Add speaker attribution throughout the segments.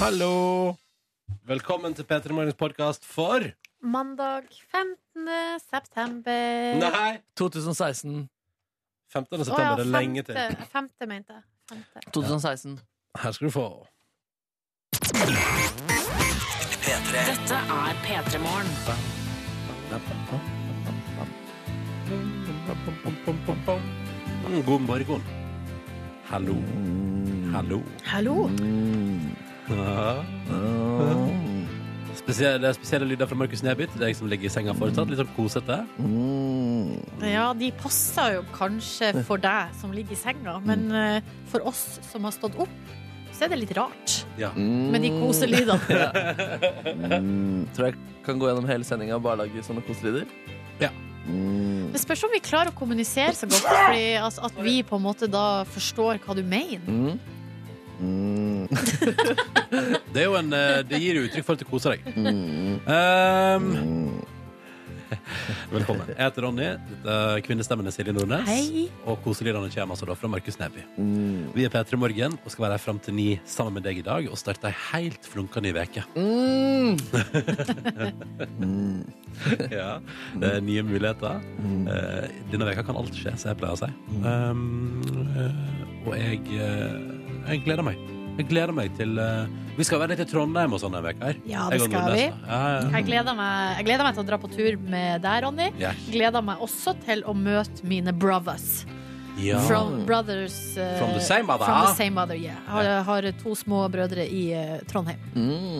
Speaker 1: Hallo! Velkommen til P3 Morgens podkast for
Speaker 2: Eh. Mandag 15. september.
Speaker 1: Nei!
Speaker 3: 2016.
Speaker 1: 15.
Speaker 2: Å ja,
Speaker 1: september. Det er lenge til.
Speaker 2: femte- Femte, mente jeg. Femte.
Speaker 3: 2016.
Speaker 1: Her skal du få.
Speaker 4: Dette er P3 Morgen.
Speaker 1: Mm, God morgen. Hallo. Hallo.
Speaker 2: Hallo!
Speaker 1: Ja. Spesielle, spesielle lyder fra Markus Neby til deg som ligger i senga fortsatt. Litt sånn kosete.
Speaker 2: Ja, de passer jo kanskje for deg som ligger i senga, men
Speaker 1: Mm.
Speaker 2: eh, for oss som har stått opp, så er det litt rart
Speaker 1: Ja.
Speaker 2: med de koselydene.
Speaker 3: Tror jeg kan gå gjennom hele sendinga og bare lage sånne koselyder.
Speaker 2: Det spørs om vi klarer å kommunisere så godt, fordi, altså, at vi på en måte da forstår hva du mener.
Speaker 3: Mm.
Speaker 1: Det, er jo en, eh, det gir jo uttrykk for at du koser deg. Ehm, velkommen. Jeg heter Ronny. Dette er Kvinnestemmen er Silje Nordnes.
Speaker 2: Hei.
Speaker 1: Og koselydene kommer altså da fra Markus Neby. Vi er P3 Morgen og skal være her fram til ni sammen med deg i dag og starte ei helt flunkende ny uke. Mm. Ja, det er nye muligheter. Eh, denne veka kan alt skje, som jeg pleier å si. Um, eh, og jeg, eh, jeg gleder meg. Jeg gleder meg til eh, Vi skal være litt i Trondheim og sånn denne veka her.
Speaker 2: Ja, det
Speaker 1: Jeg og
Speaker 2: skal
Speaker 1: Nordnes,
Speaker 2: vi.
Speaker 1: da. Ja, ja.
Speaker 2: Jeg gleder, meg, jeg gleder meg til å dra på tur med deg, Ronny.
Speaker 1: Yes.
Speaker 2: Gleder meg også til å møte mine brothers.
Speaker 1: Ja.
Speaker 2: From brothers eh,
Speaker 1: From the same mother. ah.
Speaker 2: From the same mother, yeah. Har, har to små brødre i eh, Trondheim.
Speaker 1: Mm.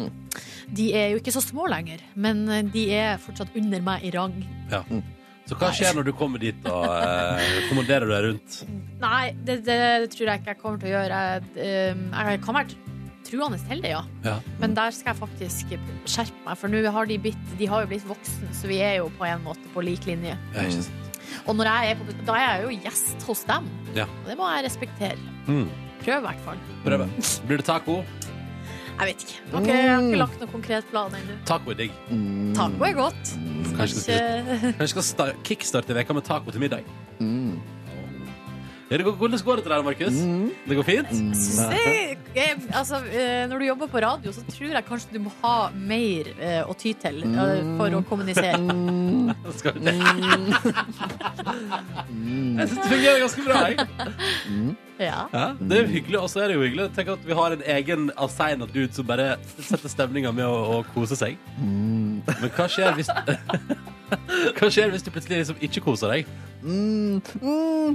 Speaker 2: De er jo ikke så små lenger, men eh, de er fortsatt under meg i rang.
Speaker 1: Ja. Så hva skjer når du kommer dit og eh, kommanderer deg rundt?
Speaker 2: Nei, det, det tror jeg ikke jeg kommer til å gjøre. Jeg, eh, jeg kan være truende til det, ja.
Speaker 1: Ja.
Speaker 2: Men der skal jeg faktisk skjerpe meg, for nå har de, blitt, de har jo blitt voksne, så vi er jo på en måte på lik linje.
Speaker 1: Ja, ikke sant.
Speaker 2: Og når jeg er på, da er jeg jo gjest hos dem,
Speaker 1: Ja.
Speaker 2: og det må jeg respektere.
Speaker 1: Mm.
Speaker 2: Prøv i hvert fall.
Speaker 1: Prøve. Blir det taco?
Speaker 2: Jeg vet ikke. Jeg har ikke, jeg har
Speaker 1: Mm.
Speaker 2: ikke lagt noen konkret plan ennå.
Speaker 1: Taco er digg.
Speaker 2: Taco er godt.
Speaker 1: Kanskje du skal,
Speaker 2: Ikke
Speaker 1: kanskje skal sta- kickstarte veka med taco til middag. Mm. Ja, det går, hvordan går det til deg, Markus?
Speaker 3: Mm.
Speaker 1: Det går fint?
Speaker 2: Jeg synes det- jeg, altså, eh, når du jobber på radio, så tror jeg kanskje du må ha mer eh, å ty til eh, for å kommunisere.
Speaker 1: Mm. Skal vi det? Jeg syns det fungerer ganske bra. Jeg.
Speaker 2: Ja.
Speaker 1: Det er jo hyggelig, og så er det jo hyggelig. Tenk at vi har en egen assigna dude som bare setter stemninga med å, å kose seg. Men hva skjer hvis Hva skjer hvis du plutselig liksom ikke koser deg?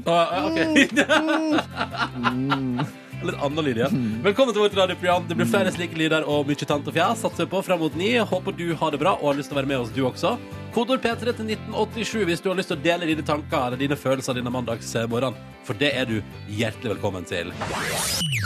Speaker 1: Ah, ok. Mm. Litt annen lyd, ja. Velkommen til vårt radioprogram. Det blir flere slike lyder og mye tant og fjas. Satser vi på frem mot ni. Håper du har det bra og har lyst til å være med oss, du også. Kodord P3 til 1987 hvis du har lyst til å dele dine tanker eller dine følelser denne mandagsmorgenen. For det er du hjertelig velkommen til.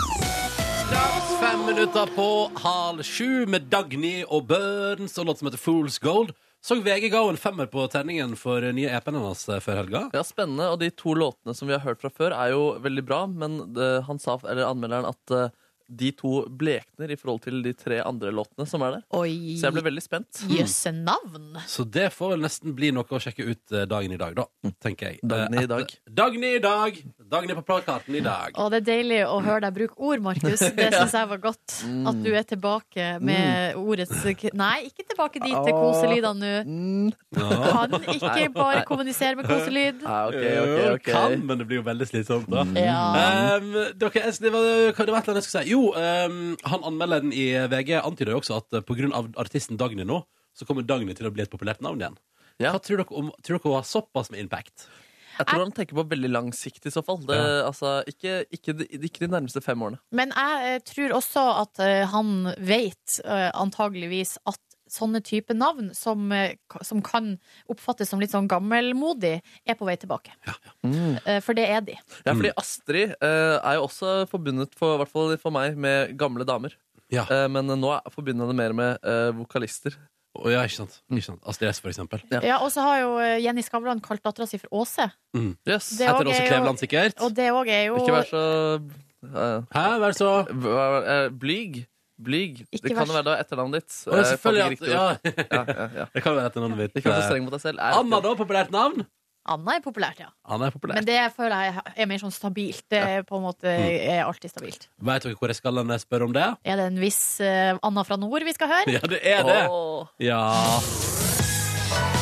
Speaker 1: Straks fem minutter på halv sju med Dagny og Børns og låt som heter Fool's Gold. Så VG ga henne en femmer på terningen for nye EP-en hennes eh, før helga.
Speaker 3: Ja, spennende. Og de to låtene som vi har hørt fra før, er jo veldig bra, men det, han sa, eller anmelderen at eh, de to blekner i forhold til de tre andre låtene som er der.
Speaker 2: Oi.
Speaker 3: Så jeg ble veldig Mm. spent.
Speaker 2: Jøsse navn.
Speaker 1: Så det får vel nesten bli noe å sjekke ut eh, dagen i dag, da, tenker jeg.
Speaker 3: Dagny Mm. i
Speaker 1: Eh,
Speaker 3: dag.
Speaker 1: etter- Dagny i dag! Dagny på plakaten i dag.
Speaker 2: Og det er deilig å høre deg bruke ord, Markus. Det syns jeg var godt.
Speaker 1: Mm.
Speaker 2: At du er tilbake med ordets Nei, ikke tilbake dit til koselydene nå.
Speaker 1: Mm.
Speaker 2: Kan ikke bare kommunisere med koselyd.
Speaker 3: Ah, ok, ok, ok.
Speaker 1: Øh, Eh,
Speaker 3: Mm.
Speaker 1: Kan, men det blir jo veldig slitsomt, da.
Speaker 2: Ja.
Speaker 1: Um, dere, jeg- det var, hva det var et eller annet jeg skulle si? Jo, um, han anmelderen i VG antyder jo også at eh, på grunn av artisten Dagny nå, så kommer Dagny til å bli et populært navn igjen.
Speaker 3: Ja.
Speaker 1: Hva tror dere om Tror dere hun har såpass med impact?
Speaker 3: Jeg tror han tenker på veldig lang sikt i så fall. Det,
Speaker 1: Ja.
Speaker 3: altså, ikke, ikke, de, ikke de nærmeste fem årene.
Speaker 2: Men jeg eh, tror også at eh, han vet eh, antageligvis at sånne type navn som, eh, ka- som kan oppfattes som litt sånn gammelmodig, er på vei tilbake.
Speaker 3: Mm.
Speaker 2: Eh, For det er de.
Speaker 3: Ja, fordi Astrid eh, er jo også forbundet, for, i hvert fall for meg, med gamle damer.
Speaker 1: Ja,
Speaker 3: Eh, men nå er- forbinder jeg det mer med eh, vokalister.
Speaker 1: og ja ikke sant? Ikke sant? Astrid S, for eksempel.
Speaker 3: Ja.
Speaker 2: Ja, og så har jo eh, Jenny Skavlan kalt dattera si for Åse.
Speaker 3: Yes.
Speaker 2: Det er
Speaker 1: Etter
Speaker 2: også
Speaker 1: Åse
Speaker 2: jo-
Speaker 1: Kleveland, sikkert.
Speaker 2: Og det òg er jo
Speaker 3: Ikke vær så eh,
Speaker 1: Hæ, hva er det så?
Speaker 3: hva- eh, Blyg. Blyg.
Speaker 2: Ikke
Speaker 3: det
Speaker 2: vær
Speaker 3: kan jo
Speaker 2: så-
Speaker 3: være da etternavnet ditt.
Speaker 1: Å, ja,
Speaker 3: Eh,
Speaker 1: selvfølgelig
Speaker 3: fanger
Speaker 1: at,
Speaker 3: riktig ord.
Speaker 1: ja.
Speaker 3: Ja, ja, ja. Eh,
Speaker 1: Det kan jo være etter navnet mitt.
Speaker 3: Ikke vær så streng mot deg selv. Er
Speaker 1: Anna, da? Populært navn?
Speaker 2: Anna er populært, ja.
Speaker 1: Han er populær.
Speaker 2: Men det føler jeg er mer sånn stabilt. Det er på en måte
Speaker 3: Mm.
Speaker 2: er alltid stabilt.
Speaker 1: Vet dere hvor jeg skal når jeg spør om det?
Speaker 2: Er det en viss eh, Anna fra nord vi skal høre?
Speaker 1: Ja, det er det!
Speaker 3: Åh.
Speaker 1: Ja.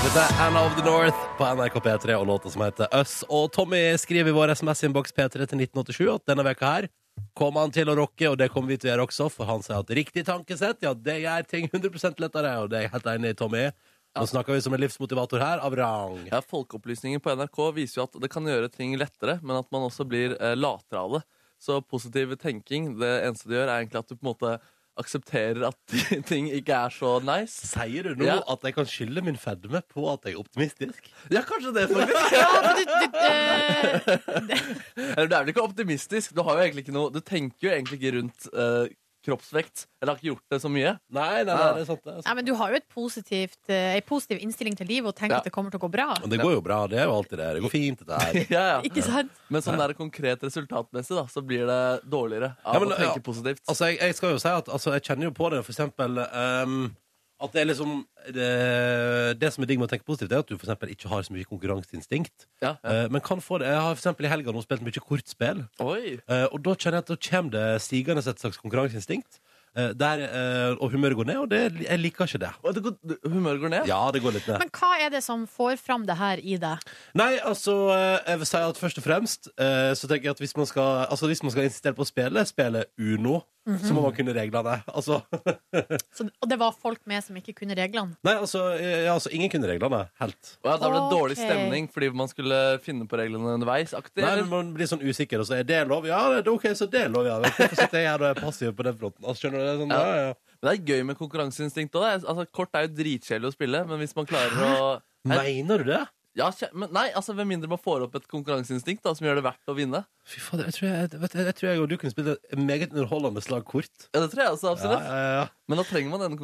Speaker 1: Dette er Anna of the North på NRK P3 og låta som heter Us. Og Tommy skriver i vår SMS-innboks P3 til 1987 at denne veka her kommer han til å rocke, og det kommer vi til å gjøre også, for han sier at riktig tankesett, ja, det gjør ting 100 lettere, og det er jeg helt enig i, Tommy. Nå snakker vi som en livsmotivator her, av rang.
Speaker 3: Ja, Folkeopplysningen på NRK viser jo at det kan gjøre ting lettere, men at man også blir eh, latere av det. Så positiv tenking, det eneste det gjør, er egentlig at du på en måte aksepterer at ting ikke er så nice.
Speaker 1: Sier du nå
Speaker 3: Ja.
Speaker 1: at jeg kan skylde min fedme på at jeg er optimistisk?
Speaker 3: Ja, kanskje det, faktisk.
Speaker 2: Ja, men du, eh, du, eh,
Speaker 3: Eller du er vel ikke optimistisk? Du har jo egentlig ikke noe Du tenker jo egentlig ikke rundt eh, kroppsvekt. Eller har ikke gjort det så mye.
Speaker 1: Nei, nei, nei,
Speaker 3: Ja.
Speaker 1: det er sant. Det, er sant.
Speaker 2: nei, men du har jo et positivt, eh, en positiv innstilling til livet og tenker
Speaker 3: Ja.
Speaker 2: at det kommer til å gå bra.
Speaker 1: Men det går jo bra, det er jo alltid det. Det går fint, dette her.
Speaker 3: Ja, ja.
Speaker 2: Ikke sant?
Speaker 3: Men sånn der konkret resultatmessig, da, så blir det dårligere av
Speaker 1: Ja, men,
Speaker 3: å tenke
Speaker 1: ja,
Speaker 3: positivt.
Speaker 1: Altså, jeg, jeg skal jo si at altså, jeg kjenner jo på det, for eksempel ehm, At det er liksom det, det som er digg med å tenke positivt, det er at du for eksempel ikke har så mye konkurranseinstinkt.
Speaker 3: ja, ja.
Speaker 1: Eh, men kan få det. Jeg har for eksempel i helga nå spilt mye kortspill.
Speaker 3: Oi!
Speaker 1: Eh, og da kjenner jeg at da kommer det stigende et slags konkurranseinstinkt. eh, der, eh, og humøret går ned, og det, jeg liker ikke det.
Speaker 3: Å, det går, det- humøret går ned?
Speaker 1: Ja, det går litt ned.
Speaker 2: Men hva er det som får fram det her i deg?
Speaker 1: Nei, altså, eh, jeg vil si at først og fremst eh, Så tenker jeg at hvis man skal Altså hvis man skal insistere på å spille, spille Uno Så
Speaker 3: Mhm.
Speaker 1: må man kunne reglene Altså,
Speaker 2: Så, og det var folk med som ikke kunne reglene.
Speaker 1: nei, altså, eh, ja, altså Ingen kunne reglene, helt
Speaker 3: Og Ja, da ble det dårlig
Speaker 2: Ok.
Speaker 3: stemning fordi man skulle finne på reglene underveis. aktig,
Speaker 1: Nei,
Speaker 3: eller?
Speaker 1: men man blir sånn usikker Og så er det lov, ja, det er ok, så det er lov ja. Men Hvorfor sitter jeg her og er passiv på den fronten Altså skjønner du det er sånn, ja, ja
Speaker 3: Men det er gøy med konkurranseinstinkt òg. Altså, kort er jo dritkjedelig å spille, men hvis man klarer å Nei.
Speaker 1: Mener du det?
Speaker 3: Ja, kje- men nei, altså Med mindre man får opp et konkurranseinstinkt da, som gjør det verdt å vinne.
Speaker 1: Fy fader, jeg tror jeg, vet, du, jeg tror jeg og du kunne spille et meget underholdende slagkort
Speaker 3: Ja, Det tror jeg også,
Speaker 1: Ja,
Speaker 3: absolutt.
Speaker 1: ja, ja
Speaker 3: Men da trenger man denne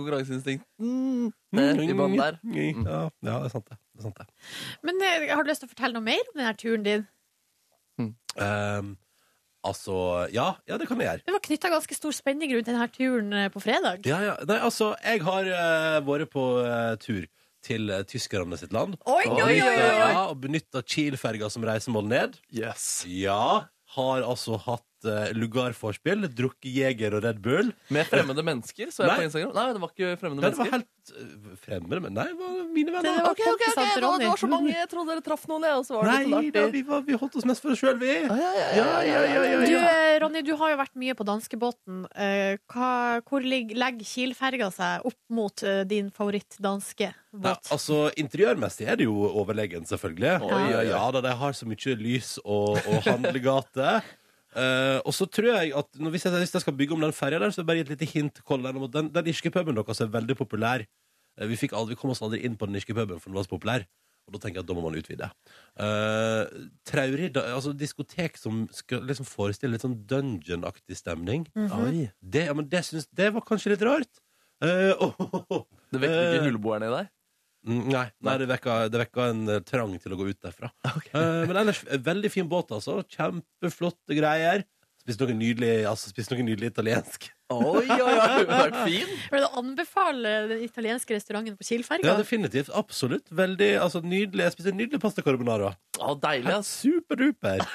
Speaker 3: konkurranseinstinkten. ned i bånd der.
Speaker 1: Mm,
Speaker 3: Mm.
Speaker 1: ja, ja, det er sant det, det, er sant det.
Speaker 2: Men eh, har du lyst til å fortelle noe mer om denne turen din?
Speaker 1: Ehm, Altså, ja, ja, det kan jeg gjøre
Speaker 2: Det var knytta ganske stor spenning rundt denne turen eh, på fredag.
Speaker 1: Ja, ja. Nei, altså, jeg har eh, vært på eh, tur til uh, tyskerne sitt land.
Speaker 2: Oi, oi, oi, oi, oi.
Speaker 1: Ja, og benytta Kiel-ferga som reisemål ned.
Speaker 3: Yes.
Speaker 1: Ja. Har altså hatt eh, lugarforspill, drukket Jeger og Red Bull.
Speaker 3: Med fremmede mennesker, så jeg
Speaker 1: Nei.
Speaker 3: på Instagram. Nei, det var ikke fremmede
Speaker 1: Nei, det var
Speaker 3: mennesker.
Speaker 1: helt eh, fremmede, men nei, det var mine venner.
Speaker 2: Det var
Speaker 3: Ok, ok, ok,
Speaker 2: kompisene til
Speaker 3: det var, det var så
Speaker 2: Ronny.
Speaker 3: mange. Jeg trodde dere traff noen, jeg. Og så var det litt
Speaker 1: Nei
Speaker 3: sånn
Speaker 1: da,
Speaker 3: artig.
Speaker 1: vi, var, vi holdt oss mest for oss sjøl, vi.
Speaker 3: Ja, ja,
Speaker 1: Ja, ja, ja, ja,
Speaker 2: Du,
Speaker 1: ja.
Speaker 2: eh, Ronny, du har jo vært mye på danskebåten. Eh, hva- Hvor ligger- legger Kiel-ferga seg opp mot eh, din favoritt-danske
Speaker 1: Nei,
Speaker 2: båt?
Speaker 1: altså, Interiørmessig er det jo overlegen, selvfølgelig.
Speaker 3: Oi, oi, oi.
Speaker 1: Ja da, de har så mye lys og, og handlegate. Eh, og så tror jeg at når, hvis, jeg, hvis jeg skal bygge om den ferja der, så bare gi et lite hint. Colin, om at Den, den irske puben deres er veldig populær. Eh, vi, fikk aldri, vi kom oss aldri inn på den irske puben, for den var så populær. Og da tenker jeg at da må man utvide. Uh, Traurig da- altså diskotek som skal liksom forestille litt sånn dungeon-aktig stemning.
Speaker 3: Oi.
Speaker 1: det, ja, men det, syns, det var kanskje litt rart. Eh, og-
Speaker 3: Det vekket
Speaker 1: Eh,
Speaker 3: ikke huleboerne i deg?
Speaker 1: Mm, Nei, nei det, vekka, det vekka en eh, trang til å gå ut derfra.
Speaker 3: Ok.
Speaker 1: Eh, men ellers eh, veldig fin båt, altså. Kjempeflotte greier. Spiste noe nydelig, altså, spiste noe nydelig italiensk.
Speaker 3: Oi, oi, oi, du har vært fin!
Speaker 2: Vil du anbefale den italienske restauranten på
Speaker 1: Ja,
Speaker 2: Kiel-ferga?
Speaker 1: definitivt. Absolutt. Veldig, altså, nydelig. Jeg spiste nydelig pasta carbonara.
Speaker 3: Å, deilig, ass.
Speaker 1: Superduper.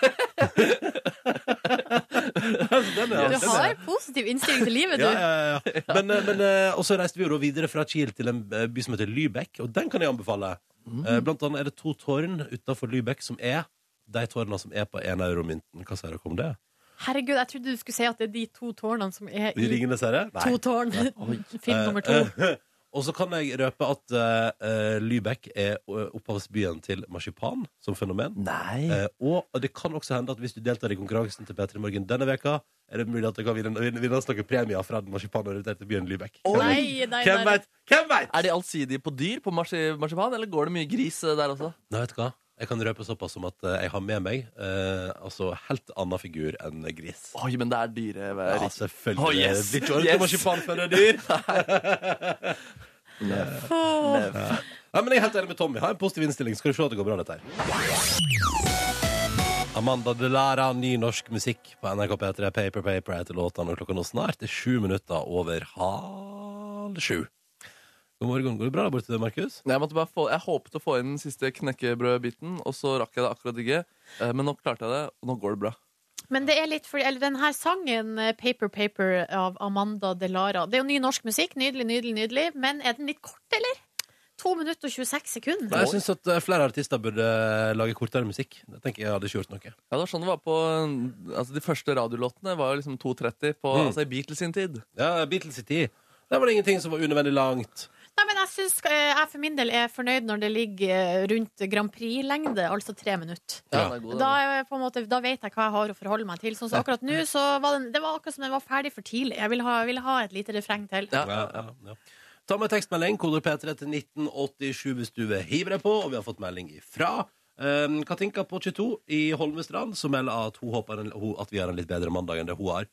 Speaker 1: Altså, den er-
Speaker 2: du
Speaker 1: den er-
Speaker 2: har positiv innstilling til livet, du.
Speaker 1: ja, ja, ja. Men, eh, men, eh, og så reiste vi jo da videre fra Kiel til en eh, by som heter Lübeck, og den kan jeg anbefale.
Speaker 2: Mm.
Speaker 1: Eh, Blant annet er det to tårn utenfor Lübeck som er de tårnene som er på 1 euromynten. Hva sier dere om det?
Speaker 2: Herregud, jeg trodde du skulle si at det er de to tårnene som er
Speaker 1: De
Speaker 2: i
Speaker 1: ringende seere?
Speaker 2: Mm. To tårn. Film nummer to.
Speaker 1: Eh, Og så kan jeg røpe at eh, eh, Lübeck er eh, opphavsbyen til marsipan som fenomen.
Speaker 3: Nei.
Speaker 2: Mm.
Speaker 1: Eh, og det kan også hende at hvis du deltar i konkurransen til P3 Morgen denne veka, er det mulig at du kan vinne, vinne, vinne noen premier fra den marsipanorienterte byen Lübeck. Hvem vet?
Speaker 2: Nei, nei,
Speaker 1: Hvem
Speaker 2: nei.
Speaker 1: veit? Hvem veit?
Speaker 3: Er de allsidige på dyr på marsi- marsipan, eller går det mye gris eh, der også?
Speaker 1: Nei, vet du hva? Jeg kan røpe såpass som at eh, jeg har med meg eh, altså helt annen figur enn gris.
Speaker 3: Oi, men det er dyre eh,
Speaker 1: Ja,
Speaker 3: ris.
Speaker 1: selvfølgelig.
Speaker 3: Å, yes.
Speaker 1: Det blir ikke ordentlig
Speaker 3: Yes.
Speaker 1: marsipan før det er dyr.
Speaker 2: Åh.
Speaker 1: Nei, men jeg er helt enig med Tommy. Ha en positiv innstilling, så skal du se at det går bra, dette her. Amanda Delara, ny norsk musikk på NRK P3. Paper Paper heter låta når klokka nå snart er sju minutter over halv sju. God morgen. Går det bra der borte, Markus?
Speaker 3: Nei, Jeg, måtte bare få, jeg håpet å få inn den siste knekkebrødbiten, og så rakk jeg det akkurat ikke. Eh, Men nå klarte jeg det, og nå går det bra.
Speaker 2: Men det er litt fordi Eller den her sangen, eh, 'Paper Paper' av Amanda Delara Det er jo ny norsk musikk. Nydelig, nydelig, nydelig. Men er den litt kort, eller? 2 minutter og 26
Speaker 1: Nei,
Speaker 2: sekunder.
Speaker 1: jeg syns at eh, flere artister burde eh, lage kortere musikk. Det tenker jeg hadde ikke gjort noe.
Speaker 3: Ja, det var sånn det var på Altså, De første radiolåtene var jo liksom 2.30 på
Speaker 1: Mm.
Speaker 3: altså, i Beatles sin tid.
Speaker 1: Ja, Beatles i tid. Der var det ingenting som var unødvendig langt.
Speaker 2: Nei, men jeg syns jeg for min del er fornøyd når det ligger eh, rundt Grand Prix-lengde, altså tre minutter.
Speaker 1: Ja.
Speaker 3: den er god, den.
Speaker 2: Da, er jeg på en måte, da vet jeg hva jeg har å forholde meg til. Sånn som akkurat nå, så var den, det var akkurat som den var ferdig for tidlig. Jeg ville ha, jeg ville ha et lite refreng til.
Speaker 3: Ja.
Speaker 1: Ja, ja, ja. Ta med tekstmelding, koder P3 til 1987 hvis du vil hive deg på, og vi har fått melding ifra um, Katinka på 22 i Holmestrand, som melder at hun håper en, hun, at vi har en litt bedre mandag enn det hun har.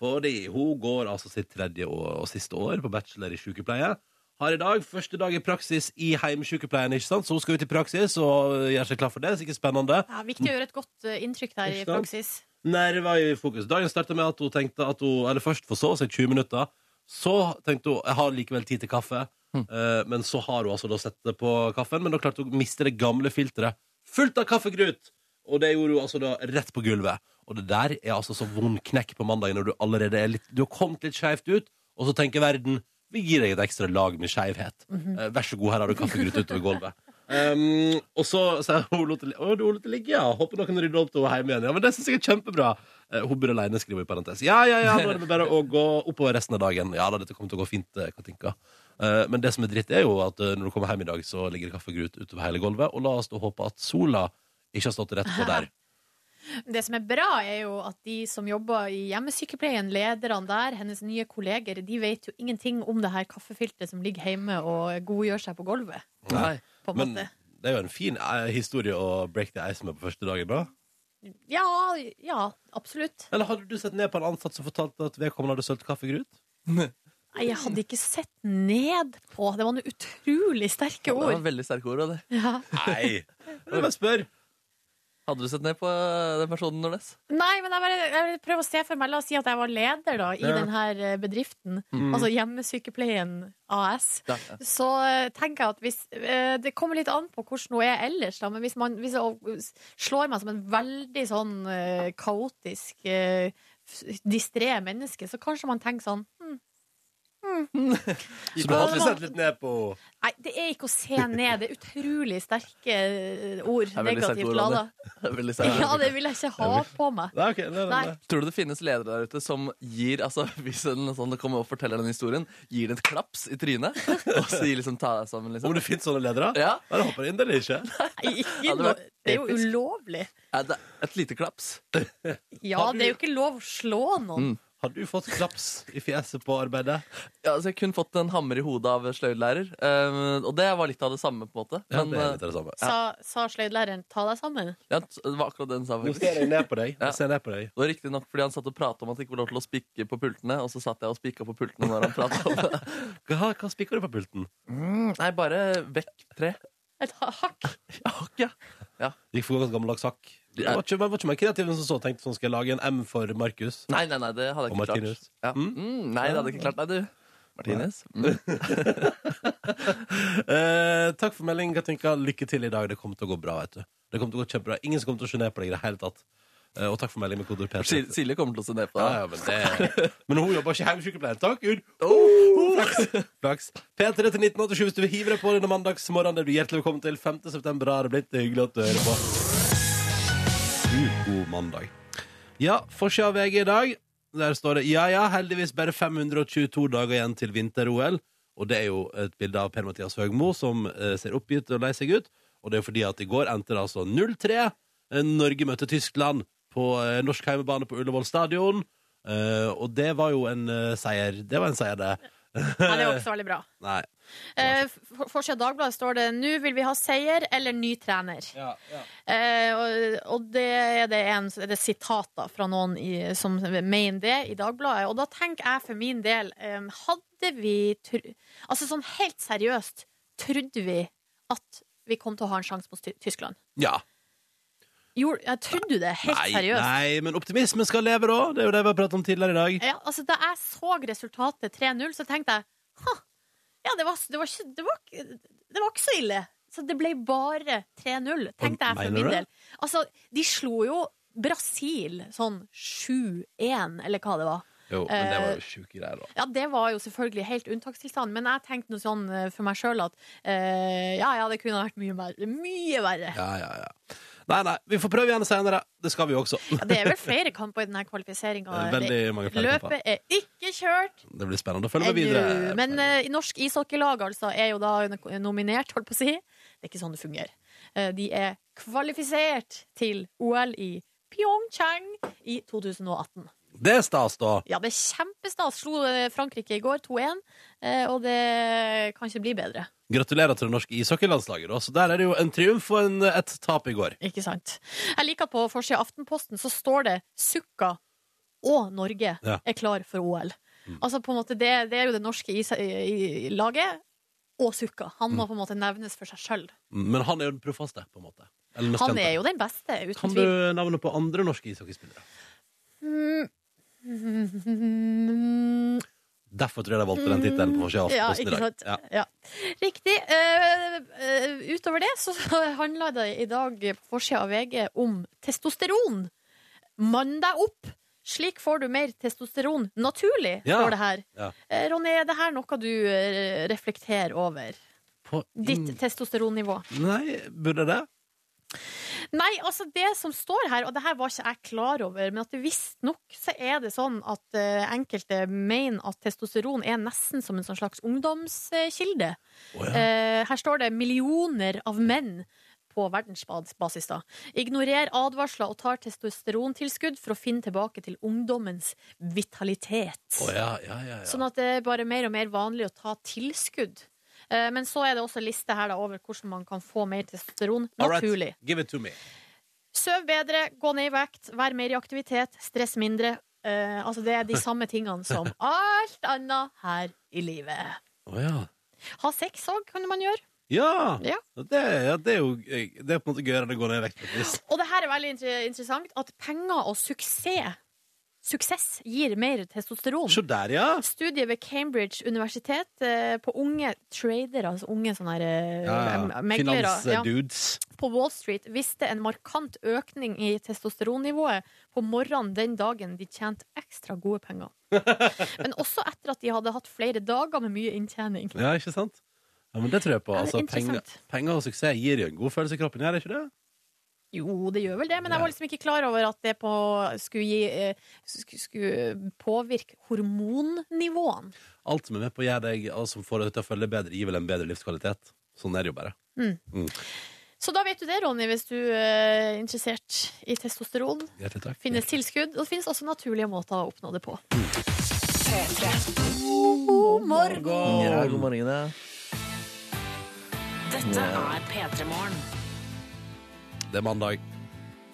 Speaker 1: Fordi hun går altså sitt tredje og, og siste år på bachelor i sykepleie. Har i dag første dag i praksis i heimsykepleien, ikke sant? så hun skal ut i praksis og gjør seg klar for det. Sikkert spennende.
Speaker 2: Ja, viktig å gjøre et godt eh, inntrykk der i
Speaker 1: Ikke sant?
Speaker 2: praksis.
Speaker 1: Nerver i fokus. Dagen starta med at hun tenkte at hun Eller først forsov seg 20 minutter. Så tenkte hun jeg har likevel tid til kaffe. Eh, men så har hun altså da sett det på kaffen, men da klarte hun å miste det gamle filteret fullt av kaffegrut! Og det gjorde hun altså da rett på gulvet. Og det der er altså så vond knekk på mandagen når du allerede er litt Du har kommet litt skeivt ut, og så tenker verden vi gir deg et ekstra lag med skeivhet. Eh, vær så god, her har du kaffegrut utover gulvet. Um, og så sier hun lot det li- å, du lot det ligge, ja. Håper noen rydder opp til hun er hjemme igjen. Ja, men det synes jeg er kjempebra. Eh, hun bor alene, skriver hun i parentes. Ja, ja, ja, nå er det bare å gå oppover resten av dagen. Ja da, dette kommer til å gå fint, eh, Katinka. Eh, men det som er dritt, er jo at eh, når du kommer hjem i dag, så ligger det kaffegrut utover hele gulvet. Og la oss da håpe at sola ikke har stått rett på der.
Speaker 2: Det som er bra, er jo at de som jobber i hjemmesykepleien, lederne der, hennes nye kolleger, de vet jo ingenting om det her kaffefilteret som ligger hjemme og godgjør seg på gulvet.
Speaker 3: Nei.
Speaker 2: På en
Speaker 1: Men
Speaker 2: måte.
Speaker 1: det er jo en fin eh, historie å break the ice med på første dagen, da.
Speaker 2: Ja, ja, absolutt.
Speaker 1: Eller hadde du sett ned på en ansatt som fortalte at vedkommende hadde sølt kaffegrut?
Speaker 2: Nei, jeg hadde ikke sett ned på. Det var noen utrolig sterke
Speaker 3: Det var
Speaker 2: ord.
Speaker 3: veldig sterke ord. og Det.
Speaker 2: Ja.
Speaker 1: Nei! Jeg vil bare spør.
Speaker 3: Hadde du sett ned på eh, den personen, Nordnes?
Speaker 2: Nei, men jeg, bare, jeg vil prøve å se for meg La oss si at jeg var leder da, i
Speaker 1: Ja. Mm.
Speaker 2: denne bedriften, altså Hjemmesykepleien AS.
Speaker 3: Ja.
Speaker 2: Så eh, tenker jeg at hvis eh, Det kommer litt an på hvordan hun er ellers, da, men hvis, man, hvis hun slår meg som en veldig sånn eh, kaotisk, eh, f- distré menneske, så kanskje man tenker sånn
Speaker 1: Så du hadde sett litt ned på
Speaker 2: Nei, det er ikke å se ned. Det er utrolig sterke eh, ord.
Speaker 3: er veldig sterke
Speaker 2: Negativt
Speaker 3: ord,
Speaker 2: lada.
Speaker 3: Det er veldig sterke
Speaker 2: Ja,
Speaker 3: ord.
Speaker 2: det vil jeg ikke ha på meg.
Speaker 1: Nei, ok, nei, nei, nei.
Speaker 2: Nei.
Speaker 3: Tror du det finnes ledere der ute som gir altså, Hvis en sånn kommer og forteller den historien, gir den et klaps i trynet? Og så gir liksom ta deg sammen,
Speaker 1: Om
Speaker 3: liksom.
Speaker 1: det finnes sånne ledere?
Speaker 3: Ja.
Speaker 1: Ja, det håper jeg inderlig ikke.
Speaker 2: Nei, Ikke
Speaker 3: Hadde
Speaker 2: noe,
Speaker 3: vært
Speaker 2: det er jo
Speaker 3: episk.
Speaker 2: ulovlig.
Speaker 3: Er det et lite klaps?
Speaker 2: Ja, det er jo ikke lov å slå noen.
Speaker 3: Mm,
Speaker 1: Har du fått klaps i fjeset på arbeidet?
Speaker 3: Ja, altså, jeg kunne fått en hammer i hodet av sløydlærer. Um, og det var litt av det samme, på en måte.
Speaker 1: Ja,
Speaker 3: Men
Speaker 1: det er
Speaker 3: eh,
Speaker 1: litt av det samme.
Speaker 2: Sa, sa sløydlæreren 'ta deg sammen'?
Speaker 3: ja, det var akkurat den samme.
Speaker 1: Nå
Speaker 3: faktisk.
Speaker 1: ser jeg ned på deg.
Speaker 3: Ja.
Speaker 1: Nå ser jeg ned på deg.
Speaker 3: Det var riktig nok fordi han satt og pratet om at det ikke var lov til å spikke på pultene, og så satt jeg og spikka på pultene når han pratet om det.
Speaker 1: Hva, hva spikker du på pulten?
Speaker 3: Nei, bare vekk tre.
Speaker 2: Et ha- hakk?
Speaker 3: Ja, ok, ja.
Speaker 1: Det gikk for ganske gammeldags hakk. Det var ikke, man var ikke mer kreativ enn som så. Tenkte sånn, skal jeg lage en M for Markus?
Speaker 3: Nei, nei, nei, det hadde
Speaker 1: Og
Speaker 3: jeg ikke klart.
Speaker 1: Martinus.
Speaker 3: Ja. Mm, nei, det hadde jeg ikke klart. Nei, du. Martinus. Mm.
Speaker 1: Eh, takk for meldingen, Katinka. Lykke til i dag. Det kommer til å gå bra, vet du. Det kommer til å gå kjempebra. Ingen som kommer til å se ned på deg i det hele tatt. Eh, og takk for meldingen med kodeord
Speaker 3: Sil-
Speaker 1: P3.
Speaker 3: Silje kommer til å se ned på
Speaker 1: Ja,
Speaker 3: deg.
Speaker 1: ja, men, det... men hun jobber ikke hjemmesykepleier. Takk, Gud!
Speaker 3: Oh!
Speaker 1: Flaks. Flaks. P3 til 1987 hvis du vil hive deg på denne mandagsmorgenen. Det er du hjertelig velkommen til 5. september. Har det blitt det er hyggelig at du hører på. Gud, god mandag. Ja, forsida av VG i dag. Der står det ja ja, heldigvis bare 522 dager igjen til vinter-OL. Og det er jo et bilde av Per-Mathias Høgmo som eh, ser oppgitt og lei seg ut. Og det er jo fordi at i går endte det altså 0-3. Eh, Norge møtte Tyskland på eh, norsk heimebane på Ullevål stadion. Eh, og det var jo en eh, seier. Det var en seier, det.
Speaker 2: Nei, det var ikke så veldig bra.
Speaker 1: Nei.
Speaker 2: Eh, for- Forsida av Dagbladet står det 'Nå vil vi ha seier eller ny trener'. Eh, og, og det er det, en, er det sitater fra noen i, som mener det i Dagbladet. Og da tenker jeg for min del eh, Hadde vi tr Altså sånn helt seriøst, trodde vi at vi kom til å ha en sjanse mot Ty- Tyskland?
Speaker 1: Ja.
Speaker 2: Gjorde, jeg trodde du det? Helt
Speaker 1: Nei,
Speaker 2: seriøst?
Speaker 1: nei, men optimismen skal leve, da. Det er jo det vi har pratet om tidligere i dag.
Speaker 2: Ja, altså, da jeg så resultatet 3-0, så tenkte jeg Hå, Ja, det var, det var, ikke, det var, ikke- det var ikke så ille. Så det ble bare 3-0, tenkte jeg for
Speaker 1: Mener du
Speaker 2: min
Speaker 1: det?
Speaker 2: del. Altså, de slo jo Brasil sånn 7-1, eller hva det var.
Speaker 1: Jo, men det var jo sjuke greier, da.
Speaker 2: Ja, det var jo selvfølgelig helt unntakstilstand, men jeg tenkte noe sånn eh, for meg sjøl at eh, ja, ja, det kunne ha vært mye verre. Mye verre.
Speaker 1: Ja, ja, ja. Nei, nei, vi får prøve igjen senere. Det skal vi jo også.
Speaker 2: Ja, det er vel flere kamper i denne kvalifiseringa.
Speaker 1: Veldig mange flere kamper.
Speaker 2: Løpet er ikke kjørt
Speaker 1: Det blir spennende å følge med
Speaker 2: ennå.
Speaker 1: videre.
Speaker 2: Men eh, norsk ishockeylag altså, er jo da nominert, holdt på å si. Det er ikke sånn det fungerer. Eh, de er kvalifisert til OL i Pyeongchang i 2018.
Speaker 1: Det er stas, da.
Speaker 2: Ja, det er kjempestas. Slo eh, Frankrike i går 2-1, eh, og det kan ikke bli bedre.
Speaker 1: Gratulerer til det norske ishockeylandslaget. da. Så der er det jo en triumf og en, et tap i går.
Speaker 2: Ikke sant. Jeg liker at på forsida av Aftenposten så står det 'Sukka og Norge
Speaker 1: Ja. Mm.
Speaker 2: er klar for OL'. Altså på en måte det, det er jo det norske is i, i laget og Sukka. Han
Speaker 1: Mm.
Speaker 2: må på en måte nevnes for seg sjøl.
Speaker 1: Men han er jo den proffeste, på en måte. Eller mest
Speaker 2: Han
Speaker 1: kjente.
Speaker 2: er jo den beste, uten
Speaker 1: Kan du
Speaker 2: tvil.
Speaker 1: navnet på andre norske ishockeyspillere?
Speaker 2: Mm,
Speaker 1: Derfor tror jeg de valgte den tittelen på forsida av
Speaker 2: ja,
Speaker 1: Aftenposten i
Speaker 2: ikke
Speaker 1: dag.
Speaker 2: sant. Ja. Riktig. Eh, eh, utover det så handla det i dag på forsida av VG om testosteron. Mann deg opp! Slik får du mer testosteron naturlig,
Speaker 1: Ja.
Speaker 2: står det her.
Speaker 1: Ja.
Speaker 2: Eh, Ronny, er det her noe du eh, reflekterer over?
Speaker 1: På
Speaker 2: Ditt
Speaker 1: ing-
Speaker 2: testosteronnivå?
Speaker 1: Nei, burde det?
Speaker 2: Nei, altså det som står her, og det her var ikke jeg klar over, men at det visstnok så er det sånn at eh, enkelte mener at testosteron er nesten som en sånn slags ungdomskilde.
Speaker 1: Å, ja.
Speaker 2: Eh, her står det millioner av menn på verdensbasis. da. Ignorer advarsler og tar testosterontilskudd for å finne tilbake til ungdommens vitalitet.
Speaker 1: Å, ja, ja, ja, ja.
Speaker 2: Sånn at det er bare mer og mer vanlig å ta tilskudd. Eh, Men så er det også en liste her da, over hvordan man kan få mer testosteron
Speaker 1: All right,
Speaker 2: naturlig.
Speaker 1: Give it to me.
Speaker 2: Søv bedre, gå ned i vekt, vær mer i aktivitet, stress mindre. Eh, altså Det er de samme tingene som alt annet her i livet.
Speaker 1: Å, ja.
Speaker 2: Ha sex òg kan man gjøre.
Speaker 1: Ja.
Speaker 2: Ja.
Speaker 1: Det, ja! Det er jo Det er på en måte gøyere enn å gå ned i vekt. på et vis.
Speaker 2: Og det her er veldig inter- interessant, at penger og suksess Suksess gir mer testosteron.
Speaker 1: Se der, ja!
Speaker 2: Studiet ved Cambridge universitet eh, på unge tradere, altså unge sånne her, eh,
Speaker 1: ja.
Speaker 2: em- meglere ja,
Speaker 1: Finansdudes.
Speaker 2: på Wall Street, viste en markant økning i testosteronnivået på morgenen den dagen de tjente ekstra gode penger. Men også etter at de hadde hatt flere dager med mye inntjening.
Speaker 1: Ja, ikke sant? Ja, men det tror jeg på.
Speaker 2: Ja, det er
Speaker 1: Altså, penger,
Speaker 2: interessant.
Speaker 1: penger og suksess gir jo en god følelse i kroppen, gjør det ikke det?
Speaker 2: Jo, det gjør vel det, men jeg var liksom ikke klar over at det på, skulle, gi, eh, sk- skulle påvirke hormonnivåene.
Speaker 1: Alt som er med på å gjøre deg alt som får deg til å føle deg bedre, gir vel en bedre livskvalitet. Sånn er det jo bare.
Speaker 2: Så da vet du det, Ronny, hvis du eh, er interessert i testosteron.
Speaker 1: Hjertelig takk.
Speaker 2: Finnes tilskudd, og det finnes også naturlige måter å oppnå det på. God morgen!
Speaker 3: Ja, god morgen, ja.
Speaker 4: Dette er P3 Morgen.
Speaker 1: Det er mandag.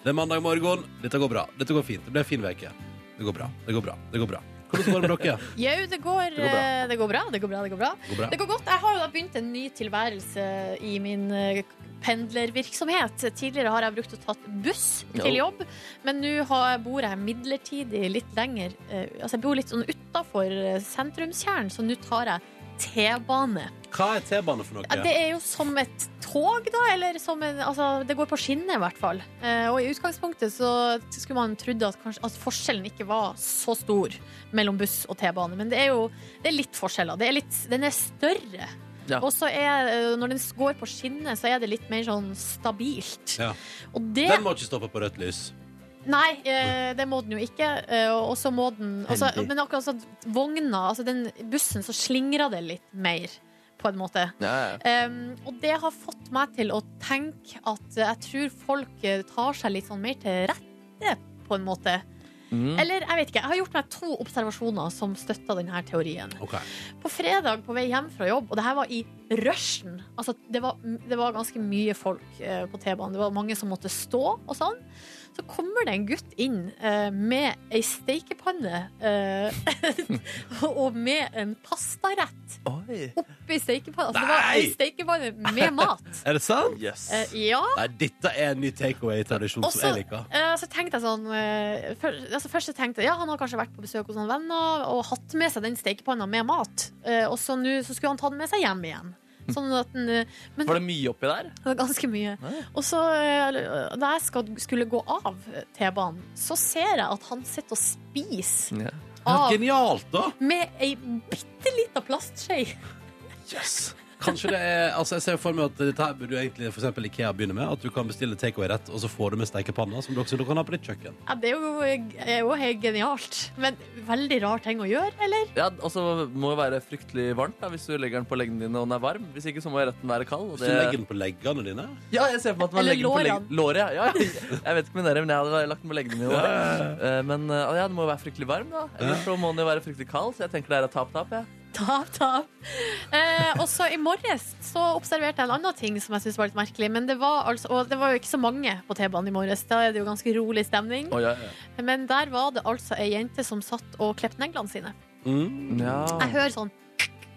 Speaker 1: Det er mandag morgen. Dette går bra. Dette går fint. Det blir en fin uke. Det går bra. Det går bra. Det går bra. Hvordan går det med dere?
Speaker 2: Jau, det, går,
Speaker 1: går bra.
Speaker 2: eh, det går bra. Det går bra, det går bra.
Speaker 1: Det går bra.
Speaker 2: Det går godt. Jeg har jo da begynt en ny tilværelse i min eh, pendlervirksomhet. Tidligere har jeg brukt å tatt buss til
Speaker 3: Jo.
Speaker 2: jobb, men nå har- bor jeg midlertidig litt lenger. eh, Altså, jeg bor litt sånn utafor sentrumskjernen, så nå tar jeg T-bane.
Speaker 1: Hva er T-bane for
Speaker 2: Ja, det
Speaker 1: noe?
Speaker 2: er jo som et tog, da. Eller som en, altså, det går på skinner, i hvert fall. Eh, og i utgangspunktet så skulle man trodd at, kanskje, at forskjellen ikke var så stor mellom buss og T-bane. Men det er jo det er litt forskjeller. Det er litt, den er større.
Speaker 3: Ja.
Speaker 2: Og så er eh, når den går på skinner, så er det litt mer sånn stabilt.
Speaker 1: Ja.
Speaker 2: Og det
Speaker 1: Den må ikke stoppe på rødt lys.
Speaker 2: Nei, eh, det må den jo ikke. Eh, og så må den og så-
Speaker 3: Heldig.
Speaker 2: Men akkurat sånn at vogna, altså den bussen, så slingrer det litt mer, på en måte.
Speaker 3: Ja, ja.
Speaker 2: Um, og det har fått meg til å tenke at eh, jeg tror folk eh, tar seg litt sånn mer til rette, på en måte.
Speaker 3: Mm.
Speaker 2: Eller jeg vet ikke. Jeg har gjort meg to observasjoner som støtter denne teorien.
Speaker 1: Ok.
Speaker 2: På fredag på vei hjem fra jobb, og det her var i rushen altså, det, var, det var ganske mye folk eh, på T-banen. Det var mange som måtte stå og sånn. Så så kommer det en gutt inn eh, med ei steikepanne eh, og med en pastarett
Speaker 3: Oi.
Speaker 2: oppi steikepanna. Altså, det var ei
Speaker 1: Nei!
Speaker 2: steikepanne med mat.
Speaker 1: Er det sant?
Speaker 3: Yes.
Speaker 2: Eh, ja.
Speaker 1: Nei, dette er en ny takeaway-tradisjon
Speaker 2: Og
Speaker 1: som
Speaker 2: så-
Speaker 1: jeg liker.
Speaker 2: Eh, så tenkte jeg sånn eh, før- altså Først så tenkte jeg ja, han har kanskje vært på besøk hos noen venner og hatt med seg den steikepanna med mat. Eh, og så nå så skulle han ta den med seg hjem igjen. Sånn at den, eh, men
Speaker 3: Mm. Var det mye oppi der?
Speaker 2: det var ganske mye.
Speaker 3: Nei.
Speaker 2: Og så, eh, da jeg skal, skulle gå av T-banen, så ser jeg at han sitter og spiser
Speaker 3: Ja.
Speaker 1: Ja,
Speaker 2: av
Speaker 1: genialt, da!
Speaker 2: med ei bitte lita plastskje.
Speaker 1: Kanskje det er, altså Jeg ser for meg at dette her burde jo egentlig for eksempel Ikea begynne med. At du kan bestille takeaway-rett, og så får du med stekepanna, som du også kan ha på ditt kjøkken.
Speaker 2: Ja, det er jo, eh, er jo helt genialt. Men veldig rar ting å gjøre, eller?
Speaker 3: Ja, og så må det være fryktelig varmt da, hvis du legger den på leggene dine og den er varm. Hvis ikke så må retten være kald. Og
Speaker 1: Hvis du legger den på leggene dine.
Speaker 3: Ja, jeg ser for meg at man
Speaker 2: Eller
Speaker 3: legger den på
Speaker 2: lårene.
Speaker 3: legg- låret. Ja. Ja, ja. Jeg vet ikke med dere, men jeg hadde lagt den på leggene mine.
Speaker 1: Ja,
Speaker 3: Ja.
Speaker 1: ja,
Speaker 3: Men eh, ja, den må jo være fryktelig varm, da. Eller
Speaker 1: Ja.
Speaker 3: så må den jo være fryktelig kald. Så jeg tenker det er et tap-tap. Ja.
Speaker 2: Tap, tap. Eh, og så i morges så observerte jeg en annen ting som jeg syntes var litt merkelig. Men det var altså, og det var jo ikke så mange på T-banen i morges. Da er det jo ganske rolig stemning.
Speaker 3: Oh, ja, ja.
Speaker 2: Men der var det altså ei jente som satt og klepte neglene sine.
Speaker 1: Mm.
Speaker 2: Jeg hører sånn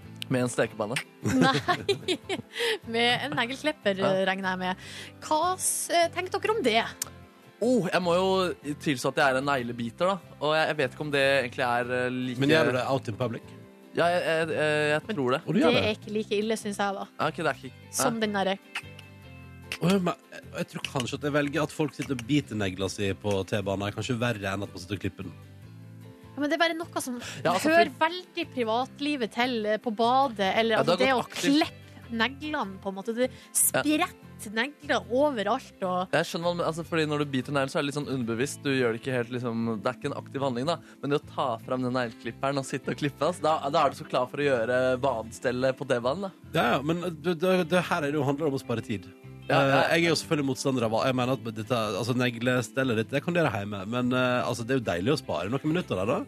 Speaker 3: Med en stekepanne.
Speaker 2: Nei! Med en negleklipper
Speaker 3: Ja.
Speaker 2: eh, regner jeg med. Hva s- eh, tenker dere om det?
Speaker 3: Oh, jeg må jo tilstå at jeg er en neglebiter, da. Og jeg, jeg vet ikke om det egentlig er eh, like
Speaker 1: Men gjør du det out in public?
Speaker 3: Ja, jeg, jeg, jeg, jeg tror det.
Speaker 1: Og du
Speaker 2: Det
Speaker 1: gjør
Speaker 2: er
Speaker 1: det?
Speaker 2: ikke like ille, syns jeg, da.
Speaker 3: Ja, ok, det er ikke
Speaker 2: Som
Speaker 3: Nei.
Speaker 2: den derre
Speaker 1: Åh, men Jeg jeg tror kanskje at jeg velger at folk sitter og biter negla si på T-banen. er Kanskje verre enn at man sitter og klipper den.
Speaker 2: ja, men Det er bare noe som
Speaker 3: Ja, altså,
Speaker 2: hører veldig privatlivet til eh, på badet, eller
Speaker 3: Ja,
Speaker 2: altså, det,
Speaker 3: det har
Speaker 2: å
Speaker 3: gått aktivt.
Speaker 2: klippe neglene, på en måte. Det spretter negler overalt og
Speaker 3: Jeg skjønner hva du men- altså, fordi Når du biter neglen, så er det litt sånn underbevisst. Du gjør det ikke helt, liksom, Det er ikke en aktiv handling, da. Men det å ta fram den negleklipperen og sitte og klippe, ass, da, da er du så klar for å gjøre badestellet på T-banen. da.
Speaker 1: Ja, ja, men eh, det, det, det her er det jo handler om å spare tid.
Speaker 3: Ja, ja, ja.
Speaker 1: Eh, Jeg er jo selvfølgelig motstander av Jeg mener at dette, altså neglestellet ditt, det kan dere hjemme. Men eh, altså, det er jo deilig å spare noen minutter der, da.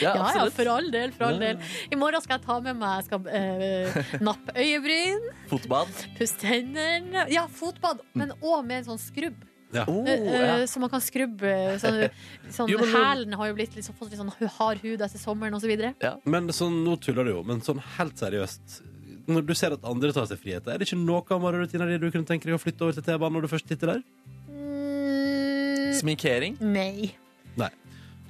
Speaker 2: Ja, ja,
Speaker 3: absolutt.
Speaker 2: for all del, for
Speaker 1: Ja,
Speaker 2: all
Speaker 1: ja.
Speaker 2: del. I morgen skal jeg ta med meg jeg skal, eh, nappe øyebryn,
Speaker 3: Fotbad.
Speaker 2: pusse tennene Ja, fotbad, men òg med en sånn skrubb.
Speaker 1: Ja.
Speaker 3: Oh,
Speaker 2: Eh,
Speaker 3: ja.
Speaker 2: Så man kan skrubbe sånn, sånn,
Speaker 1: Jo, men nå-
Speaker 2: Hælen har jo blitt liksom, fått litt sånn hard hud etter sommeren osv.
Speaker 1: Men sånn, nå tuller du jo, men sånn helt seriøst. Når du ser at andre tar seg friheter, er det ikke noe av morgenrutina di du kunne tenke deg å flytte over til T-banen når du først sitter der?
Speaker 2: Mm,
Speaker 3: Sminkering.
Speaker 2: nei.
Speaker 1: Nei.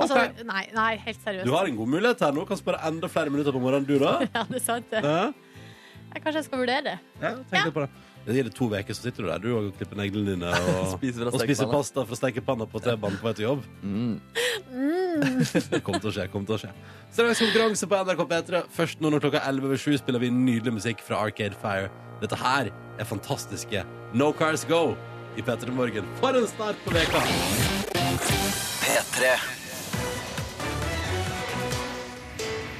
Speaker 2: Altså,
Speaker 1: Ok.
Speaker 2: nei. Nei, helt seriøst.
Speaker 1: Du har en god mulighet her nå. Kan spare enda flere minutter på morgenen, du, da.
Speaker 2: Ja, det er sant, det.
Speaker 1: Ja,
Speaker 2: Jeg, kanskje jeg skal vurdere det.
Speaker 1: ja, tenk litt på det. Det gjelder to uker, så sitter du der du og klipper neglene dine og,
Speaker 3: Spiser fra
Speaker 1: og spiser
Speaker 3: stekepanna.
Speaker 1: pasta fra stekepanna på T-banen på vei til jobb.
Speaker 3: Mm.
Speaker 1: Det kommer til å skje. kommer til å skje Straks konkurranse på NRK P3. Først nå når klokka 11 over 7 spiller vi nydelig musikk fra Arcade Fire. Dette her er fantastiske No Cars Go i P3 Morgen. For en start på veka
Speaker 5: P3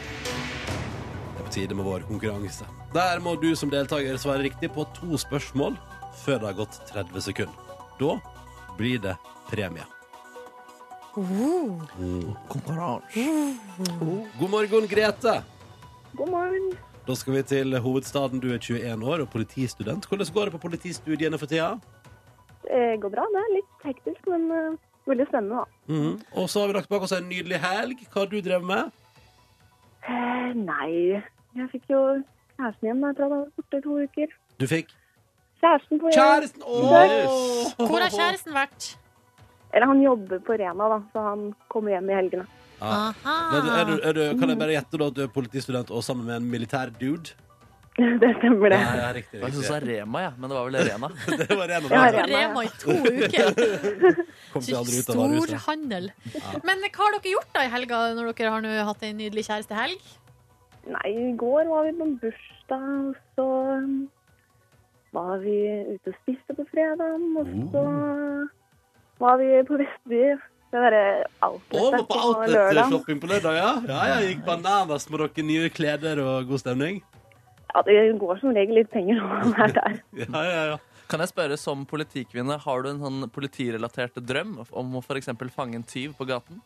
Speaker 1: Det er på tide med vår konkurranse. Der må du som deltaker svare riktig på to spørsmål før det har gått 30 sekunder. Da blir det premie. God morgen, Grete.
Speaker 6: God morgen.
Speaker 1: Da skal vi til hovedstaden. Du er 21 år og politistudent. Hvordan går det på politistudiene for tida?
Speaker 6: Det Eh, går bra. Det er litt hektisk, men eh, veldig spennende, da.
Speaker 1: Mhm. Og så har vi lagt bak oss en nydelig helg. Hva har du drevet med?
Speaker 6: Eh, nei, jeg fikk jo kjæresten hjem da jeg tror jeg var borte i to uker.
Speaker 1: Du fikk
Speaker 6: Kjæresten på
Speaker 1: kjæresten! Åh!
Speaker 2: Hvor har kjæresten vært?
Speaker 6: Eller han jobber på Rena, da, så han kommer hjem i helgene.
Speaker 1: Ja.
Speaker 2: Aha.
Speaker 1: Men er du, er du, kan jeg bare gjette da at du er politistudent og sammen med en militær dude?
Speaker 6: det stemmer, det.
Speaker 1: Ja, ja, riktig,
Speaker 3: Jeg syns det
Speaker 1: riktig.
Speaker 3: er Rema, ja. men det var vel Rena.
Speaker 1: Det var en av
Speaker 6: Ja,
Speaker 1: dem.
Speaker 6: ja.
Speaker 2: På Rema i to uker.
Speaker 1: Kom seg aldri ut av varehuset.
Speaker 2: Storhandel. Men hva har dere gjort da i helga, når dere har nå hatt en nydelig kjærestehelg?
Speaker 6: Nei, i går var vi på en bursdag, og så eh, var vi ute og spiste på fredag, og
Speaker 1: Mm.
Speaker 6: så var vi på Vestby. Det derre
Speaker 1: Å, var
Speaker 6: outlet
Speaker 1: på
Speaker 6: på lørdag.
Speaker 1: outlet-shopping på lørdag, ja? Ja, ja, Gikk bananas med dere nye kleder og god stemning?
Speaker 6: Ja, det går som regel litt penger når man er der.
Speaker 1: Ja, ja, ja.
Speaker 3: Kan jeg spørre, som politikvinne, har du en sånn politirelatert drøm om å f.eks. fange en tyv på gaten?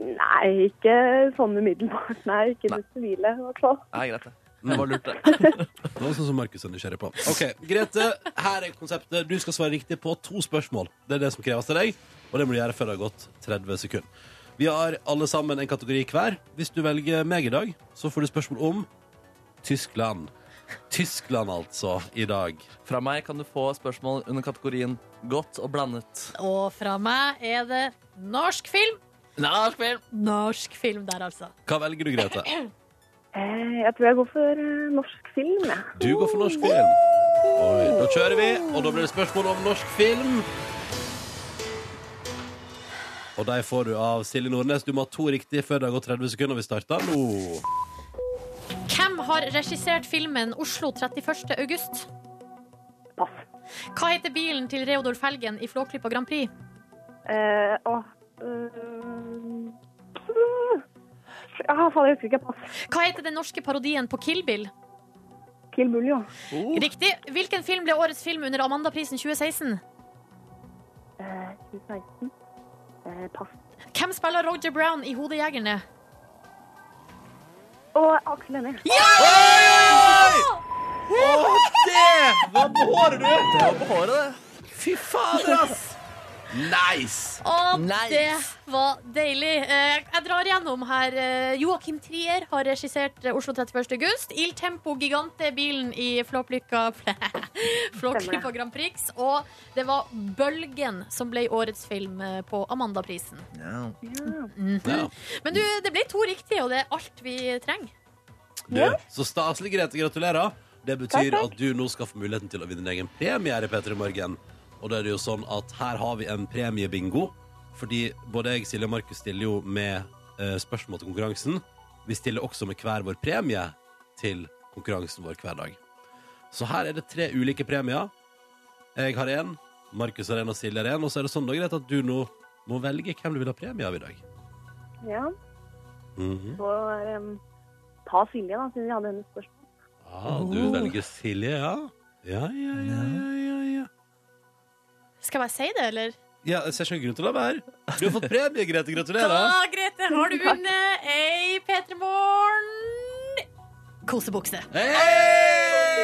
Speaker 6: Nei, ikke sånn umiddelbart. Nei, ikke
Speaker 3: Nei.
Speaker 6: det sivile, i hvert fall.
Speaker 3: Nei, greit det. Det var lurt, det.
Speaker 1: Det var sånn som Markus er nysgjerrig på. Ok, Grete, her er konseptet. Du skal svare riktig på to spørsmål. Det er det som kreves av deg, og det må du gjøre før det har gått 30 sekunder. Vi har alle sammen en kategori hver. Hvis du velger meg i dag, så får du spørsmål om Tyskland. Tyskland, altså, i dag.
Speaker 3: Fra meg kan du få spørsmål under kategorien godt og blandet.
Speaker 2: Og fra meg er det norsk film.
Speaker 3: Norsk film!
Speaker 2: Norsk film der, altså.
Speaker 1: Hva velger du, Grete?
Speaker 6: Eh, Jeg tror jeg går for eh, norsk film, jeg.
Speaker 1: Du går for norsk film. Oi, da kjører vi, og da blir det spørsmål om norsk film. Og de får du av Silje Nordnes. Du må ha to riktige før det har gått 30 sekunder. og Vi starter nå.
Speaker 2: Hvem har regissert filmen 'Oslo 31. august'?
Speaker 6: Pass.
Speaker 2: Hva heter bilen til Reodor Felgen i Flåklypa Grand Prix?
Speaker 6: Eh, å, eh, Ja, faen, jeg husker ikke. Pass.
Speaker 2: Hva heter den norske parodien på Kill Bill?
Speaker 6: Kill Bully, jo.
Speaker 2: Riktig. Hvilken film ble årets film under Amandaprisen 2016?
Speaker 6: Eh, 2016. Eh, pass.
Speaker 2: Hvem spiller Roger Brown i Hodejegerne?
Speaker 6: Og Aksel Hennie.
Speaker 1: Det var på håret, du!
Speaker 3: Det var på håret, det.
Speaker 1: Fy fader, ass! Nice!
Speaker 2: Og
Speaker 3: Nice.
Speaker 2: det var deilig. Eh, Jeg drar gjennom her. Eh, Joakim Trier har regissert eh, Oslo 31. august. Il Tempo Gigante, bilen i Flåklypa Flåklypa Grand Prix. Og det var Bølgen som ble årets film eh, på Amandaprisen.
Speaker 1: Ja.
Speaker 2: Men du, det ble to riktige, og det er alt vi trenger.
Speaker 1: Du, så staselig, Grete. Gratulerer. Det betyr at du nå skal få muligheten til å vinne en egen premie her i P3 Morgen. Og da er det jo sånn at her har vi en premiebingo. Fordi både jeg, Silje og Markus stiller jo med eh, spørsmål til konkurransen. Vi stiller også med hver vår premie til konkurransen vår hver dag. Så her er det tre ulike premier. Jeg har én, Markus har én, og Silje har én. Og så er det sånn da, Grete, at du nå må velge hvem du vil ha premie av i dag.
Speaker 6: Ja.
Speaker 1: Mhm.
Speaker 6: Så eh, ta Silje, da, siden vi hadde hennes spørsmål.
Speaker 1: ah, du velger Silje, ja? Ja, ja, ja, ja, ja, ja.
Speaker 2: Skal jeg bare si det, eller?
Speaker 1: Ja, jeg ser ikke noen grunn til å la være. Du har fått premie, Grete. Gratulerer.
Speaker 2: Da, Grete, har du vunnet ei P3 Morgen kosebukse.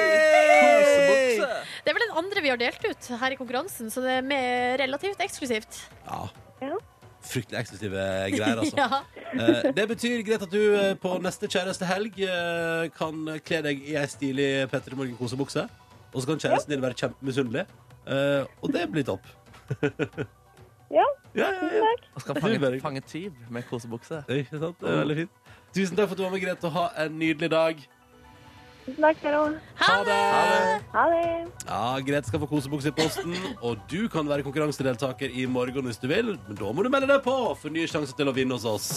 Speaker 1: Hey!
Speaker 3: Kosebukse.
Speaker 2: Det er vel den andre vi har delt ut her i konkurransen, så det er mer relativt eksklusivt.
Speaker 1: Ja.
Speaker 6: Ja.
Speaker 1: Fryktelig eksklusive greier, altså.
Speaker 2: Ja.
Speaker 1: Eh, Det betyr, Grete, at du eh, på neste kjæreste helg eh, kan kle deg i ei stilig Petter Morgen-kosebukse. Og så kan kjæresten din være kjempemisunnelig. Eh, Og det blir topp.
Speaker 6: Ja,
Speaker 1: Ja, ja, ja.
Speaker 6: takk.
Speaker 3: Og skal
Speaker 1: Det er
Speaker 3: fange,
Speaker 1: veldig-
Speaker 3: fange tyv med kosebukse.
Speaker 1: Det er Ikke sant? Det er veldig fint. Tusen takk for at du var med, Grete, og ha en nydelig dag.
Speaker 6: Tusen takk, dere òg.
Speaker 2: Ha det!
Speaker 6: Ha det.
Speaker 1: Ja, Grete skal få kosebukse i posten, og du kan være konkurransedeltaker i morgen hvis du vil. Men da må du melde deg på for nye sjanser til å vinne hos oss.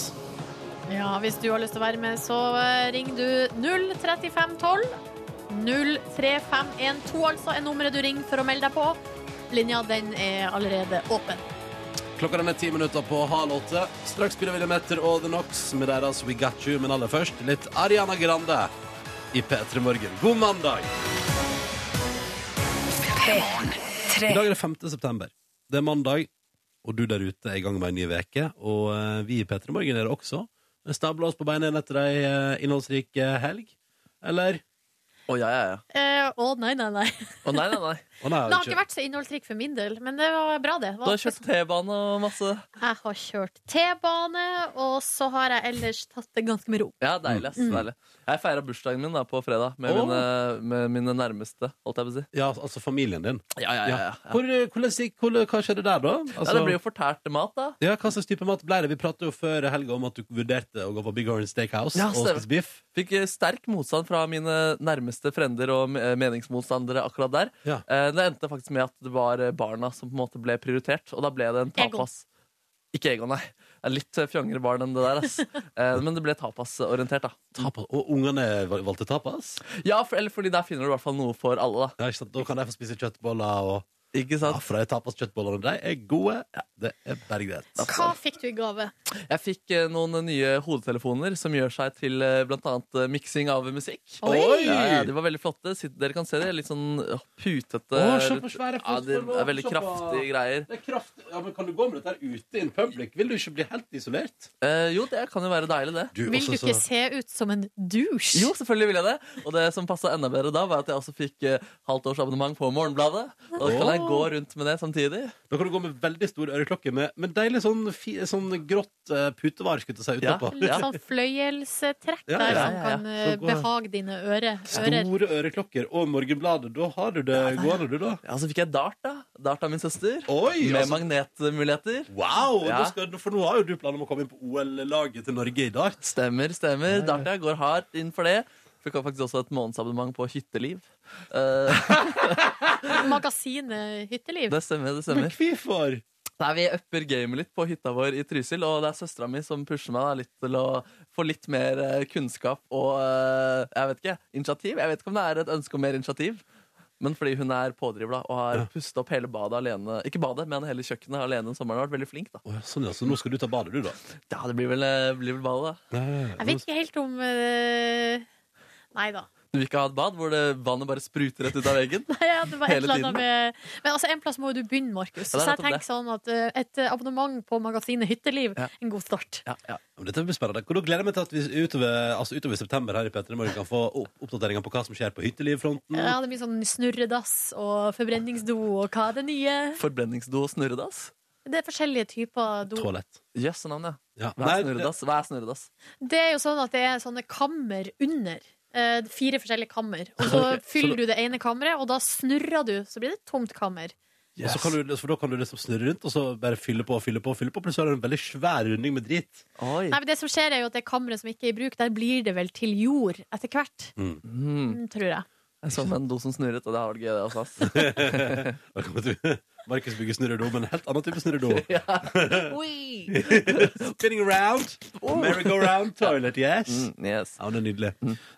Speaker 2: Ja, hvis du har lyst til å være med, så eh, ring du 03512. 03512 altså er nummeret du ringer for å melde deg på. Linja den er allerede åpen.
Speaker 1: Klokka den er ti minutter på halv åtte. Straks spiller William Etter og The Knox med deres We Got You, men aller først litt Ariana Grande i P3 Morgen. God mandag! I dag er det 5. september. Det er mandag, og du der ute er i gang med en ny veke. Og eh, vi i P3 Morgen er det også. Vi Stabler oss på beina igjen etter ei eh, innholdsrik eh, helg. Eller?
Speaker 3: Å, ja, ja, ja.
Speaker 2: Eh, Å, nei, nei, nei.
Speaker 3: Å, nei, nei, nei.
Speaker 1: Å nei,
Speaker 2: Det har ikke vært så innholdsrikt for min del, men det var bra, det. Det
Speaker 3: Du
Speaker 2: var
Speaker 3: har kjørt T-bane og masse
Speaker 2: Jeg har kjørt T-bane, og så har jeg ellers tatt det ganske med ro.
Speaker 3: Ja, deilig. ass, deilig. Jeg feira bursdagen min da på fredag med,
Speaker 1: Åh.
Speaker 3: mine, med mine nærmeste, holdt jeg på å si.
Speaker 1: Ja, altså familien din.
Speaker 3: Ja, ja, Altså- ja, ja.
Speaker 1: Hvor, eh, hvordan, hvordan, hva skjedde der, da? Altså-
Speaker 3: Ja, det blir jo fortært mat, da.
Speaker 1: Ja, Hva slags type mat ble det? Vi pratet jo før helga om at du vurderte å gå på Big Orange Steakhouse
Speaker 3: Ja,
Speaker 1: og
Speaker 3: stemmer.
Speaker 1: spise biff.
Speaker 3: Fikk eh, sterk motstand fra mine nærmeste frender og eh, meningsmotstandere akkurat der.
Speaker 1: Ja.
Speaker 3: Eh, Det endte faktisk med at det var eh, barna som på en måte ble prioritert, og da ble det en
Speaker 2: Egon.
Speaker 3: tapas. Ikke Egon, nei. Det er litt eh, fjongere barn enn det der, ass. Eh, Men det ble tapasorientert, da.
Speaker 1: Tapas. Og ungene val- valgte tapas?
Speaker 3: Ja, for, eller fordi der finner du i hvert fall noe for alle, da.
Speaker 1: Ja, ikke sant? Da kan de få spise kjøttboller og
Speaker 3: Ikke
Speaker 1: Ja,
Speaker 3: sant?
Speaker 1: for de tapaskjøttbollene, de er gode. Ja, det er bare greit.
Speaker 2: Hva fikk du i gave?
Speaker 3: Jeg fikk eh, noen nye hodetelefoner som gjør seg til eh, blant annet eh, miksing av musikk.
Speaker 2: Oi!
Speaker 3: Ja, ja, de var veldig flotte. Sitt- Dere kan se det. Litt sånn eh, putete
Speaker 1: Å, se på svære
Speaker 3: Ja, det
Speaker 1: fotball,
Speaker 3: er veldig
Speaker 1: se på-
Speaker 3: kraftige greier.
Speaker 1: Det er kraft... Ja, men Kan du gå med dette her ute in public? Vil du ikke bli helt isolert?
Speaker 3: Eh, jo, det kan jo være deilig, det.
Speaker 1: Du,
Speaker 2: Vil du ikke se ut som en douche?
Speaker 3: Jo, selvfølgelig vil jeg det. Og det som passa enda bedre da, var at jeg også fikk eh, halvtårsabonnement på Morgenbladet. Og da kan jeg gå rundt med det samtidig.
Speaker 1: Da kan du gå med veldig stor øreklokke, med, men deilig sånn, fi, sånn grått eh, putevar skulle jeg til å si
Speaker 3: Ja.
Speaker 1: utapå.
Speaker 2: Litt
Speaker 3: Ja.
Speaker 2: sånn fløyelstrekk
Speaker 1: Ja,
Speaker 2: der
Speaker 1: ja,
Speaker 2: som
Speaker 3: ja, ja.
Speaker 2: kan eh,
Speaker 1: Så går-
Speaker 2: behage dine øre, ører.
Speaker 1: Store øreklokker og Morgenbladet. Da har du det gående, du, da.
Speaker 3: Ja, Så fikk jeg dart, da. Dart av min søster.
Speaker 1: Oi,
Speaker 3: med
Speaker 1: altså.
Speaker 3: magnetmuligheter.
Speaker 1: Wow!
Speaker 3: Ja.
Speaker 1: nå Skal, for nå har jo du planer om å komme inn på OL-laget til Norge i dart.
Speaker 3: Stemmer, stemmer. Dart, jeg går hardt inn for det. Fikk faktisk også et månedsabonnement på Hytteliv. Eh,
Speaker 2: Magasinet Sånn eh, Hytteliv.
Speaker 3: det stemmer, det
Speaker 1: Men
Speaker 3: stemmer.
Speaker 1: hvorfor?
Speaker 3: Nei, Vi upper gamet litt på hytta vår i Trysil, og det er søstera mi som pusher meg da, litt til å få litt mer eh, kunnskap og eh, jeg vet ikke, initiativ. Jeg vet ikke om det er et ønske om mer initiativ, men fordi hun er pådriver da, og har pustet opp hele badet alene. Ikke badet, men hele kjøkkenet alene om sommeren. Har vært veldig flink, da.
Speaker 1: Å, ja, sånn, ja. Så nå skal du ta badet, du, da.
Speaker 3: Ja, det blir vel, eh, blir vel badet, da.
Speaker 2: Jeg vet ikke helt om eh, Nei da.
Speaker 3: Du vil ikke ha et bad hvor det, vannet bare spruter rett ut av veggen?
Speaker 2: Nei, ja, det var et
Speaker 3: Hele
Speaker 2: eller annet
Speaker 3: tiden.
Speaker 2: med Men altså, en plass må jo du begynne, Markus.
Speaker 3: Ja, det
Speaker 2: Så
Speaker 3: er
Speaker 2: jeg
Speaker 3: nettopp
Speaker 2: tenker
Speaker 3: det.
Speaker 2: sånn at eh, et abonnement på magasinet Hytteliv,
Speaker 3: Ja.
Speaker 2: en god start.
Speaker 3: Ja, ja.
Speaker 1: Ja, men Dette blir spennende. Hvor Da gleder jeg meg til at vi utover, altså utover september her i Petter i morgen kan få opp- oppdateringer på hva som skjer på hyttelivfronten.
Speaker 2: Ja, det blir sånn snurredass og forbrenningsdo og hva er det nye?
Speaker 3: Forbrenningsdo og snurredass?
Speaker 2: Det er forskjellige typer do.
Speaker 1: Toalett.
Speaker 3: Jøss, yes, navnet.
Speaker 1: Ja.
Speaker 3: Hva er
Speaker 1: Nei, det-
Speaker 3: snurredass? Hva er snurredass?
Speaker 2: Det er jo sånn at det er sånne kammer under. Eh, fire forskjellige kammer. Og så
Speaker 1: Ok, så
Speaker 2: fyller
Speaker 1: da-
Speaker 2: du det ene kammeret, og da snurrer du. Så blir det et tomt kammer.
Speaker 1: Og så kan du, for da kan du liksom snurre rundt og så bare fylle på og fylle på. og fylle på Plutselig har du en veldig svær runding med drit.
Speaker 3: Oi.
Speaker 2: Nei, men Det som skjer, er jo at det kammeret som ikke er i bruk, der blir det vel til jord etter hvert.
Speaker 3: Mm.
Speaker 2: Mm, tror jeg.
Speaker 3: Jeg så en do som snurret, og det har vært gøy, det også. ass.
Speaker 1: Velkommen til Markus bygger snurredo, men en helt annen type snurredo.
Speaker 2: Oi!
Speaker 1: Spinning around. Merry-go-round toilet, yes.
Speaker 3: Oh. Mm, yes.
Speaker 1: Ja, men det er nydelig.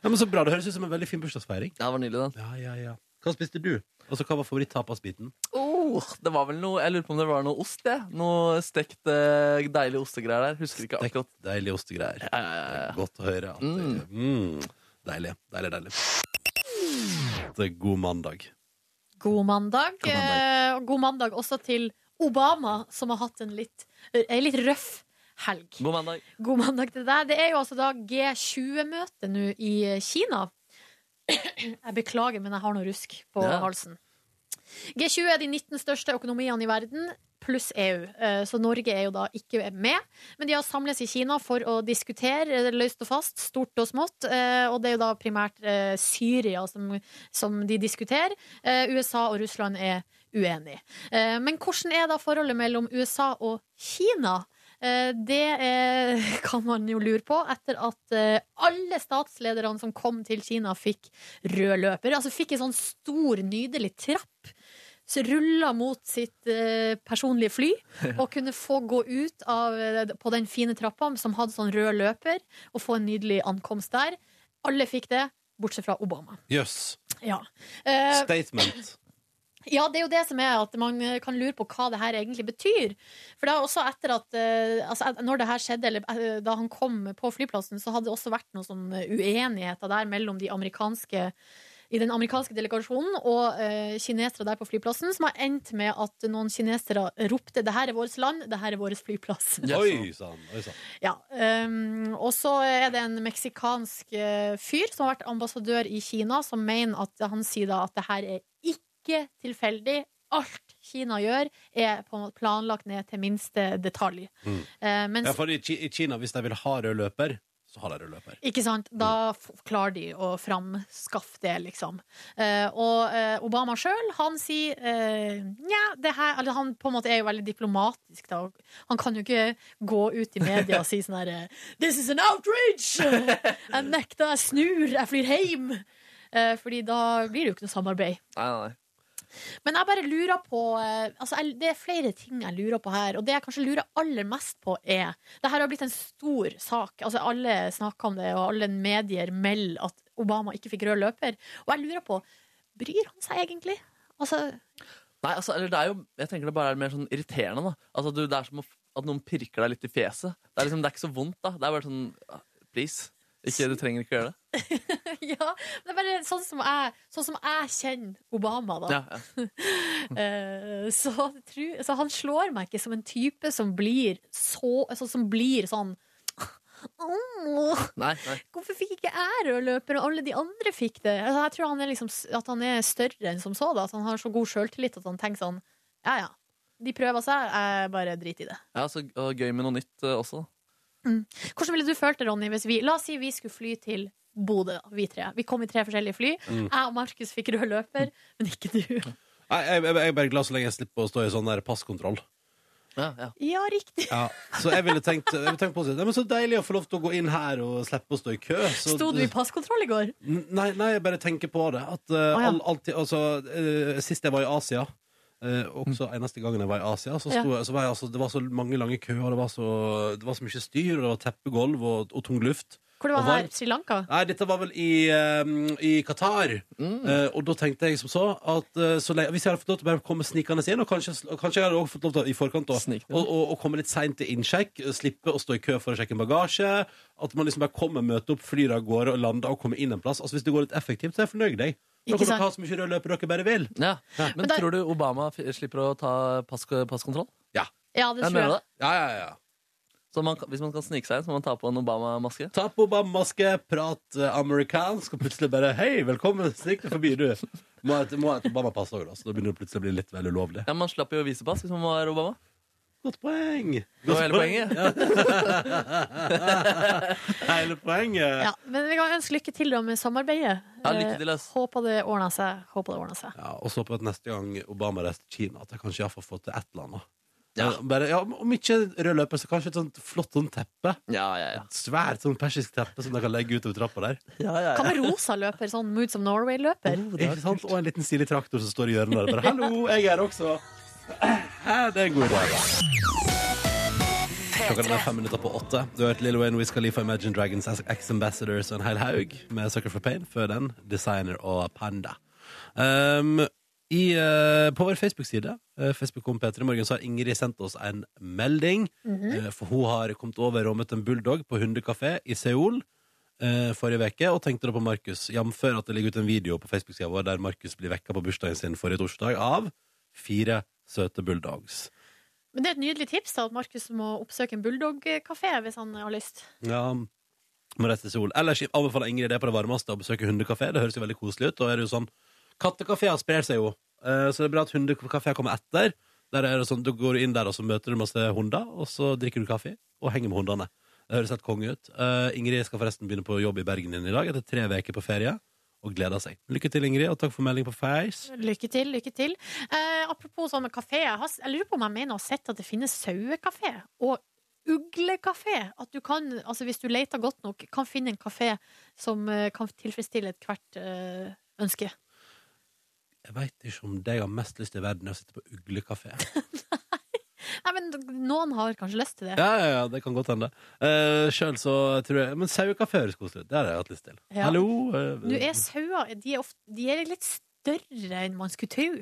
Speaker 1: Ja, men så bra, Det høres ut som en veldig fin bursdagsfeiring.
Speaker 3: Ja, Det var nydelig, den.
Speaker 1: Ja, ja, ja. Hva spiste du? Altså, Hva var favoritt-tapasbiten?
Speaker 3: Oh, det var vel noe, Jeg lurer på om det var noe ost. jeg. Noe stekt, eh, deilig ostegreier der. Husker ikke akkurat.
Speaker 1: Deilige ostegreier. Godt å høre. At det, mm. Deilig, deilig, deilig. Det er god mandag.
Speaker 2: God mandag.
Speaker 1: God mandag.
Speaker 2: eh, Og god mandag også til Obama, som har hatt en litt, en litt røff helg.
Speaker 3: God mandag.
Speaker 2: God mandag til deg. Det er jo altså da G20-møte nå i Kina. Jeg beklager, men jeg har noe rusk på
Speaker 3: Ja.
Speaker 2: halsen. G20 er de 19 største økonomiene i verden, pluss EU. Eh, Så Norge er jo da ikke med. Men de har samles i Kina for å diskutere eh, løst og fast, stort og smått. Eh, Og det er jo da primært eh, Syria som, som de diskuterer. Eh, USA og Russland er uenige. Eh, Men hvordan er da forholdet mellom USA og Kina? Eh, Det eh, kan man jo lure på etter at eh, alle statslederne som kom til Kina, fikk rød løper. Altså fikk en sånn stor, nydelig trapp. Så rulla mot sitt eh, personlige fly og kunne få gå ut av, eh, på den fine trappa som hadde sånn rød løper, og få en nydelig ankomst der. Alle fikk det, bortsett fra Obama.
Speaker 1: Jøss.
Speaker 2: Ja. Eh,
Speaker 1: Statement.
Speaker 2: ja, det er jo det som er at man eh, kan lure på hva det her egentlig betyr. For det er også etter at eh, altså, at Når det her skjedde, eller eh, da han kom på flyplassen, så hadde det også vært noen sånn eh, uenigheter der mellom de amerikanske i den amerikanske delegasjonen og eh, kinesere der på flyplassen, som har endt med at noen kinesere ropte 'det her er vårt land, det her er vår flyplass'.
Speaker 3: Yes.
Speaker 1: Oi sann. Oi sann.
Speaker 2: Ja, ehm, og så er det en meksikansk eh, fyr som har vært ambassadør i Kina, som mener at han sier da at det her er ikke tilfeldig. Alt Kina gjør, er på en måte planlagt ned til minste detalj.
Speaker 1: Mm.
Speaker 2: Eh,
Speaker 1: Ja,
Speaker 2: mens,
Speaker 1: for i, Ki- I Kina, hvis de vil ha rød løper, så har de rød løper.
Speaker 2: ikke sant, da f- klarer de å framskaffe det, liksom. Eh, og eh, Obama sjøl, han sier eh, nja, det her Eller han på en måte er jo veldig diplomatisk, da. Han kan jo ikke gå ut i media og si sånn her eh, This is an outrage! Jeg nekter, jeg snur, jeg flyr hjem. Eh, Fordi da blir det jo ikke noe samarbeid.
Speaker 3: Nei, nei, nei.
Speaker 2: Men jeg bare lurer på eh, altså jeg, Det er flere ting jeg lurer på her. Og det jeg kanskje lurer aller mest på, er Det her har blitt en stor sak. Altså Alle snakker om det, og alle medier melder at Obama ikke fikk rød løper. Og jeg lurer på Bryr han seg egentlig? Altså,
Speaker 3: Nei, altså, eller det er jo Jeg tenker det bare er mer sånn irriterende, da. Altså, du, det er som å f- at noen pirker deg litt i fjeset. Det er liksom, det er ikke så vondt, da. Det er bare sånn ah, Please. Ikke, du trenger ikke å gjøre det.
Speaker 2: ja, men det er bare sånn som jeg, sånn som jeg kjenner Obama, da.
Speaker 3: Ja, ja.
Speaker 2: Eh, så, tru- så han slår meg ikke som en type som blir så altså, Som blir sånn «Åh,
Speaker 3: Nei, nei.
Speaker 2: Hvorfor fikk ikke jeg rødløper, og alle de andre fikk det? Altså, jeg tror han er liksom, s- at han er større enn som så. Da. At han har så god sjøltillit at han tenker sånn Ja ja, de prøver seg, jeg bare driter i det.
Speaker 3: Ja, så og gøy med noe nytt eh, også.
Speaker 2: Hvordan ville du følt det, Ronny, hvis vi La oss si vi skulle fly til Bodø, da, vi tre. Vi kom i tre forskjellige fly.
Speaker 3: Mm.
Speaker 2: Jeg og Markus fikk rød løper, men ikke du.
Speaker 1: Nei, jeg, jeg, jeg er bare glad så lenge jeg slipper å stå i sånn der passkontroll.
Speaker 3: Ja, ja.
Speaker 2: Ja, riktig.
Speaker 1: Ja. Så jeg ville tenkt, jeg ville tenkt positivt. Nei, men Så deilig å få lov til å gå inn her og slippe å stå i kø. Så,
Speaker 2: Sto du i passkontroll i går?
Speaker 1: N- Nei, nei, jeg bare tenker på det. At, eh,
Speaker 2: Å, ja.
Speaker 1: all, alltid, altså, eh, sist jeg var i Asia eh, også eneste gangen jeg var i Asia, så, sto,
Speaker 2: Mm. Ja.
Speaker 1: jeg- så var jeg, altså, det var så mange lange køer, og det var så, det var så mye styr, og det var teppegulv og, og tung luft.
Speaker 2: Hvor det
Speaker 1: Og
Speaker 2: var her?
Speaker 1: varmt.
Speaker 2: Sri Lanka?
Speaker 1: Nei, dette var vel i, eh, i Qatar. Eh, og da tenkte jeg som så at eh, så lenge, hvis jeg hadde fått lov til å bare komme snikende inn, og kanskje, og kanskje jeg hadde også fått lov til å- i forkant å
Speaker 3: Snik deg.
Speaker 1: og, og, og komme litt seint til innsjekk, eh, slippe å stå i kø for å sjekke en bagasje, at man liksom bare kommer, møter opp, flyr av gårde og lander og kommer inn en plass. Altså Hvis det går litt effektivt, så er jeg fornøyd med deg. Da
Speaker 2: Ikke
Speaker 1: kan
Speaker 2: sant?
Speaker 1: dere ha så mye rød løper dere bare vil.
Speaker 3: ja. Men
Speaker 2: Men da-
Speaker 3: tror du Obama f slipper å ta pass passkontroll?
Speaker 2: Ja, det
Speaker 3: Jeg
Speaker 2: tror
Speaker 3: mener
Speaker 2: jeg.
Speaker 3: det.
Speaker 1: Ja, ja, ja.
Speaker 3: Så man, kan- hvis man kan snike seg inn, så må man ta på en Obama-maske.
Speaker 1: Ta på Obama-maske, prat eh, amerikansk, og plutselig bare Hei, velkommen, snikk deg forbi, du. Må ha et, må ha et Obama-pass òg, da. Så altså. da begynner det plutselig å bli litt vel ulovlig.
Speaker 3: Ja, Man slapp jo å vise pass hvis man var Obama.
Speaker 1: Godt poeng.
Speaker 3: Det var hele poenget.
Speaker 1: Hele poenget.
Speaker 2: Ja, men vi kan ønske lykke til da med samarbeidet.
Speaker 3: Ja, lykke til,
Speaker 2: Eh,
Speaker 3: ass.
Speaker 2: Håper det ordner seg. Håper det ordner seg.
Speaker 1: Ja, og så på at neste gang Obama reiser til Kina, at jeg kanskje iallfall får til et eller annet. Eh, Bare, ja, om ikke rød løper, så kanskje et sånt flott sånn teppe.
Speaker 3: Ja, ja, ja.
Speaker 1: Et svært sånn persisk teppe som de kan legge utover trappa der.
Speaker 3: ja, ja,
Speaker 2: Hva med rosa løper, sånn Moods of Norway-løper?
Speaker 1: Ikke sant? Og en liten stilig traktor som står i hjørnet der. Bare, Hallo, jeg er her også. Hæ, det er en god dag. Klokka den er fem minutter på åtte. Du har hørt Lil Wayne, Wiz Khalifa, Imagine Dragons, Ex Ambassadors og en hel haug med Sucker for Pain. Før den Designer og Panda. Um, i, eh, på vår Facebook-side eh, Facebook Peter i morgen så har Ingrid sendt oss en melding. eh, for hun har kommet over og møtt en bulldog på hundekafé i Seoul eh, forrige veke og tenkte da på Markus. Jf. at det ligger ut en video på Facebook-sida vår der Markus blir vekka på bursdagen sin forrige torsdag av fire søte bulldogs.
Speaker 2: Men det er et nydelig tips da, at Markus må oppsøke en bulldog-kafé hvis han har lyst.
Speaker 1: Ja, må reise til sol. Ellers anbefaler Ingrid det på det varmeste å besøke hundekafé. Det høres jo veldig koselig ut. Og er det jo sånn Kattekafeer sprer seg jo, Eh, så det er bra at hundekafeer kommer etter. Der er det sånn, Du går inn der og så møter du masse hunder, og så drikker du kaffe og henger med hundene. Det høres helt konge ut. Eh, Ingrid skal forresten begynne på jobb i Bergen igjen i dag etter tre uker på ferie. Og gleder seg. Lykke til, Ingrid, og takk for melding på Face.
Speaker 2: Lykke til, lykke til. Eh, apropos sånn med kafé, jeg, har, s- jeg lurer på om jeg mener å ha sett at det finnes sauekafé og uglekafé. At du kan, altså hvis du leter godt nok, kan finne en kafé som eh, kan tilfredsstille et hvert eh, ønske.
Speaker 1: Jeg veit ikke om det jeg har mest lyst til i verden, er å sitte på uglekafé.
Speaker 2: Nei, men noen har kanskje lyst til det.
Speaker 1: Ja, ja, ja, det kan godt hende. Uh, Sjøl så tror jeg Men sauekafé høres koselig ut. Det har jeg hatt lyst til.
Speaker 2: Ja.
Speaker 1: Hallo.
Speaker 2: Nå
Speaker 1: eh,
Speaker 2: er sauer de er, ofte, de er litt større enn man skulle tro.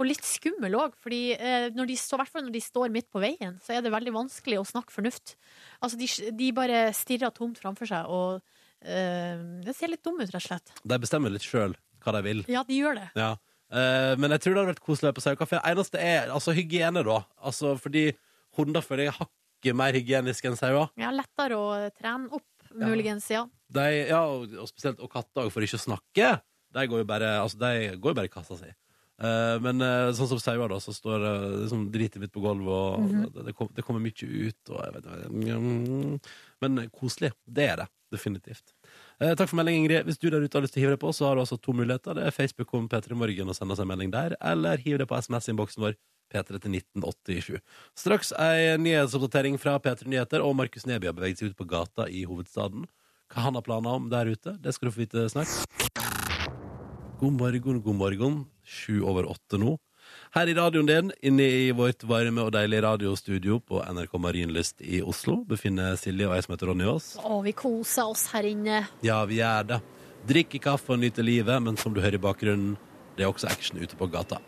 Speaker 2: Og litt skummel òg, for eh, når de står- hvertfall når de står midt på veien, så er det veldig vanskelig å snakke fornuft. Altså, de, de bare stirrer tomt framfor seg, og eh, det ser litt dum ut, rett og slett.
Speaker 1: de bestemmer litt sjøl hva de vil.
Speaker 2: Ja, de gjør det.
Speaker 1: Ja. Eh, men jeg tror det hadde vært koselig å være på sauekafé. Eneste er altså hygiene, da. Altså, fordi hunder føler jeg er hakket mer hygieniske enn sauer.
Speaker 2: Ja, lettere å trene opp, muligens, ja.
Speaker 1: De, ja, og, og spesielt og katter, og for ikke å snakke. De går jo bare, altså, de går jo bare i kassa si. Eh, men eh, sånn som sauer, da, så står eh, liksom, dritet mitt på gulvet, og det, det, kom, det kommer mye ut. Og, jeg vet, ikke, mm, men koselig. Det er det. Definitivt. Eh, takk for meldingen, Ingrid. Hvis du der ute har lyst til å hive deg på, så har du altså to muligheter. Det er Facebook om P3 Morgen og send oss en melding der, eller hiv deg på SMS-innboksen vår. P3 til 1987. Straks ei nyhetsoppdatering fra P3 Nyheter, og Markus Neby har beveget seg ut på gata i hovedstaden. Hva han har planer om der ute, det skal du få vite snart. God morgen, god morgen. Sju over åtte nå. Her i radioen din, inne i vårt varme og deilige radiostudio på NRK Marienlyst i Oslo, befinner Silje og jeg som heter Ronny Aas.
Speaker 2: Å, vi koser oss her inne.
Speaker 1: Ja, vi gjør det. Drikker kaffe og nyter livet, men som du hører i bakgrunnen, det er også action ute på gata.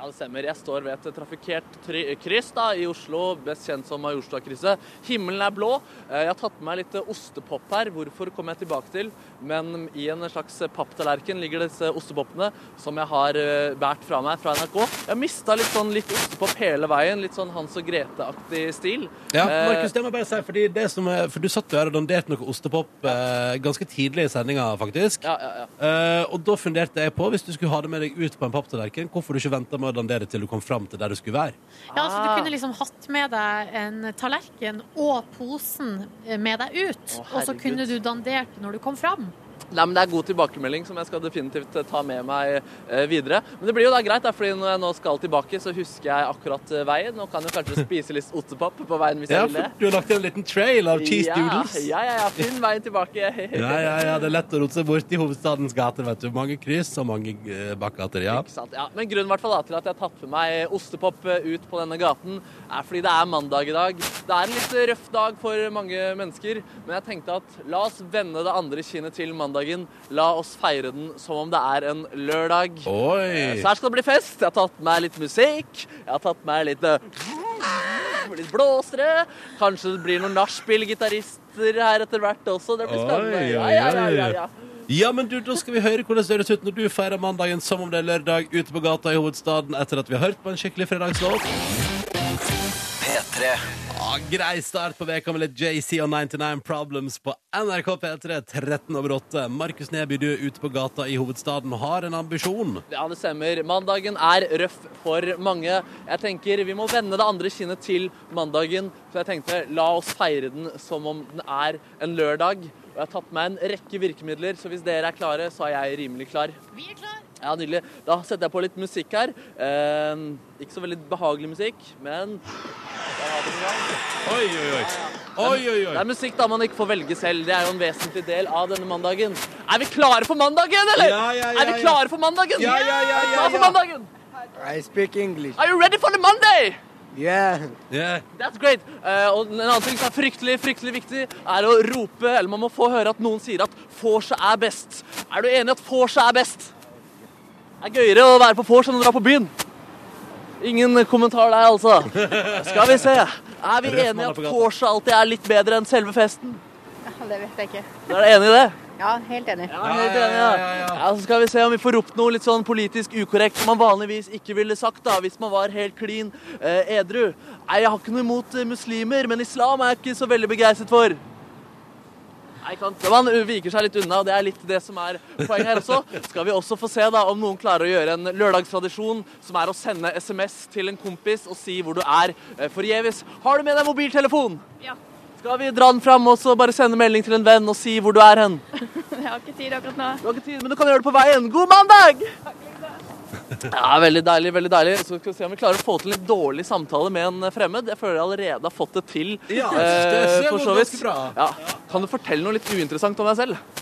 Speaker 3: Ja, det stemmer. Jeg står ved et trafikkert try- kryss da, i Oslo, best kjent som Majorstua-krysset. Himmelen er blå. Eh, Jeg har tatt med meg litt eh, ostepop her. Hvorfor kommer jeg tilbake til? Men i en slags eh, papptallerken ligger disse ostepoppene som jeg har eh, båret fra meg fra NRK. Jeg har mista litt sånn litt ostepop hele veien. Litt sånn Hans og Grete-aktig stil.
Speaker 1: Ja,
Speaker 3: Eh,
Speaker 1: Markus, det må jeg bare si, fordi det som er, for du satt jo her og danderte noe ostepop eh, ganske tidlig i sendinga, faktisk.
Speaker 3: ja, ja, ja.
Speaker 1: Eh, og da funderte jeg på, hvis du skulle ha det med deg ut på en papptallerken, hvorfor du ikke venta med å dandere til du kom fram til der du skulle være.
Speaker 2: Ja, så du
Speaker 3: Ah.
Speaker 2: kunne liksom hatt med deg en tallerken og posen eh, med deg ut.
Speaker 3: Å,
Speaker 2: og så
Speaker 3: herregud.
Speaker 2: kunne du dandert når du kom fram.
Speaker 3: Nei, men Det er god tilbakemelding som jeg skal definitivt eh, ta med meg eh, videre. Men det blir jo da greit, da, fordi når jeg nå skal tilbake, så husker jeg akkurat eh, veien. Og kan jo kanskje spise litt ostepop på veien hvis
Speaker 1: Ja,
Speaker 3: jeg
Speaker 1: for
Speaker 3: vil det.
Speaker 1: du har lagt igjen en liten trail av cheese
Speaker 3: ja,
Speaker 1: doodles.
Speaker 3: Ja, ja, ja. Finn veien tilbake.
Speaker 1: Ja, ja, ja, det er lett å rote seg bort i hovedstadens gater, vet du. Mange kryss og mange eh, bakgater, ja.
Speaker 3: Ikke sant? Ja, men grunnen i hvert fall da, til at jeg har tatt med meg ostepop eh, ut på denne gaten, er fordi det er mandag i dag. Det er en litt røff dag for mange mennesker, men jeg tenkte at la oss vende det andre kinnet til mandagen. La oss feire den som om det er en lørdag. Eh,
Speaker 1: Oi!
Speaker 3: Så her skal det bli fest. Jeg har tatt med meg litt musikk. Jeg har tatt med meg litt eh, Litt blåsere. Kanskje det blir noen nachspiel-gitarister her etter hvert også. Det blir
Speaker 1: Oi,
Speaker 3: spennende. Ja,
Speaker 1: oi,
Speaker 3: ja, ja, ja,
Speaker 1: oi.
Speaker 3: ja.
Speaker 1: Ja, men du, da skal vi høre hvordan det høres ut når du feirer mandagen som om det er lørdag ute på gata i hovedstaden etter at vi har hørt på en skikkelig fredagslåt.
Speaker 5: P3
Speaker 1: Ja, grei start på veka med litt JC og 99 Problems på NRK P3 13 over 8. Markus Neby, du er ute på gata i hovedstaden og har en ambisjon.
Speaker 3: Ja, det stemmer. Mandagen er røff for mange. Jeg tenker Vi må vende det andre kinnet til mandagen. Så jeg tenkte la oss feire den som om den er en lørdag. Og jeg har tatt med en rekke virkemidler, så hvis dere er klare, så er jeg rimelig klar.
Speaker 2: Vi er klar.
Speaker 3: Ja, nydelig. Da setter jeg på litt musikk her. Eh, ikke så veldig behagelig musikk, men
Speaker 1: Oi, oi, oi. Oi, oi,
Speaker 3: det
Speaker 1: oi.
Speaker 3: er musikk da man ikke får velge selv. Det er jo en vesentlig del av denne mandagen. Er vi klare for mandagen, eller?
Speaker 1: Ja, ja, ja,
Speaker 3: er vi
Speaker 1: ja.
Speaker 3: klare for mandagen?
Speaker 1: Ja, ja, ja,
Speaker 3: Er
Speaker 1: ja,
Speaker 3: vi klare for
Speaker 1: ja.
Speaker 3: mandagen?
Speaker 7: I speak English.
Speaker 3: Are you ready for the Monday?
Speaker 7: Yeah.
Speaker 1: Yeah.
Speaker 3: That's great. Eh, og en annen ting som er fryktelig, fryktelig viktig, er å rope, eller man må få høre at noen sier at vorset er best. Er du enig i at vorset er best? Det er gøyere å være på vors enn å dra på byen. Ingen kommentar der, altså. Skal vi se. Er vi
Speaker 1: Røff mann
Speaker 3: enige i
Speaker 1: er
Speaker 3: at
Speaker 1: på gata.
Speaker 3: vorset alltid er litt bedre enn selve festen?
Speaker 8: Det vet jeg ikke.
Speaker 3: Er dere enig i det?
Speaker 8: Ja, helt enig.
Speaker 3: Ja, helt enig, ja. ja, så skal vi se om vi får ropt noe litt sånn politisk ukorrekt som man vanligvis ikke ville sagt da, hvis man var helt klin eh, edru. Nei, jeg har ikke noe imot eh, muslimer, men islam er jeg ikke så veldig begeistret for. Nei, ikke sant? Man eh, viker seg litt unna, og det er litt det som er poenget her også. Skal vi også få se da om noen klarer å gjøre en lørdagstradisjon, som er å sende SMS til en kompis og si hvor du er eh, forgjeves. Har du med deg mobiltelefon?
Speaker 8: Ja.
Speaker 3: Skal vi dra den fram og så bare sende melding til en venn og si hvor du er hen?
Speaker 8: Jeg har ikke tid akkurat nå.
Speaker 3: Du har ikke tid, men du kan gjøre det på veien. God mandag! Ja, Veldig deilig. veldig deilig. Så skal vi se om vi klarer å få til en litt dårlig samtale med en fremmed. Jeg føler jeg allerede har fått det til.
Speaker 1: Ja, det
Speaker 3: eh,
Speaker 1: ser
Speaker 3: for
Speaker 1: ut
Speaker 3: så vidt.
Speaker 1: ganske bra.
Speaker 3: Ja. Kan du fortelle noe litt uinteressant om deg selv?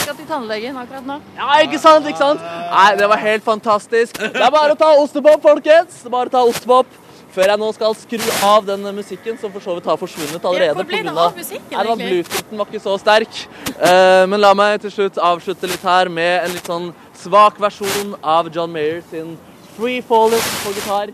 Speaker 8: Skal til tannlegen akkurat nå.
Speaker 3: Ja, ikke sant? ikke sant? Nei, det var helt fantastisk. Det er bare å ta ostepop, folkens. Det er Bare å ta ostepop. Før jeg nå skal skru av den musikken, som for så vidt har forsvunnet allerede.
Speaker 2: hvor ble
Speaker 3: på
Speaker 2: det
Speaker 3: grunn av-
Speaker 2: av musikken,
Speaker 3: Nei, det var
Speaker 2: egentlig?
Speaker 3: Bluetoothen var ikke så sterk. Eh, men la meg til slutt avslutte litt her med en litt sånn svak versjon av John Mayer sin Free Fallers på gitar.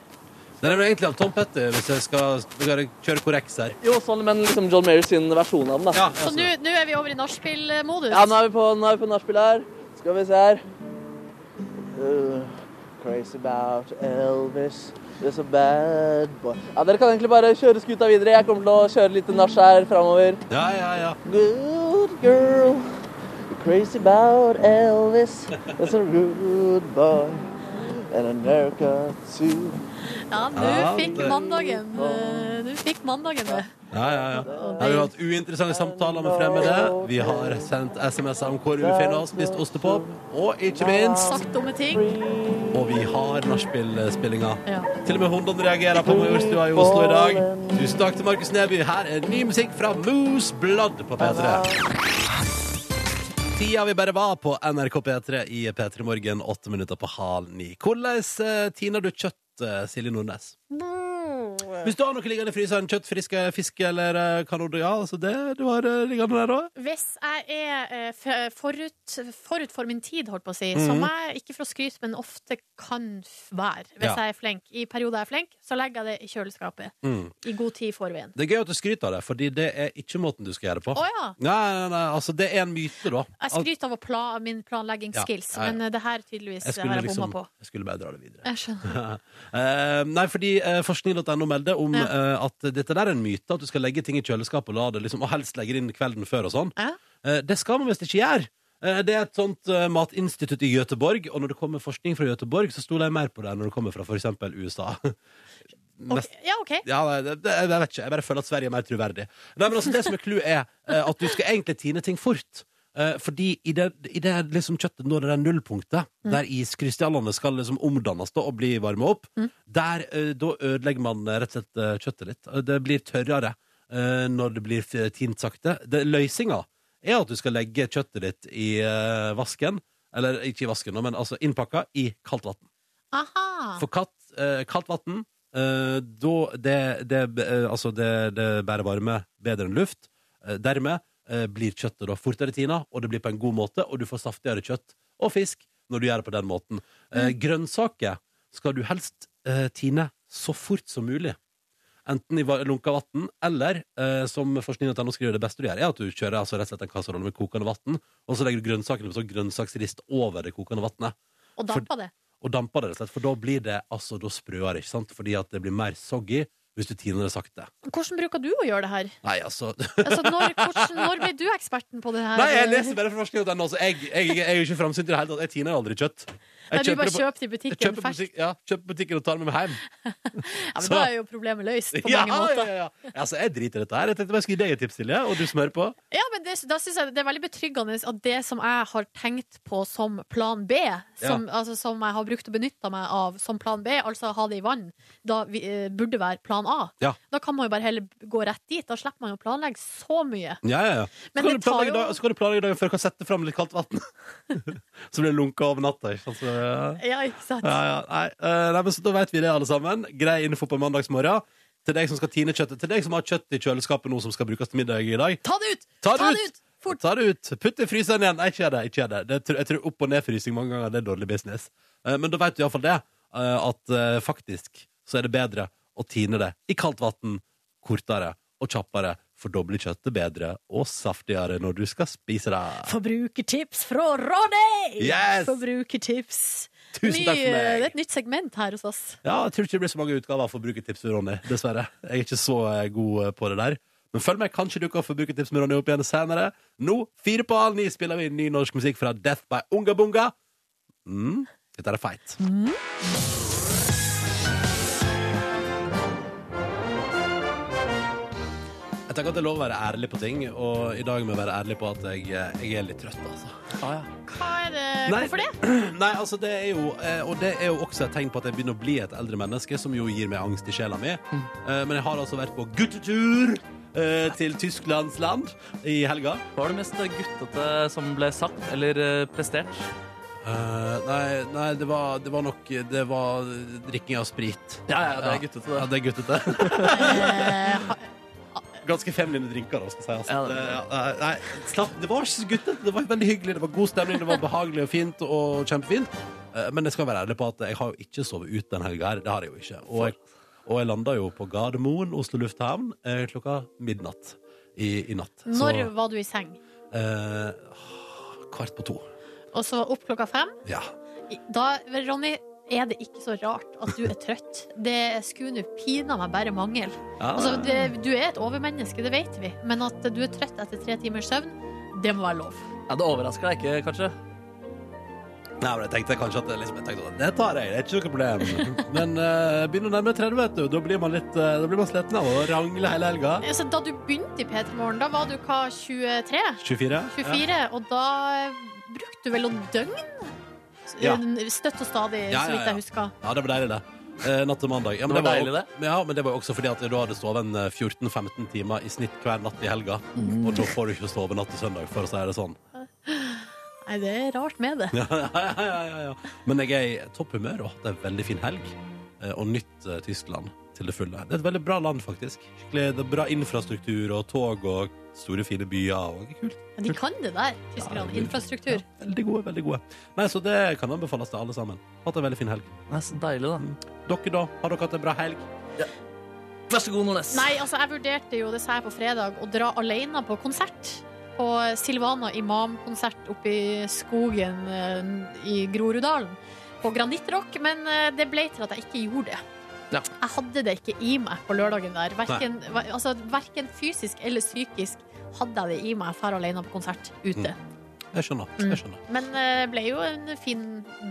Speaker 1: Den er vel egentlig av Tom Petter, hvis jeg skal skal kjøre korrekt her.
Speaker 3: Jo, sånn, men liksom John Mayer sin versjon av den, da.
Speaker 1: Ja,
Speaker 2: Så nå nå er vi over i nachspiel-modus.
Speaker 3: Ja, nå er vi på, nå er vi på nachspiel her. Skal vi se her. Uh, crazy about Elvis. There's a bad boy. Ja, dere kan egentlig bare kjøre skuta videre. Jeg kommer til å kjøre litt nach her framover.
Speaker 1: ja, ja, ja.
Speaker 3: Good girl. Crazy about Elvis. There's a good boy. And America too.
Speaker 2: Ja, nå
Speaker 1: Ja,
Speaker 2: fikk
Speaker 1: det-
Speaker 2: mandagen eh, Nå fikk mandagen eh, det.
Speaker 1: Ja, ja, ja. Her Har vi hatt uinteressante samtaler med fremmede? Vi har sendt SMS-er om hvor vi befinner oss, spist ostepop, og ikke minst
Speaker 2: Sagt dumme ting.
Speaker 1: Og vi har nachspiel-spillinga.
Speaker 2: Ja.
Speaker 1: Til og med hundene reagerer på Majorstua i Oslo i dag. Tusen takk til Markus Neby. Her er ny musikk fra Moose Blood på P3. Tida vi bare var på NRK P3 i P3 Morgen,
Speaker 2: Mm.
Speaker 1: åtte minutter på halv ni. Hvordan eh, tiner du kjøtt, eh, Silje Nordnes? Hvis du har noe liggende i fryseren, kjøtt, frisk fisk eller eh, kanonde, ja, altså det du har eh, liggende der òg?
Speaker 2: Hvis jeg er eh, f- forut, forut for min tid, holdt på å si, som
Speaker 1: Mhm.
Speaker 2: jeg ikke for å skryte, men ofte kan f- være, hvis
Speaker 1: Ja.
Speaker 2: jeg er flink, i perioder jeg er flink, så legger jeg det i kjøleskapet.
Speaker 1: Mm.
Speaker 2: I god tid i forveien.
Speaker 1: Det er gøy at du skryter av det, fordi det er ikke måten du skal gjøre det på.
Speaker 2: Å ja!
Speaker 1: Nei, nei, nei, altså det er en myte, da.
Speaker 2: Jeg skryter av å pla, min planleggingsskills,
Speaker 1: Ja, ja, ja.
Speaker 2: men eh, det her tydeligvis
Speaker 1: Jeg
Speaker 2: har
Speaker 1: skulle
Speaker 2: jeg bomma
Speaker 1: liksom
Speaker 2: på.
Speaker 1: Jeg skulle bare dra det videre.
Speaker 2: Jeg skjønner.
Speaker 1: Eh, nei, fordi eh, forskning.no melder om
Speaker 2: Ja.
Speaker 1: eh, at dette der er en myte, at du skal legge ting i kjøleskapet og la det liksom, og helst legge det inn kvelden før og sånn.
Speaker 2: Ja.
Speaker 1: Eh, det skal man visst ikke gjøre. Eh, det er et sånt eh, matinstitutt i Göteborg, og når det kommer forskning fra Göteborg, så stoler jeg mer på det enn når det kommer fra for eksempel USA. Mest-
Speaker 2: Ok, Ja, OK.
Speaker 1: Ja, nei, det, det, jeg vet ikke. Jeg bare føler at Sverige er mer troverdig. Nei, men altså, det som er clouet, er eh, at du skal egentlig tine ting fort. Eh, fordi i det, i det liksom kjøttet når det er nullpunktet, der iskrystallene skal liksom omdannes da, og bli varma opp, der eh, da ødelegger man eh, rett og slett eh, kjøttet litt. Eh, Det blir tørrere eh, når det blir f- tint sakte. Det, løsninga er at du skal legge kjøttet ditt i eh, vasken, eller ikke i vasken, nå, men altså innpakka i kaldt vann.
Speaker 2: Aha.
Speaker 1: For katt, eh, kaldt vann eh, da- det, det, eh, altså det, det bærer varme bedre enn luft. Eh, dermed eh, blir kjøttet da fortere tina, og det blir på en god måte, og du får saftigere kjøtt og fisk når du gjør det på den måten. Eh, grønnsaker skal du helst eh, tine så fort som mulig. Enten i va- lunka vann, eller eh, som forskningen.no skriver, det beste du gjør, er at du kjører altså, rett og slett en kasserolle med kokende vann, og så legger du grønnsakene på sånn grønnsaksrist over det kokende vannet
Speaker 2: Og dampa det.
Speaker 1: og damper det, rett og slett, for da blir det altså, da sprøere, ikke sant? Fordi at det blir mer soggy hvis du tiner det sakte.
Speaker 2: Hvordan bruker du å gjøre det her?
Speaker 1: Nei, altså
Speaker 2: Altså, når, hvordan, når ble du eksperten på det her?
Speaker 1: Nei, jeg leser bare fra forskningen, altså. Jeg, jeg, jeg er jo ikke framsynt i det hele tatt. Jeg tiner jo aldri kjøtt.
Speaker 2: Nei,
Speaker 1: Jeg
Speaker 2: du bare
Speaker 1: det på-
Speaker 2: kjøper det i
Speaker 1: jeg
Speaker 2: butikken
Speaker 1: kjøper på
Speaker 2: ferskt.
Speaker 1: butikk- ja, kjøper på butikken og tar det med meg hjem.
Speaker 2: Ja, men
Speaker 1: så-
Speaker 2: da er jo problemet løst på
Speaker 1: Ja,
Speaker 2: mange måter.
Speaker 1: ja, ja. Altså, jeg driter i dette her. Jeg tenkte bare jeg skulle gi deg et tips til, ja. og du smører på.
Speaker 2: Ja, men det, da synes jeg det er veldig betryggende at det som jeg har tenkt på som plan B, som, altså, som jeg har brukt og benytta meg av som plan B, altså ha det i vann, da vi, eh, burde være plan A.
Speaker 1: Ja.
Speaker 2: Da kan man jo bare heller gå rett dit. Da slipper man jo å planlegge så mye.
Speaker 1: Ja, ja, ja. Så
Speaker 2: Men
Speaker 1: kan,
Speaker 2: det
Speaker 1: du
Speaker 2: tar
Speaker 1: planlegge
Speaker 2: jo-
Speaker 1: dag, så kan du planlegge dagen før du kan sette fram litt kaldt vann. så blir det lunka over natta. Ikke sant? Så, ja.
Speaker 2: Ja, ikke sant?
Speaker 1: Ja, ja, nei, eh, nei, men så Da vet vi det, alle sammen. Grei info på mandagsmorgen. Til deg som skal tine kjøttet Til deg som har kjøtt i kjøleskapet nå som skal brukes til middag i dag.
Speaker 2: Ta det ut!
Speaker 1: Ta det ut!
Speaker 2: ut! Fort!
Speaker 1: Ta det ut! Putt det i fryseren igjen! Nei, ikke gjør det. ikke gjør det, det tror, Jeg tror opp- og nedfrysing mange ganger det er dårlig business. Eh, Men da vet du iallfall det, eh, at eh, faktisk så er det bedre å tine det i kaldt vann kortere og kjappere, for da blir kjøttet bedre og saftigere når du skal spise det.
Speaker 2: Forbrukertips fra Ronny!
Speaker 1: Yes!
Speaker 2: Forbrukertips.
Speaker 1: Tusen takk
Speaker 2: Ny,
Speaker 1: for
Speaker 2: eh, Det er
Speaker 1: meg!
Speaker 2: et nytt segment her hos oss.
Speaker 1: Ja, jeg tror ikke det blir så mange utgaver av Forbrukertips med Ronny, dessverre. Jeg er ikke så eh, god eh, på det der. Men følg med, kanskje du kan få Forbrukertips med Ronny opp igjen senere. Nå, fire på halv ni, spiller vi ny norsk musikk fra Death by Unga Bunga. Mm, dette er feit. Jeg tenker at det er lov å være ærlig på ting, og i dag må jeg være ærlig på at jeg, eh, jeg er litt trøtt, altså.
Speaker 3: Ah, ja.
Speaker 2: Hva er det?
Speaker 1: Nei.
Speaker 2: Eh, Hvorfor det?
Speaker 1: Nei, altså det er jo eh, Og det er jo også et tegn på at jeg begynner å bli et eldre menneske, som jo gir meg angst i sjela mi. Eh, Men jeg har altså vært på guttetur eh, til Tysklands land i helga.
Speaker 3: Hva var det mest guttete som ble sagt eller eh, prestert?
Speaker 1: Eh, Nei, nei det, var, det var nok Det var drikking av sprit.
Speaker 3: Ja, ja, det er guttete, det.
Speaker 1: Ja, det er guttete.
Speaker 2: Eh, ha-
Speaker 1: Ganske feminine drinker, da, skal jeg si. Altså.
Speaker 3: Ja, det-
Speaker 1: Det- ja, nei, slapp, det var ikke så guttete. Det var veldig hyggelig, det var god stemning, det var behagelig og fint. Og kjempefint. Eh, Men jeg skal være ærlig på at jeg har jo ikke sovet ut den helga her. Det har jeg jo ikke. Og jeg, og jeg landa jo på Gardermoen, Oslo lufthavn, eh, klokka midnatt i, i natt.
Speaker 2: Når var du i seng?
Speaker 1: eh, Kvart på to.
Speaker 2: Og så opp klokka fem?
Speaker 1: Ja.
Speaker 2: Da, Ronny, er det ikke så rart at du er trøtt. Det skulle nå pina meg bare mangel.
Speaker 1: ja.
Speaker 2: Altså, det, du er et overmenneske, det vet vi. Men at du er trøtt etter tre timers søvn, det må være lov.
Speaker 3: Ja, det overrasker deg ikke, kanskje?
Speaker 1: Nei, men jeg tenkte kanskje at liksom, jeg tenkte at det tar jeg, det er ikke noe problem. Men eh, jeg begynner å nærme meg 30, vet du. Da blir man litt eh, Da blir man sliten av å rangle hele helga.
Speaker 2: Altså, da du begynte i P3 Morgen, da var du hva, 23?
Speaker 1: 24?
Speaker 2: 24? Og da brukte du vel noen døgn?
Speaker 1: Ja.
Speaker 2: Støtt og stadig,
Speaker 1: Ja, ja,
Speaker 2: så vidt
Speaker 1: ja.
Speaker 2: jeg husker.
Speaker 1: Ja, det var deilig, det. Eh, natt til mandag. Ja,
Speaker 3: Det var
Speaker 1: jo-
Speaker 3: deilig,
Speaker 1: Ja, men det var jo også fordi at du hadde sovet en eh, 14-15 timer i snitt hver natt i helga.
Speaker 3: Mm.
Speaker 1: Og da får du ikke sove natt til søndag, for å si det sånn.
Speaker 2: Nei, det er rart med det.
Speaker 1: Ja, ja, ja, ja, ja. Men jeg er i topp humør og har hatt en veldig fin helg. eh, Og nytt eh, Tyskland. til det fulle. Det er et veldig bra land, faktisk. Skikkelig, det er bra infrastruktur og tog og store, fine byer. Og det er kult.
Speaker 2: Men de kan det der, tyskerne. Infrastruktur.
Speaker 1: Veldig gode, veldig gode. Nei, Så det kan anbefales til alle sammen. Hatt en veldig fin helg.
Speaker 3: Nei, så deilig, da.
Speaker 1: Dere, da? Har dere hatt en bra helg?
Speaker 3: Vær så god, Nordnes.
Speaker 2: Nei, altså, jeg vurderte jo, det sa jeg på fredag, å dra alene på konsert. På Silvana Imam-konsert oppe i skogen eh, i Groruddalen. På Granittrock. Men eh, det ble til at jeg ikke gjorde det.
Speaker 3: Ja.
Speaker 2: Jeg hadde det ikke i meg på lørdagen der. Verken, ver- altså, verken fysisk eller psykisk hadde jeg det i meg. Jeg drar alene på konsert ute.
Speaker 1: Jeg skjønner.
Speaker 2: Mm.
Speaker 1: jeg skjønner.
Speaker 2: Men det ble jo en fin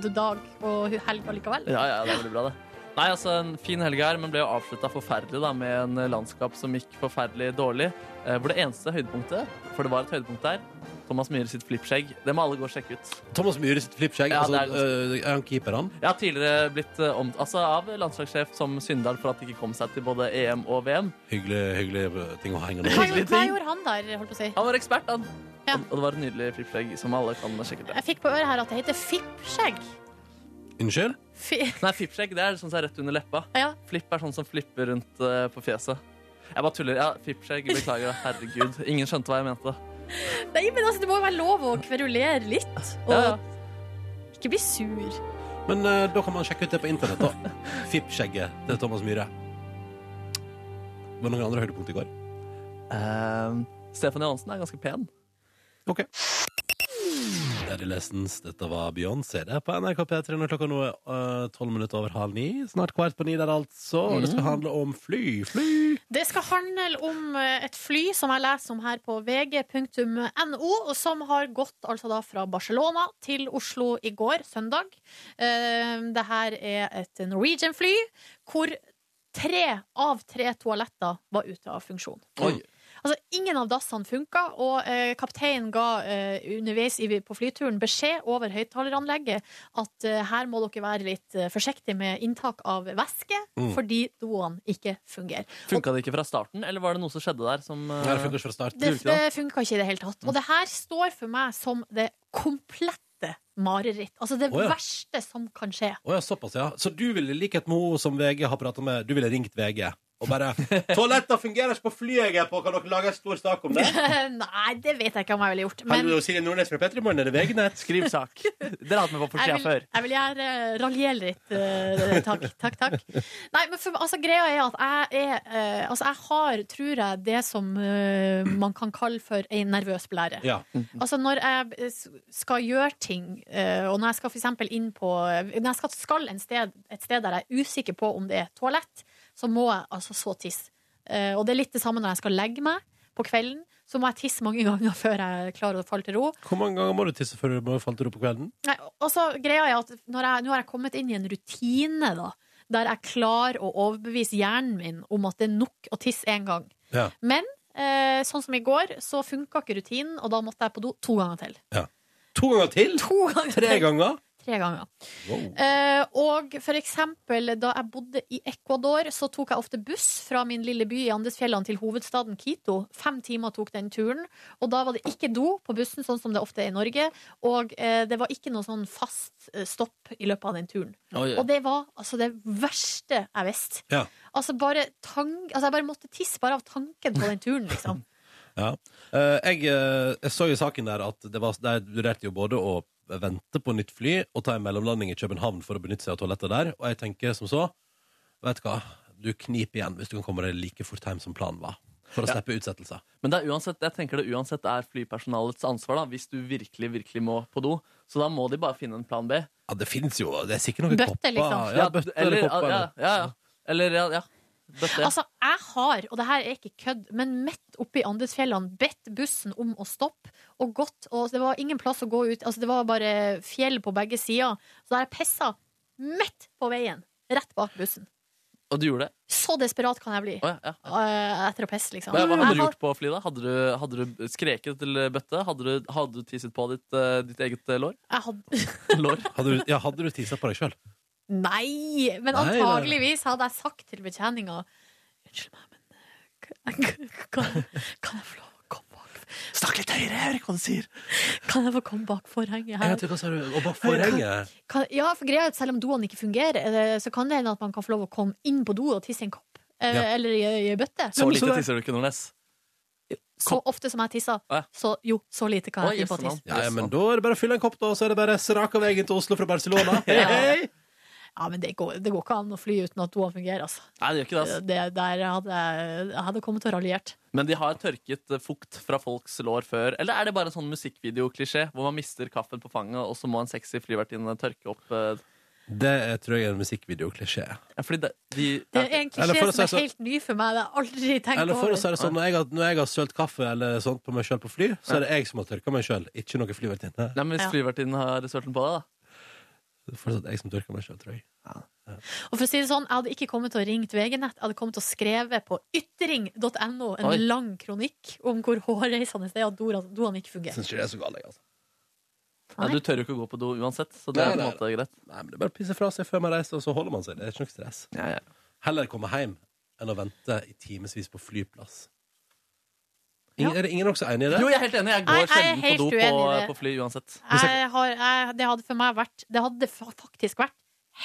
Speaker 2: dag og helg allikevel.
Speaker 3: Ja, ja, det er veldig bra, det. Nei, altså, En fin helg her, men ble jo avslutta forferdelig da, med en eh, landskap som gikk forferdelig dårlig. Eh, hvor det eneste høydepunktet, for det var et høydepunkt der, Thomas Myhre sitt flippskjegg. Det må alle gå og sjekke ut.
Speaker 1: Thomas Myhre sitt flippskjegg.
Speaker 3: Ja,
Speaker 1: altså,
Speaker 3: det er
Speaker 1: øh, er han keeper, han?
Speaker 3: Jeg har tidligere blitt eh, om, altså, av landslagssjef som syndal for at det ikke kom seg til både EM og VM.
Speaker 1: Hyggelig, hyggelig øh, ting å henge
Speaker 2: Hva,
Speaker 1: nå.
Speaker 3: Hyggelig
Speaker 2: hva
Speaker 3: ting.
Speaker 2: gjorde han der, holdt på å si?
Speaker 3: Han var ekspert, han.
Speaker 2: Ja.
Speaker 3: Og, og det var et nydelig flippskjegg som alle kan sjekke ut.
Speaker 2: Jeg fikk på øret her at det heter fippskjegg.
Speaker 1: Unnskyld?
Speaker 2: Fi-
Speaker 3: Nei, flippskjegg det er sånn som er rett under leppa.
Speaker 2: Ja.
Speaker 3: Flipp er sånn som flipper rundt eh, på fjeset. Jeg bare tuller. Ja, flippskjegg. Beklager. Herregud. Ingen skjønte hva jeg mente.
Speaker 2: Nei, men altså, det må jo være lov å kverulere litt. Og
Speaker 3: Ja, ja.
Speaker 2: ikke bli sur.
Speaker 1: Men øh, da kan man sjekke ut det på internett, da. Fippskjegget til Thomas Myhre. Var det noen andre høydepunkt i går?
Speaker 3: Ehm, Stefan Johansen er ganske pen.
Speaker 1: OK. Daddy Lessons, dette var Beyoncé. Det er på NRK P3 når klokka nå er øh, tolv minutter over halv ni. Snart kvart på ni der, altså. Og det skal handle om fly, fly.
Speaker 2: Det skal handle om eh, et fly som jeg leser om her på vg.no, og som har gått altså da fra Barcelona til Oslo i går, søndag. Eh, Det her er et Norwegian-fly hvor tre av tre toaletter var ute av funksjon.
Speaker 1: Oi.
Speaker 2: Altså, ingen av dassene funka, og eh, kapteinen ga eh, underveis i, på flyturen beskjed over høyttaleranlegget at eh, her må dere være litt eh, forsiktige med inntak av væske,
Speaker 1: Mm.
Speaker 2: fordi doene ikke fungerer.
Speaker 3: Funka det ikke fra starten, eller var det noe som skjedde der? Som, eh,
Speaker 1: Ja, det funker ikke fra start.
Speaker 2: Det,
Speaker 3: Tror du ikke
Speaker 2: det
Speaker 3: det?
Speaker 2: funka ikke i det hele tatt. Og det her står for meg som det komplette mareritt. Altså det
Speaker 1: Å, ja.
Speaker 2: verste som kan skje.
Speaker 1: Å ja, såpass, ja. Så du ville i likhet med hun som VG har prata med, du ville ringt VG og bare 'Toaletter fungerer ikke på flyet jeg er på, kan dere lage en stor sak om det?'
Speaker 2: Nei, det vet jeg ikke om jeg ville gjort. Men
Speaker 1: Hallo, Silje Nordnes fra Petremorgen, er det VG-nett?
Speaker 3: eh, Skriv sak. Dere har hatt meg på forsida
Speaker 2: jeg vil,
Speaker 3: før.
Speaker 2: jeg vil gjerne eh, raljere litt. eh, takk, takk. takk Nei, men for, altså, Greia er at jeg er eh, Altså, jeg har, tror jeg, det som eh, man kan kalle for ei nervøs blære.
Speaker 1: Ja.
Speaker 2: Altså Når jeg eh, s- skal gjøre ting, eh, og når jeg skal for eksempel inn på Når jeg skal, skal en sted, et sted der jeg er usikker på om det er toalett, så må jeg altså så tisse. Eh, Og det er litt det samme når jeg skal legge meg på kvelden. Så må jeg tisse mange ganger før jeg klarer å falle til ro.
Speaker 1: Hvor mange ganger må du tisse før du må falle til ro på kvelden?
Speaker 2: Nei, og så greia er at når jeg, nå har jeg kommet inn i en rutine da, der jeg klarer å overbevise hjernen min om at det er nok å tisse én gang.
Speaker 1: Ja.
Speaker 2: Men eh, sånn som i går, så funka ikke rutinen, og da måtte jeg på do to ganger til.
Speaker 1: To ganger til?
Speaker 2: To ganger
Speaker 1: Tre
Speaker 2: til.
Speaker 1: ganger?
Speaker 2: Tre ganger.
Speaker 1: Wow.
Speaker 2: Eh, og for eksempel da jeg bodde i Ecuador, så tok jeg ofte buss fra min lille by i Andesfjellene til hovedstaden Quito. Fem timer tok den turen, og da var det ikke do på bussen, sånn som det ofte er i Norge. Og eh, det var ikke noe sånn fast eh, stopp i løpet av den turen.
Speaker 3: Oi,
Speaker 2: Og det var altså det verste jeg visste.
Speaker 1: Ja.
Speaker 2: Altså, bare tank, altså, jeg bare måtte tisse bare av tanken på den turen, liksom.
Speaker 1: Ja. Eh, jeg, eh, jeg så jo saken der at det var, der vurderte jo både å vente på nytt fly og ta en mellomlanding i København for å benytte seg av toaletter der, og jeg tenker som så Vet du hva, du kniper igjen hvis du kan komme deg like fort hjem som planen var. For å slippe utsettelser.
Speaker 3: Men det er uansett, jeg tenker det uansett er flypersonalets ansvar, da, hvis du virkelig virkelig må på do. Så da må de bare finne en plan B.
Speaker 1: Ja, det finnes jo Det er sikkert noen
Speaker 2: Bøtter,
Speaker 1: kopper.
Speaker 2: liksom.
Speaker 1: Ja, bøtter eller, kopper.
Speaker 3: ja,
Speaker 1: eller-
Speaker 3: ja, ja. Eller ja, ja. Bøtte.
Speaker 2: Altså, jeg har, og det her er ikke kødd, men midt oppe i Andesfjellene bedt bussen om å stoppe, og gått, og det var ingen plass å gå ut, altså det var bare fjell på begge sider, så der jeg pessa midt på veien, rett bak bussen.
Speaker 3: og du gjorde det?
Speaker 2: Så desperat kan jeg bli
Speaker 3: Å, ja, ja.
Speaker 2: eh, etter å pisse, liksom.
Speaker 3: Hva, hva hadde
Speaker 2: Jeg
Speaker 3: du
Speaker 2: har-
Speaker 3: gjort på flyet? da? Hadde du, hadde du skreket til bøtte? Hadde du, hadde du tisset på ditt, eh, ditt eget eh, lår?
Speaker 2: Jeg hadde...
Speaker 3: lår?
Speaker 1: Hadde du, ja, hadde du tisa på deg sjøl?
Speaker 2: Nei, men
Speaker 1: Nei, nei.
Speaker 2: antageligvis hadde jeg sagt til betjeninga Unnskyld meg, men eh, kan, kan jeg få lov å komme bak
Speaker 3: Snakk litt høyere! Jeg hører ikke hva du sier.
Speaker 2: Kan jeg få komme bak forhenget her?
Speaker 1: Jeg tror hva sa du? Og bare forhenget.
Speaker 2: kan, ja, for greia er at selv om doene ikke fungerer, eh, så kan det hende at man kan få lov å komme inn på do og tisse i en kopp. eh,
Speaker 1: Ja.
Speaker 2: eller i i ei bøtte.
Speaker 3: Så
Speaker 1: men så
Speaker 3: lite
Speaker 1: det-
Speaker 3: tisser du ikke, Nordnes.
Speaker 2: Så ofte som jeg tisser.
Speaker 3: Å, ja.
Speaker 2: Så jo, så lite kan
Speaker 3: Oi,
Speaker 2: jeg finne på å
Speaker 3: jøssemann.
Speaker 2: tisse.
Speaker 1: Ja, ja, men da er det bare å fylle en kopp, da, og så er det bare straka veien til Oslo fra Barcelona. Hei,
Speaker 2: Ja.
Speaker 1: hei!
Speaker 2: Ja, men det går, det går ikke an å fly uten at doene fungerer, altså.
Speaker 3: Nei, det gjør ikke det. ass.
Speaker 2: Det, der hadde jeg, jeg hadde kommet til å raljert.
Speaker 3: Men de har tørket eh, fukt fra folks lår før. Eller er det bare en sånn musikkvideoklisjé hvor man mister kaffen på fanget, og så må en sexy flyvertinne tørke opp eh,
Speaker 1: Det er, tror jeg er en musikkvideoklisjé.
Speaker 3: ja, Fordi det, de
Speaker 2: Det er en
Speaker 1: Eller
Speaker 2: klisjé
Speaker 1: for å
Speaker 2: som er
Speaker 1: si så-
Speaker 2: helt ny for meg. Det har jeg aldri tenkt
Speaker 1: Eller for å
Speaker 2: over.
Speaker 1: si det sånn, når jeg, har- når jeg har sølt kaffe eller sånt på meg sjøl på fly, så er det jeg som har tørka meg sjøl, ikke noe flyvertinne.
Speaker 3: Nei, men
Speaker 2: Ja.
Speaker 3: Hvis flyvertinnen har sølt den på deg, da.
Speaker 1: Det er Fortsatt jeg som tørker meg sjøl, tror jeg.
Speaker 2: Og for å si det sånn, Jeg hadde ikke kommet til å ringt VG-nett, jeg hadde kommet til å skreve på ytring.no en
Speaker 3: Oi.
Speaker 2: lang kronikk om hvor hårreisende det er at doene doene ikke fungerer.
Speaker 1: Syns ikke det er så galt, jeg, altså.
Speaker 3: Nei,
Speaker 2: Nei.
Speaker 3: du tør jo ikke å gå på do uansett, så det
Speaker 1: Nei,
Speaker 3: er på en
Speaker 1: nei,
Speaker 3: måte greit.
Speaker 1: Nei, men det er bare å pisse fra seg før man reiser, og så holder man seg. Det er ikke noe stress.
Speaker 3: Ja, ja.
Speaker 1: Heller komme hjem enn å vente i timevis på flyplass.
Speaker 2: Ja.
Speaker 1: Ingen, Er det ingen også enig i det?
Speaker 3: Jo, jeg er helt enig. Jeg går
Speaker 2: Nei, jeg er
Speaker 3: sjelden på
Speaker 2: helt
Speaker 3: do på, eh,
Speaker 2: uenig i det.
Speaker 3: på fly uansett.
Speaker 2: Jeg har, jeg, det hadde for meg vært Det hadde fa- faktisk vært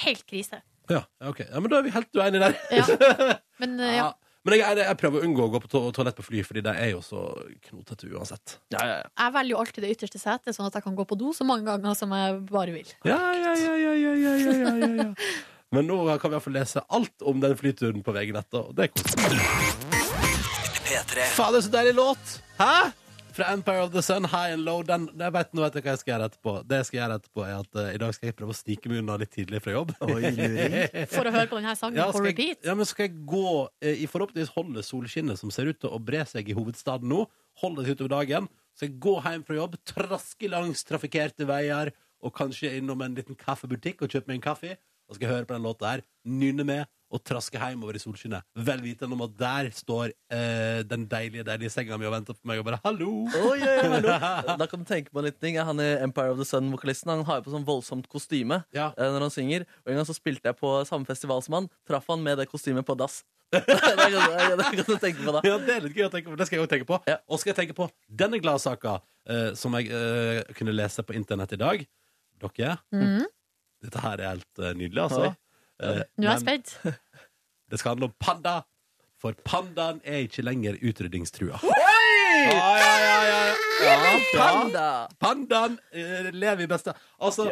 Speaker 2: helt krise.
Speaker 1: Ja, ja, ok. ja, men da er vi helt uenige der.
Speaker 2: Ja. Men eh, ja,
Speaker 1: Ja. Men jeg, er det- jeg prøver å unngå å gå på to toalett på fly, fordi det er jo så knotete uansett.
Speaker 3: Ja, ja, ja.
Speaker 2: jeg velger jo alltid det ytterste setet, sånn at jeg kan gå på do så mange ganger som jeg bare vil.
Speaker 1: Ja, ja, ja, ja, ja, ja, ja, ja, ja, ja. Men nå kan vi iallfall lese alt om den flyturen på VG-nettet, og det er koselig. Fader, så deilig låt! Hæ? Fra Empire of the Sun, High and Low. Den, jeg vet, nå vet jeg hva jeg skal gjøre etterpå. Det jeg skal gjøre etterpå er at eh, I dag skal jeg prøve å snike meg unna litt tidlig fra jobb.
Speaker 2: For å høre på denne sangen
Speaker 1: Ja,
Speaker 2: på
Speaker 1: skal jeg,
Speaker 2: repeat.
Speaker 1: ja, men skal jeg gå eh, i forhåpentligvis holde solskinnet som ser ut til å bre seg i hovedstaden nå, holde seg utover dagen, så jeg går hjem fra jobb, traske langs trafikkerte veier, og kanskje innom en liten kaffebutikk og kjøpe meg en kaffe, og skal jeg høre på den låta her, nynne med, og traske hjemover i solskinnet. Vel vitende om at der står eh, den deilige, deilige senga mi og venter på meg, og bare hallo!
Speaker 3: Oi, oi, oi, hallo. Da kan du tenke på en liten ting. Han i Empire of the Sun-vokalisten Han har jo på sånn voldsomt kostyme
Speaker 1: Ja.
Speaker 3: eh, når han synger. Og En gang så spilte jeg på samme festival som han. Traff han med det kostymet på dass. det, kan du, det kan du tenke på da.
Speaker 1: Ja, det er litt gøy å tenke på. Det skal jeg også tenke på.
Speaker 3: Ja.
Speaker 1: Og skal jeg tenke på denne gladsaka eh, som jeg eh, kunne lese på internett i dag. Dere.
Speaker 2: Mm.
Speaker 1: Dette her er helt eh, nydelig, altså.
Speaker 3: Oi.
Speaker 1: Eh,
Speaker 2: Nå er
Speaker 1: men
Speaker 2: jeg spent.
Speaker 1: det skal handle om panda. For pandaen er ikke lenger utrydningstrua. Ja, ja, ja, ja, ja. Ja,
Speaker 3: Panda!
Speaker 1: Pandaen eh, lever i beste altså,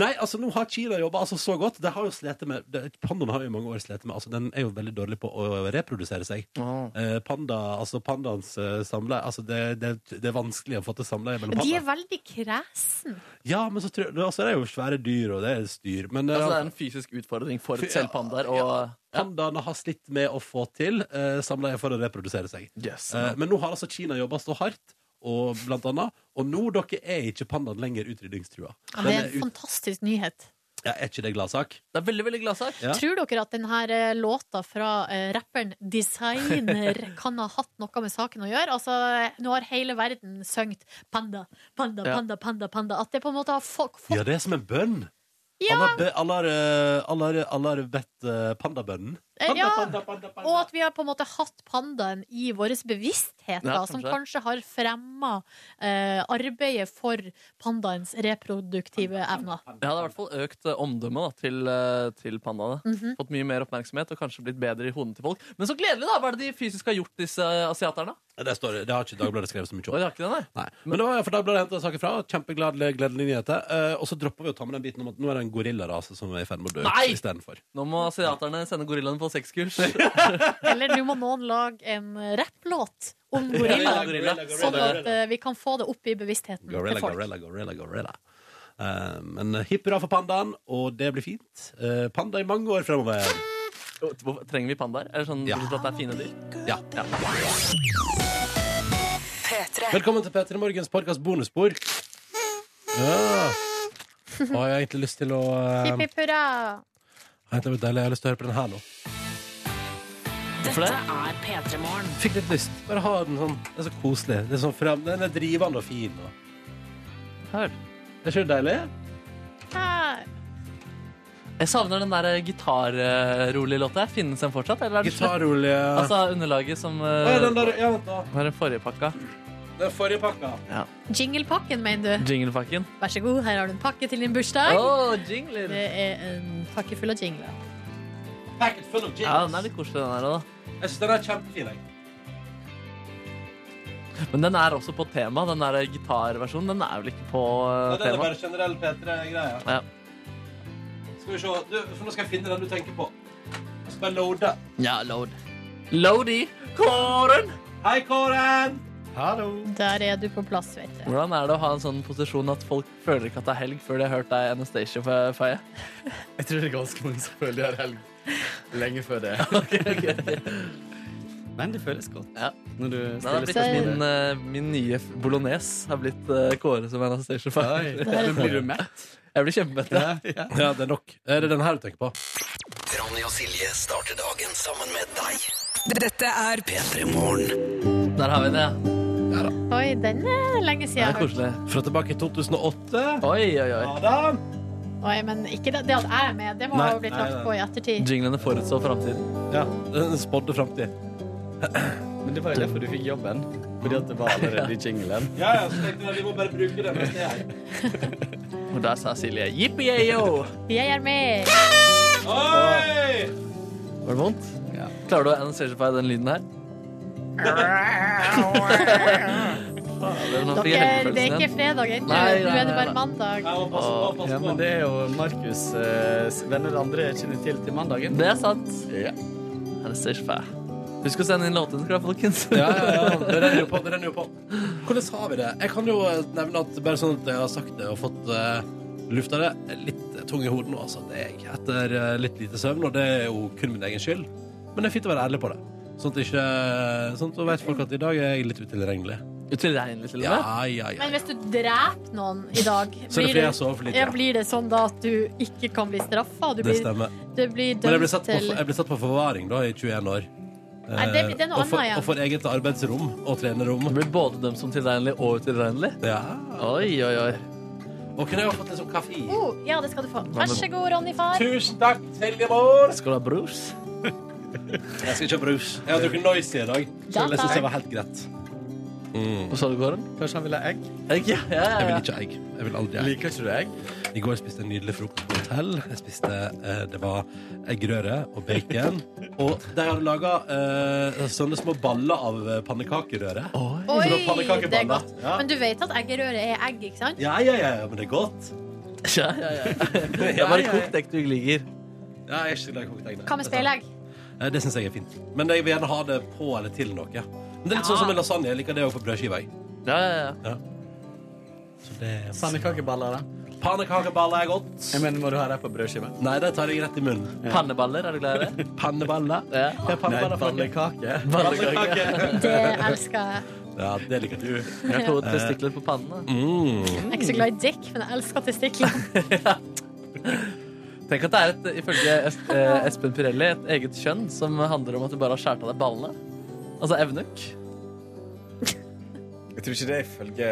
Speaker 1: Nei, altså nå har Kina jobba altså, så godt. Det har jo slitt med det, Pandaen har jo i mange år slitt med altså, Den er jo veldig dårlig på å reprodusere seg. Eh, panda, altså Pandaens eh, samleie altså, det, det, det er vanskelig å få til samleie mellom
Speaker 2: De er
Speaker 1: pandaer.
Speaker 2: veldig kresne.
Speaker 1: Ja, men så tror jeg, altså, det er jo svære dyr, og det er styr. Men eh,
Speaker 3: Altså, det er en fysisk utfordring for
Speaker 1: Fy-
Speaker 3: selv pandaer. Og
Speaker 1: pandaene har slitt med å få til eh, samleie for å reprodusere seg.
Speaker 3: Yes.
Speaker 1: Eh, men nå har altså Kina jobba så hardt, og, blant annet, og nå dere er ikke pandaen lenger utrydningstrua.
Speaker 2: Det er
Speaker 1: Den
Speaker 2: en
Speaker 1: ut-
Speaker 2: fantastisk nyhet.
Speaker 1: ja, er ikke det gladsak?
Speaker 3: det er veldig veldig gladsak.
Speaker 1: Ja.
Speaker 2: Tror dere at denne låta fra eh, rapperen Designer kan ha hatt noe med saken å gjøre? Altså, nå har hele verden sunget 'panda, panda,
Speaker 3: Ja.
Speaker 2: panda, panda'. panda At det på en måte har folk fått
Speaker 1: Ja, det er som en bønn.
Speaker 2: Ja.
Speaker 1: Alle har be- Alle har, eh, alle har, alle har bedt eh, pandabønnen.
Speaker 2: Eh, ja. Og at vi har på en måte hatt pandaen i vår bevissthet, da,
Speaker 3: Ja,
Speaker 2: som
Speaker 3: kanskje.
Speaker 2: kanskje har fremma eh, arbeidet for pandaens reproduktive evner.
Speaker 3: Det hadde i hvert fall økt eh, omdømmet da, til, eh, til pandaene. Fått mye mer oppmerksomhet og kanskje blitt bedre i hodene til folk. Men så gledelig, da! Hva er det de fysisk har gjort, disse eh, asiaterne?
Speaker 1: Det, står, det har ikke Dagbladet skrevet så mye
Speaker 3: Oi,
Speaker 1: om.
Speaker 3: det har ikke det, nei.
Speaker 1: Nei. Men det var for Dagbladet hentet saken fra. Kjempeglad gledelig nyheter. Eh, og så dropper vi å ta med den biten om at nå er det en gorillarase som er i ferd med å dø
Speaker 3: Nei!
Speaker 1: ut istedenfor.
Speaker 3: Nå må asiaterne sende gorillaene på sekskurs.
Speaker 2: Eller nå må noen lage en rapplåt om gorillaer.
Speaker 3: Gorilla,
Speaker 2: Sånn at eh, vi kan få det opp i bevisstheten
Speaker 1: Gorilla,
Speaker 2: til folk.
Speaker 1: gorilla, gorilla, gorilla. Eh, men hipp hurra for pandaen, og det blir fint. Eh, panda i mange år fremover.
Speaker 3: Hvorfor- Trenger vi pandaer? Er det sånn
Speaker 1: Ja.
Speaker 3: bortsett fra at det er fine dyr?
Speaker 1: Ja. Velkommen til P3 Morgens podkast bonusbord. Ja. Og jeg har egentlig lyst til å eh,
Speaker 2: Hipp, hipp hurra!
Speaker 1: Nei, det var deilig. Jeg har lyst til å høre på den her nå.
Speaker 4: Dette er P3 Morgen.
Speaker 1: Fikk litt lyst. Bare ha den sånn. Det er så koselig. Det er sånn frem. Den er drivende og fin. Og.
Speaker 3: Hør.
Speaker 1: Er ikke det deilig?
Speaker 2: Hei.
Speaker 3: Jeg savner den der eh, gitarrolige låta. Finnes den fortsatt? Eller er det slett?
Speaker 1: Gitarolje altså,
Speaker 3: Altså underlaget som eh,
Speaker 1: ja, den der, ja, vent da.
Speaker 3: var den forrige pakka.
Speaker 1: Den forrige pakka.
Speaker 2: Jinglepakken, mener du?
Speaker 3: Jinglepakken.
Speaker 2: Vær så god, her har du en pakke til din bursdag.
Speaker 3: Åh, jingler!
Speaker 2: Det er en pakke full av jingler.
Speaker 1: Packet full of
Speaker 3: Ja,
Speaker 1: gins.
Speaker 3: den er litt koselig, den her òg, da.
Speaker 1: Jeg syns den er kjempefin. Jeg.
Speaker 3: Men den er også på tema. Den der eh, gitarversjonen den er vel ikke på eh,
Speaker 1: Ja, den er
Speaker 3: tema.
Speaker 1: bare generell P3-greie.
Speaker 3: Ja.
Speaker 1: Skal vi se. Du, for nå skal jeg finne den du tenker på. Jeg skal bare loade.
Speaker 3: ja, load. Load i kåren!
Speaker 1: Hei, Kåren!
Speaker 5: Hallo.
Speaker 2: Der er du på plass, vet du.
Speaker 3: Hvordan er det å ha en sånn posisjon at folk føler ikke at det er helg før de har hørt deg i Anastacia fe- feie?
Speaker 5: Jeg tror det er ganske mange som føler de har helg lenge før det. Men det føles godt
Speaker 3: Ja.
Speaker 5: når du
Speaker 3: Nei, det har
Speaker 5: stiller
Speaker 3: blitt
Speaker 2: Ser-
Speaker 3: min,
Speaker 5: spørsmål.
Speaker 3: eh, min nye f- bolognese har blitt eh, Kåre som Anastacia feie.
Speaker 5: Oi. Men blir du mett?
Speaker 3: Jeg blir kjempemett. jeg.
Speaker 5: Ja.
Speaker 1: Ja, det er nok. Er det den her du tenker på?
Speaker 9: Ronny og Silje starter dagen sammen med deg. Dette er P3 Morgen.
Speaker 3: Der har vi det. ja.
Speaker 2: Oi, den er lenge siden
Speaker 3: Det
Speaker 2: jeg
Speaker 3: er
Speaker 2: har hørt.
Speaker 3: koselig.
Speaker 1: Fra tilbake i 2008.
Speaker 3: Oi, oi, oi.
Speaker 1: Ja da.
Speaker 2: Oi, men ikke det, det at jeg er med, det må
Speaker 1: Nei,
Speaker 2: ha blitt
Speaker 1: nei,
Speaker 2: lagt
Speaker 1: nei.
Speaker 2: på i ettertid.
Speaker 3: Jinglene forutså framtiden.
Speaker 1: Ja, den spådde framtid.
Speaker 5: Men det var jo derfor du fikk jobben. Fordi at det var allerede i jinglen.
Speaker 1: Ja, ja, så tenkte jeg vi må bare bruke det mens det er her.
Speaker 3: Og der sa Silje jippi-yo.
Speaker 2: Jeg er med!
Speaker 1: Oi!
Speaker 3: Var det vondt?
Speaker 5: Ja.
Speaker 3: Klarer du å Anastacia feie den lyden her? Fader, nå fikk jeg
Speaker 2: Dere, det er
Speaker 3: helgefølelsen
Speaker 2: ikke
Speaker 3: igjen.
Speaker 2: fredag ennå. Nå
Speaker 3: Nei, nei,
Speaker 2: er det
Speaker 3: nei,
Speaker 2: bare
Speaker 3: nei.
Speaker 2: mandag.
Speaker 1: Jeg må passe på, passe på.
Speaker 5: Ja, men det er jo Markus' eh, venner andre kjenner til til mandagen.
Speaker 3: Det er sant.
Speaker 5: Ja.
Speaker 3: Anastacia feie. Husk å sende inn låtene, folkens.
Speaker 1: Ja, ja, ja. Det renner jo på. det renner jo på Hvordan har vi det? Jeg kan jo eh, nevne at bare sånn at jeg har sagt det og fått eh, lufta det, jeg er litt tung i hodet nå, altså. Det er jeg. Etter eh, litt lite søvn, og det er jo kun min egen skyld. Men det er fint å være ærlig på det. Sånn at ikke Sånn at da vet folk at i dag er jeg litt utilregnelig.
Speaker 3: Utilregnelig til og
Speaker 1: Ja,
Speaker 3: med.
Speaker 1: ja, ja.
Speaker 2: Men hvis du dreper noen i dag,
Speaker 1: Så er det
Speaker 2: blir
Speaker 1: fordi jeg
Speaker 2: det,
Speaker 1: har sovet for lite.
Speaker 2: ja,
Speaker 1: Ja,
Speaker 2: blir det sånn da at du ikke kan bli straffa? Du
Speaker 1: det
Speaker 2: blir,
Speaker 1: stemmer.
Speaker 2: du blir
Speaker 1: Men jeg ble
Speaker 2: dømt
Speaker 1: satt på,
Speaker 2: til
Speaker 1: jeg ble satt på forvaring da i 21 år. Eh,
Speaker 2: Nei, det blir- det er noe
Speaker 1: og, for,
Speaker 2: annet igjen.
Speaker 1: og for eget arbeidsrom og trenerrom.
Speaker 3: Du blir både dømt som tilregnelig og utilregnelig.
Speaker 1: Ja.
Speaker 3: Oi, oi, oi.
Speaker 1: Og kunne jeg ha fått litt sånn kaffe i?
Speaker 2: oh, Ja, det skal du få. Vær så god, Ronny far.
Speaker 1: Tusen takk, Silje Mår!
Speaker 3: Skal du ha brus?
Speaker 1: Jeg skal kjøpe rus. Jeg har drukket Noisy i dag. Så
Speaker 2: Ja,
Speaker 1: jeg synes
Speaker 2: takk.
Speaker 1: det var helt greit. Mm.
Speaker 3: Hva sa du, Kåren?
Speaker 5: Kanskje han vil ha egg?
Speaker 3: Egg, ja. ja,
Speaker 1: Jeg vil
Speaker 3: ja, ja.
Speaker 1: ikke ha egg. Jeg vil aldri ha egg.
Speaker 5: Liker ikke du egg?
Speaker 1: I går spiste jeg en nydelig frokost på hotell. Jeg spiste eh, Det var eggerøre og bacon. Og de hadde laga eh, sånne små baller av eh, pannekakerøre.
Speaker 2: Oi,
Speaker 1: det var pannekakeballer.
Speaker 2: det er godt.
Speaker 1: Ja.
Speaker 2: Men du vet at eggerøre er egg, ikke sant?
Speaker 1: Ja, ja, ja, ja, men det er godt.
Speaker 3: ja, ja, ja. Det er bare kokt egg du ikke liker.
Speaker 1: Ja, jeg er ikke så glad i kokt egg. nei.
Speaker 2: Hva
Speaker 1: Det
Speaker 2: med
Speaker 1: er sant.
Speaker 2: speilegg?
Speaker 1: Eh, Det syns jeg er fint. Men jeg vil gjerne ha det på eller til noe. Men det er litt sånn som en lasagne. Jeg liker det òg på brødskiva. jeg.
Speaker 3: Ja, ja, ja.
Speaker 1: Så det er-
Speaker 5: Pannekakeballer, da?
Speaker 1: Pannekakeballer er godt.
Speaker 5: Jeg mener, må du ha det på brødskive?
Speaker 1: Nei, det tar jeg rett i munnen.
Speaker 3: Panneballer, er du glad i det?
Speaker 1: Panneballer.
Speaker 3: Ja.
Speaker 1: Det er
Speaker 5: Nei,
Speaker 1: panneballer for noe.
Speaker 5: pannekake.
Speaker 3: Pannekake.
Speaker 2: Det elsker jeg.
Speaker 1: Ja, det liker Mm. du.
Speaker 3: Jeg har to testikler på pannen. da.
Speaker 2: Jeg er ikke så glad i dick, men jeg elsker testikler.
Speaker 3: Tenk at det er, et, ifølge Es- eh, Espen Pirelli, et eget kjønn som handler om at du bare har skåret av deg ballene. Altså evnuk.
Speaker 5: Jeg tror ikke det ifølge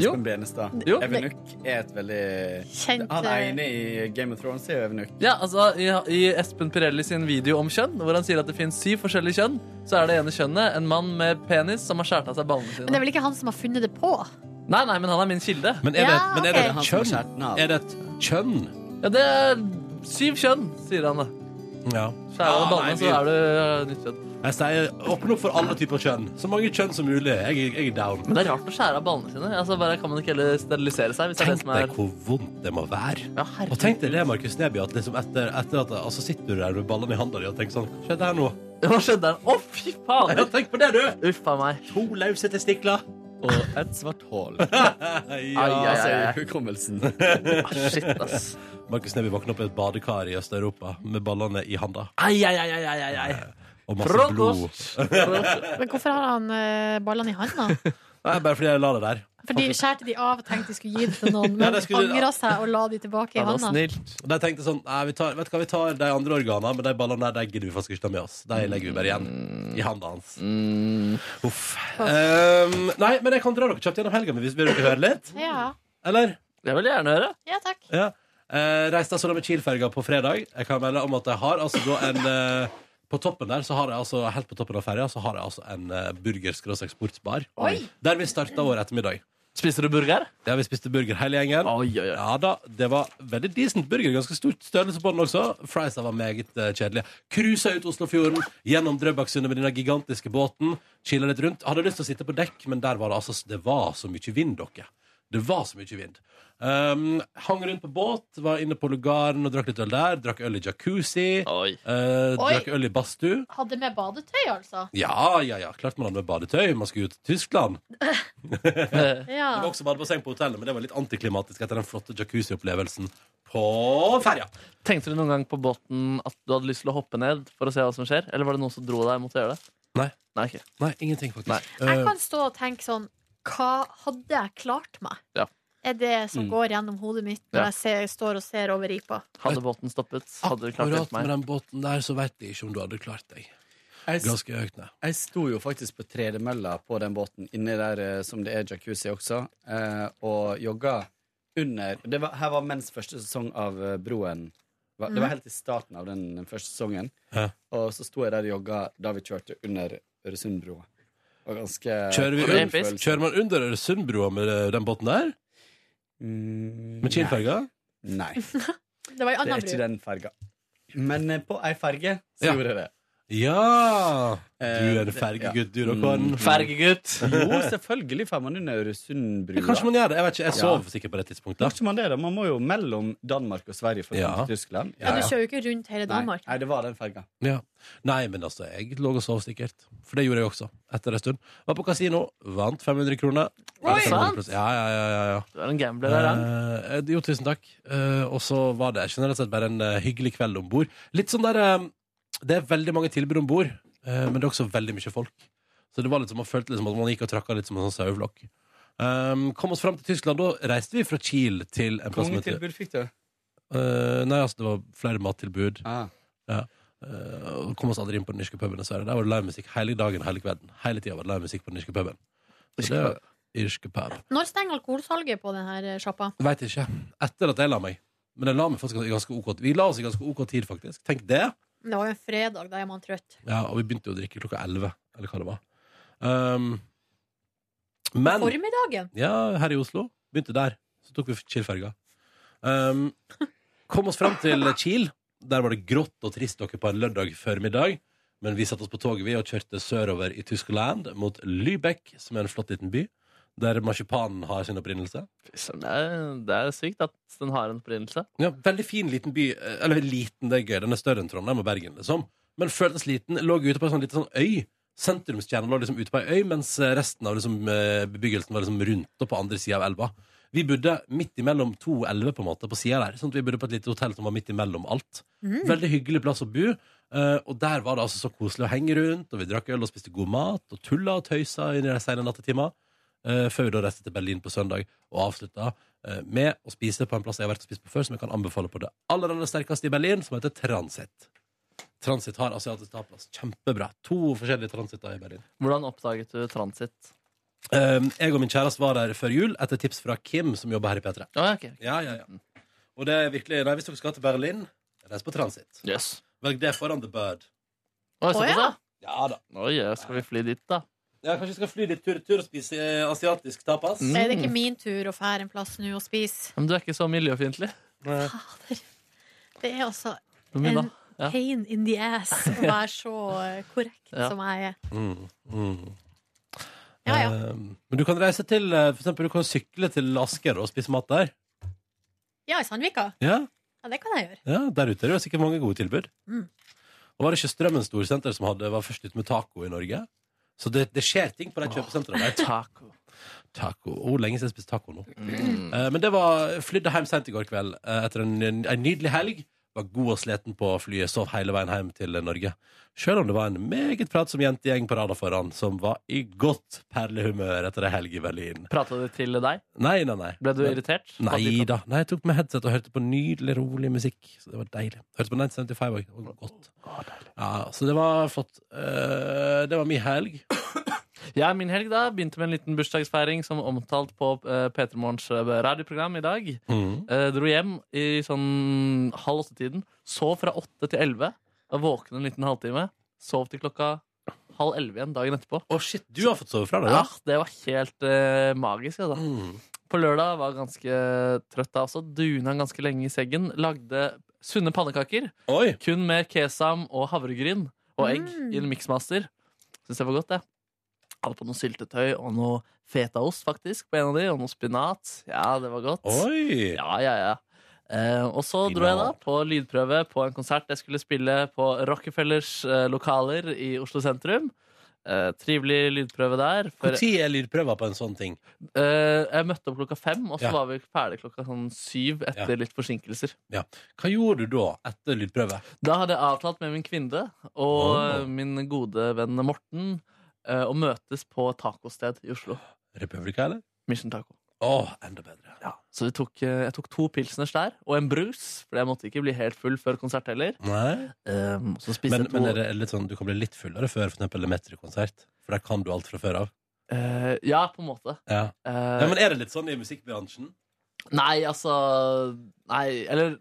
Speaker 3: Jo.
Speaker 5: Espen Benestad.
Speaker 3: Jo.
Speaker 5: Evenuk er et veldig
Speaker 2: Kjent
Speaker 5: Han
Speaker 2: eh,
Speaker 5: ene i Game of Thrones er jo Evenuk.
Speaker 3: Ja, altså i, I Espen Pirelli sin video om kjønn, hvor han sier at det finnes syv forskjellige kjønn, så er det ene kjønnet en mann med penis som har skåret av seg ballene
Speaker 2: Men det er
Speaker 3: sine.
Speaker 2: vel ikke han som har funnet det på?
Speaker 3: Nei, nei, men han er min kilde.
Speaker 1: Men er det,
Speaker 2: Ja,
Speaker 1: men er det
Speaker 2: ok.
Speaker 1: et
Speaker 5: Han som har skjært den
Speaker 1: kjønn?
Speaker 5: av.
Speaker 1: Er det et kjønn?
Speaker 3: Ja, det er syv kjønn, sier han da.
Speaker 1: Ja.
Speaker 3: Skjærer du
Speaker 1: Ah,
Speaker 3: av
Speaker 1: nei,
Speaker 3: ballene, så er du eh, nytt kjønn.
Speaker 1: Jeg sier åpne opp for alle typer kjønn. Så mange kjønn som mulig. Jeg, er- jeg er down.
Speaker 3: Men det er rart å skjære av ballene sine. Altså, bare Kan man ikke heller sterilisere seg? Hvis det er det
Speaker 1: Tenk
Speaker 3: som er
Speaker 1: deg hvor vondt det må være.
Speaker 3: Ja, herregud.
Speaker 1: Og tenk deg det, Markus Neby, at liksom etter, etter at altså sitter du der med ballene i handa di og tenker sånn Hva skjedde her nå?
Speaker 3: Hva skjedde der? Å, fy faen!
Speaker 1: Ja, tenk på det, du!
Speaker 3: Uff a meg.
Speaker 1: To løse testikler.
Speaker 5: Og et svart hull.
Speaker 1: Ja.
Speaker 3: Ai, ai,
Speaker 5: Altså
Speaker 3: ai,
Speaker 5: i
Speaker 3: ai.
Speaker 5: hukommelsen.
Speaker 3: Ah, Shit, ass.
Speaker 1: Markus Neby våkna opp i et badekar i Øst-Europa med ballene i handa.
Speaker 3: Ai, ai, ai, ai, ai, ai.
Speaker 1: Og masse blod.
Speaker 3: Frokost!
Speaker 2: Men hvorfor har han eh, ballene i handa?
Speaker 1: Nei, bare fordi jeg la det der.
Speaker 2: For de skjærte de av og tenkte de skulle gi det til noen,
Speaker 1: Ja,
Speaker 2: men
Speaker 1: det skulle de-
Speaker 2: angra seg og la de tilbake i
Speaker 3: Det var
Speaker 2: handa.
Speaker 3: snilt.
Speaker 1: Og De tenkte sånn Nei, vi tar, vet du hva, vi tar de andre organene, men de ballene der de gidder vi faktisk ikke ta med oss. De legger vi bare igjen i handa hans. Uff. Ehm, nei, men jeg kan dra dere kjapt gjennom helga, men hvis vil dere høre litt?
Speaker 2: Ja,
Speaker 1: Eller?
Speaker 3: Det vil jeg gjerne høre.
Speaker 2: ja takk.
Speaker 1: Ja. Eh, reiste altså da med Kiel-ferga på fredag. Jeg kan melde om at jeg har altså da en eh, På toppen der, så har jeg altså eh, helt på toppen av ferja, så har jeg altså en uh, burger-sportsbar.
Speaker 2: Oi.
Speaker 1: Der vi starta vår ettermiddag.
Speaker 3: Spiser du burger?
Speaker 1: Ja, vi spiste burger hele gjengen.
Speaker 3: Oi, oi, oi.
Speaker 1: Ja da, det var veldig decent burger. Ganske stor størrelse på den også. Friesa var meget eh, kjedelige. Cruisa ut Oslofjorden, gjennom Drøbaksundet med denne gigantiske båten. Chilla litt rundt. Hadde lyst til å sitte på dekk, men der var det altså Det var så mye vind, dere. Det var så mye vind. Um, hang rundt på båt, var inne på lugaren og drakk litt øl der. Drakk øl i jacuzzi.
Speaker 3: Oi.
Speaker 1: eh,
Speaker 2: Oi.
Speaker 1: drakk øl i badstue.
Speaker 2: Hadde med badetøy, altså.
Speaker 1: Ja, ja, ja. Klart man hadde med badetøy. Man skulle jo til Tyskland.
Speaker 3: Eh,
Speaker 2: Ja.
Speaker 1: Det var også badebasseng på hotellet, men det var litt antiklimatisk etter den flotte jacuzzi-opplevelsen på ferja.
Speaker 3: Tenkte du noen gang på båten at du hadde lyst til å hoppe ned for å se hva som skjer? Eller var det noen som dro deg mot å gjøre det?
Speaker 1: Nei.
Speaker 3: Nei, ikke.
Speaker 1: Nei, ingenting, faktisk.
Speaker 3: Nei.
Speaker 1: Eh,
Speaker 2: Jeg kan stå og tenke sånn Hva hadde jeg klart meg?
Speaker 3: Ja.
Speaker 2: Er det som går gjennom hodet mitt når
Speaker 3: Ja.
Speaker 2: jeg ser, står og ser over ripa?
Speaker 3: Hadde båten stoppet? Hadde du klart å
Speaker 1: Akkurat
Speaker 3: hjelpe
Speaker 1: med
Speaker 3: meg?
Speaker 1: den båten der, så veit jeg ikke om du hadde klart deg.
Speaker 5: Jeg, s-
Speaker 1: Ganske høyt ned.
Speaker 5: jeg sto jo faktisk på tredemølla på den båten inni der eh, som det er jacuzzi også, eh, og jogga under det var, Her var mens første sesong av eh, Broen. var- Det var helt i starten av den den første sesongen.
Speaker 1: Ja.
Speaker 5: Og så sto jeg der og jogga da vi kjørte under Øresundbroa. Det var ganske
Speaker 1: Kjører, vi
Speaker 3: det er
Speaker 1: under,
Speaker 3: episk.
Speaker 1: kjører man under Øresundbrua med eh, den båten der?
Speaker 5: Mm,
Speaker 1: Med Kiel-ferga?
Speaker 5: Nei.
Speaker 2: Det var i
Speaker 5: Det
Speaker 2: anna
Speaker 5: er ikke
Speaker 2: bru.
Speaker 5: den ferga. Men eh, på ei ferge så
Speaker 1: Ja.
Speaker 5: gjorde jeg det.
Speaker 1: Ja! Du er en
Speaker 5: Eh,
Speaker 1: fergegutt, du da,
Speaker 5: Mm.
Speaker 1: Kåren.
Speaker 3: Fergegutt!
Speaker 5: Jo, selvfølgelig får man under Øresundbrua.
Speaker 1: Ja, Kanskje man gjør det. Jeg vet ikke, jeg
Speaker 5: Ja.
Speaker 1: sov sikkert på det tidspunktet.
Speaker 5: Kanskje man det, da. Man må jo mellom Danmark og Sverige for å
Speaker 1: Ja.
Speaker 5: komme til Tyskland.
Speaker 2: Ja, du kjører jo ikke rundt hele
Speaker 5: Nei.
Speaker 2: Danmark.
Speaker 5: Nei, det var den ferga.
Speaker 1: Ja. Nei, men altså, jeg lå og sov sikkert. For det gjorde jeg også. Etter en stund. Var på kasino, vant 500 kroner.
Speaker 2: Oi,
Speaker 1: sant? Ja, ja, ja, ja, ja.
Speaker 3: Du er en gambler. Er han.
Speaker 1: Eh, jo, tusen takk. Eh, og så var det generelt sett bare en eh, hyggelig kveld om bord. Litt sånn der eh, Det er veldig mange tilbud om bord, eh, men det er også veldig mye folk. Så det var litt som man følte liksom, at man gikk og trakka litt som en sånn saueflokk. Eh, kom oss fram til Tyskland. Da reiste vi fra Kiel til en
Speaker 5: Hvor
Speaker 1: plass som
Speaker 5: mange
Speaker 1: heter
Speaker 5: tilbud fikk du?
Speaker 1: Eh, Nei, altså, det var flere mattilbud.
Speaker 5: Ah.
Speaker 1: Eh, og kom oss aldri inn på den norske puben, dessverre. Der var det livemusikk hele dagen, hele kvelden. Hele tida var det livemusikk på den norske puben. Så det er irske pub.
Speaker 2: Når stenger alkoholsalget på denne sjappa?
Speaker 1: Veit ikke. Etter at jeg la meg. Men jeg la meg faktisk i ganske ok Vi la oss i ganske ok tid, faktisk. Tenk det.
Speaker 2: Det var jo en fredag, da er man trøtt.
Speaker 1: Ja, og vi begynte jo å drikke klokka elleve, eller hva det var. Um, men
Speaker 2: Formiddagen?
Speaker 1: Ja, her i Oslo. Begynte der. Så tok vi Kiel-ferga. Um, kom oss fram til Kiel. Der var det grått og trist dere på en lørdag formiddag. Men vi satte oss på toget vi og kjørte sørover i Tyskland, mot Lübeck, som er en flott liten by. Der marsipanen har sin opprinnelse.
Speaker 3: Fy søren, Det, er- det er sykt at den har en opprinnelse.
Speaker 1: Ja, veldig fin liten by. eh, Eller liten, det er gøy. Den er større enn Trondheim og Bergen, liksom. Men føltes liten. Lå ute på en sånn liten sånn øy. Sentrumskjernen lå liksom ute på ei øy, mens eh, resten av liksom, eh, bebyggelsen var liksom rundt og på andre sida av elva. Vi bodde midt imellom to elver, på en måte, på sida der. Sånn at vi bodde på et lite hotell som var midt imellom alt. Veldig hyggelig plass å bo. eh, og der var det altså så koselig å henge rundt, og vi drakk øl og spiste god mat, og tulla og tøysa inn i de sene nattetimene. eh, før vi da reiste til Berlin på søndag og avslutta eh, med å spise på en plass jeg har vært og spist på før, som jeg kan anbefale på det aller aller sterkeste i Berlin, som heter Transit. Transit har asiatisk tapas. Kjempebra. To forskjellige transiter i Berlin.
Speaker 3: Hvordan oppdaget du transit?
Speaker 1: Um, jeg og min kjæreste var der før jul etter tips fra Kim, som jobber her i P3.
Speaker 3: Å, ja, ok.
Speaker 1: Ja, ja, ja. Og det er virkelig, nei, Hvis dere skal til Berlin, reis på Transit.
Speaker 3: Yes.
Speaker 1: Velg det foran The Bird.
Speaker 3: Oi,
Speaker 2: Å,
Speaker 3: såpass,
Speaker 2: ja.
Speaker 3: da?
Speaker 1: Ja da.
Speaker 3: Oi, ja, skal vi fly dit, da?
Speaker 1: Ja, kanskje vi skal fly litt tur-retur og spise eh, asiatisk tapas?
Speaker 3: Mm.
Speaker 2: Er det ikke min tur å fære en plass nå og spise?
Speaker 3: Men du er ikke så miljøfiendtlig.
Speaker 2: Fader. Det er altså
Speaker 3: Men
Speaker 2: en
Speaker 3: Mina, Ja.
Speaker 2: pain in the ass å være så eh, korrekt
Speaker 3: Ja.
Speaker 2: som jeg er.
Speaker 1: Mm, mm.
Speaker 2: Ja, ja.
Speaker 1: Um, men du kan reise til eh, for eksempel, du kan sykle til Asker og spise mat der.
Speaker 2: Ja, i Sandvika.
Speaker 1: Ja,
Speaker 2: Ja, det kan jeg gjøre.
Speaker 1: ja Der ute er det jo sikkert mange gode tilbud.
Speaker 2: Mm.
Speaker 1: Og var det ikke Strømmen Storsenter som hadde, var først ute med taco i Norge? Så det, det skjer ting på de kjøpesentrene der.
Speaker 3: Taco.
Speaker 1: Taco. Oh, lenge siden jeg spiste taco nå.
Speaker 3: Mm.
Speaker 1: Eh, men det var flydde hjem sent i går kveld eh, etter en, en nydelig helg. Var god og sliten på flyet, sov hele veien hjem til eh, Norge. Selv om det var en meget pratsom jentegjeng på rada foran, som var i godt perlehumør etter ei helg i Berlin.
Speaker 3: Prata de til deg?
Speaker 1: Nei, nei, nei.
Speaker 3: Ble du
Speaker 1: Men-
Speaker 3: irritert?
Speaker 1: Nei da. Nei, jeg tok med headset og hørte på nydelig, rolig musikk. Så det var deilig. Hørte på 1975 òg. Det var godt. Ja, så det var flott. Eh, det var min helg.
Speaker 3: Ja, min helg da begynte med en liten bursdagsfeiring som omtalt på uh, P3 Morgens eh, radioprogram i dag.
Speaker 1: Mm.
Speaker 3: Eh, dro hjem i sånn halv åtte-tiden. Sov fra åtte til elleve. Var våken en liten halvtime. Sov til klokka halv elleve igjen dagen etterpå.
Speaker 1: Å, shit, du har fått sove fra deg,
Speaker 3: Ja,
Speaker 1: da?
Speaker 3: det var helt eh, magisk. Altså.
Speaker 1: Mm.
Speaker 3: På lørdag var jeg ganske trøtt da også. Duna ganske lenge i seggen. Lagde sunne pannekaker,
Speaker 1: Oi!
Speaker 3: kun med kesam og havregryn og egg
Speaker 2: Mm.
Speaker 3: i en miksmaster. Syns det var godt, det. Hadde på noe syltetøy og noe fetaost, faktisk, på en av de, og noe spinat. Ja, det var godt.
Speaker 1: Oi!
Speaker 3: Ja, ja, ja. Eh, og så dro jeg da på lydprøve på en konsert jeg skulle spille på Rockefellers eh, lokaler i Oslo sentrum. Eh, trivelig lydprøve der. For,
Speaker 1: Når er lydprøver på en sånn ting?
Speaker 3: eh, jeg møtte opp klokka fem, og så
Speaker 1: Ja.
Speaker 3: var vi ferdig klokka sånn syv etter litt forsinkelser.
Speaker 1: Ja. Hva gjorde du da, etter lydprøve?
Speaker 3: Da hadde jeg avtalt med min kvinne og
Speaker 1: Åh.
Speaker 3: min gode venn Morten eh, å møtes på tacosted i Oslo.
Speaker 1: Republika, eller?
Speaker 3: Mission Taco.
Speaker 1: Å, enda bedre.
Speaker 3: Så vi tok, eh, jeg tok to pilsners der, og en brus, for jeg måtte ikke bli helt full før konsert heller.
Speaker 1: Nei.
Speaker 3: Eh, så spiste
Speaker 1: Men,
Speaker 3: jeg to
Speaker 1: men er det litt sånn, du kan bli litt fullere før for eksempel Metro-konsert? For der kan du alt fra før av.
Speaker 3: Eh, ja, på en måte.
Speaker 1: Ja.
Speaker 3: Eh,
Speaker 1: ja, Men er det litt sånn i musikkbransjen?
Speaker 3: Nei, altså Nei, eller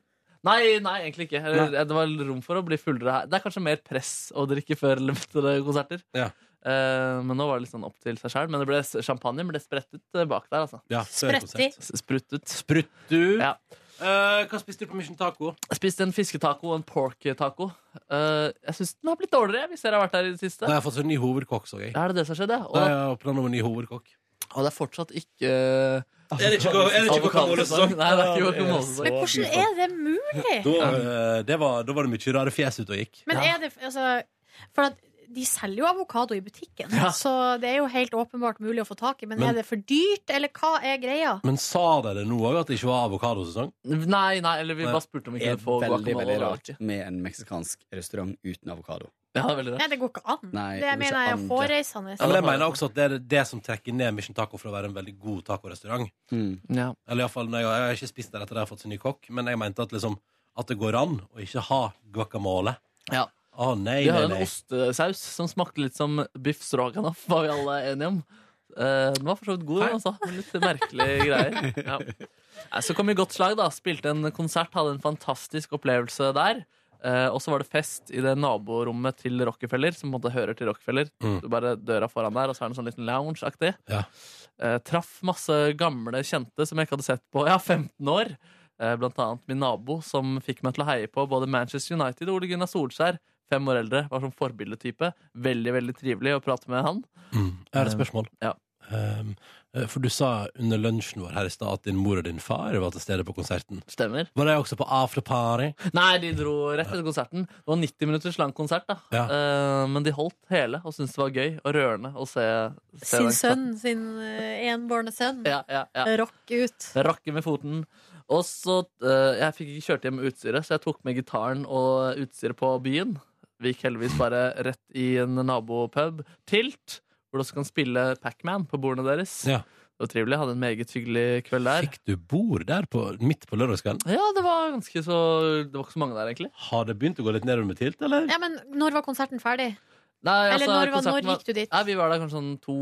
Speaker 3: Nei, nei, egentlig ikke. Eller, eh, Det var rom for å bli fullere her. Det er kanskje mer press å drikke før eller etter konserter.
Speaker 1: Ja.
Speaker 3: Eh, men nå var det litt sånn opp til seg sjøl. Men det ble s- champagne ble sprettet eh, bak der, altså.
Speaker 1: Ja, før
Speaker 2: Spretti.
Speaker 1: konsert.
Speaker 3: S- Spruttet.
Speaker 1: Sprutt du.
Speaker 3: Ja.
Speaker 1: Eh, hva spiste du på Mission Taco?
Speaker 3: Jeg spiste en fisketaco og en pork-taco. Eh, jeg syns den har blitt dårligere hvis dere har vært her i det siste.
Speaker 1: Nei, jeg har fått sånn ny hovedkokk, så jeg.
Speaker 3: Er det det som har skjedd, ja? Og,
Speaker 1: Nei, jeg har planer om en ny hovedkokk.
Speaker 3: og det er fortsatt ikke eh,
Speaker 1: Er det ikke, er det ikke guacamole-sesong?
Speaker 3: Nei, det er ikke guacamole-sesong.
Speaker 2: Men hvordan er det mulig?
Speaker 1: Da, eh, det var, da var det mye rare fjes ute og gikk.
Speaker 2: Men er det altså, For at de selger jo avokado i butikken,
Speaker 3: Ja.
Speaker 2: så det er jo helt åpenbart mulig å få tak i. Men,
Speaker 1: Men-
Speaker 2: er det for dyrt, eller hva er greia?
Speaker 1: Men sa de det nå òg, at det ikke var avokadosesong?
Speaker 3: Nei, nei, eller vi
Speaker 1: Nei.
Speaker 3: bare spurte om vi
Speaker 5: Det er
Speaker 3: kunne få
Speaker 5: veldig,
Speaker 3: guacamole.
Speaker 5: veldig
Speaker 3: da.
Speaker 5: rart med en meksikansk restaurant uten avokado.
Speaker 3: Ja, det er veldig rart.
Speaker 2: Nei, det går ikke an.
Speaker 5: Nei,
Speaker 2: det
Speaker 5: det går
Speaker 2: mener
Speaker 5: ikke
Speaker 2: jeg er
Speaker 5: an, det.
Speaker 2: hårreisende.
Speaker 1: Ja, men jeg mener også at det er det som trekker ned Mission Taco fra å være en veldig god tacorestaurant.
Speaker 3: Ja.
Speaker 1: Eller i alle fall, når jeg, jeg har ikke spist der etter at jeg har fått sin ny kokk, men jeg mente at, liksom, at det går an å ikke ha guacamole.
Speaker 3: Ja.
Speaker 1: Å nei,
Speaker 3: Vi
Speaker 1: nei,
Speaker 3: har en
Speaker 1: nei.
Speaker 3: ostesaus som smakte litt som biff stroganoff, var vi alle enige om. Eh, den var for så vidt god, den altså. men Litt merkelige greier. Ja. Nei, Så kom vi i godt slag, da. Spilte en konsert, hadde en fantastisk opplevelse der. Eh, og så var det fest i det naborommet til Rockefeller, som på en måte hører til Rockefeller.
Speaker 1: Mm.
Speaker 3: Du bare døra foran der, og så er det en sånn liten lounge-aktig.
Speaker 1: Ja.
Speaker 3: Eh, traff masse gamle kjente som jeg ikke hadde sett på ja, 15 år. Eh, blant annet min nabo, som fikk meg til å heie på både Manchester United og Ole Gunnar Solskjær. Fem år eldre, var sånn forbildetype. Veldig veldig trivelig å prate med han.
Speaker 1: Mm. Jeg har et spørsmål.
Speaker 3: Ja.
Speaker 1: Um, eh, for du sa under lunsjen vår her i stad at din mor og din far var til stede på konserten.
Speaker 3: Stemmer.
Speaker 1: Var de også på afterparty?
Speaker 3: Nei, de dro rett etter konserten. Det var 90 minutters lang konsert, da.
Speaker 1: Ja.
Speaker 3: Eh, men de holdt hele og syntes det var gøy og rørende å se,
Speaker 2: Sin
Speaker 3: se den konserten.
Speaker 2: sønn, sin eh, enbårne sønn.
Speaker 3: Ja, ja, ja.
Speaker 2: Rock ut.
Speaker 3: Rakke med foten. Og så eh, Jeg fikk ikke kjørt hjem med utstyret, så jeg tok med gitaren og utstyret på byen. Vi gikk heldigvis bare rett i en nabopub. Tilt, hvor du også kan spille Pac-Man på bordene deres.
Speaker 1: Ja.
Speaker 3: Det var trivelig. Hadde en meget hyggelig kveld der.
Speaker 1: Fikk du bord der på, midt på lørdagskvelden?
Speaker 3: Ja, det var ganske så Det var ikke så mange der, egentlig.
Speaker 1: Har det begynt å gå litt nedover med tilt, eller?
Speaker 2: Ja, men når var konserten ferdig?
Speaker 3: Nei,
Speaker 2: Eller når, var-
Speaker 3: altså, konserten
Speaker 2: når gikk du dit?
Speaker 3: Nei, Vi var der kanskje sånn to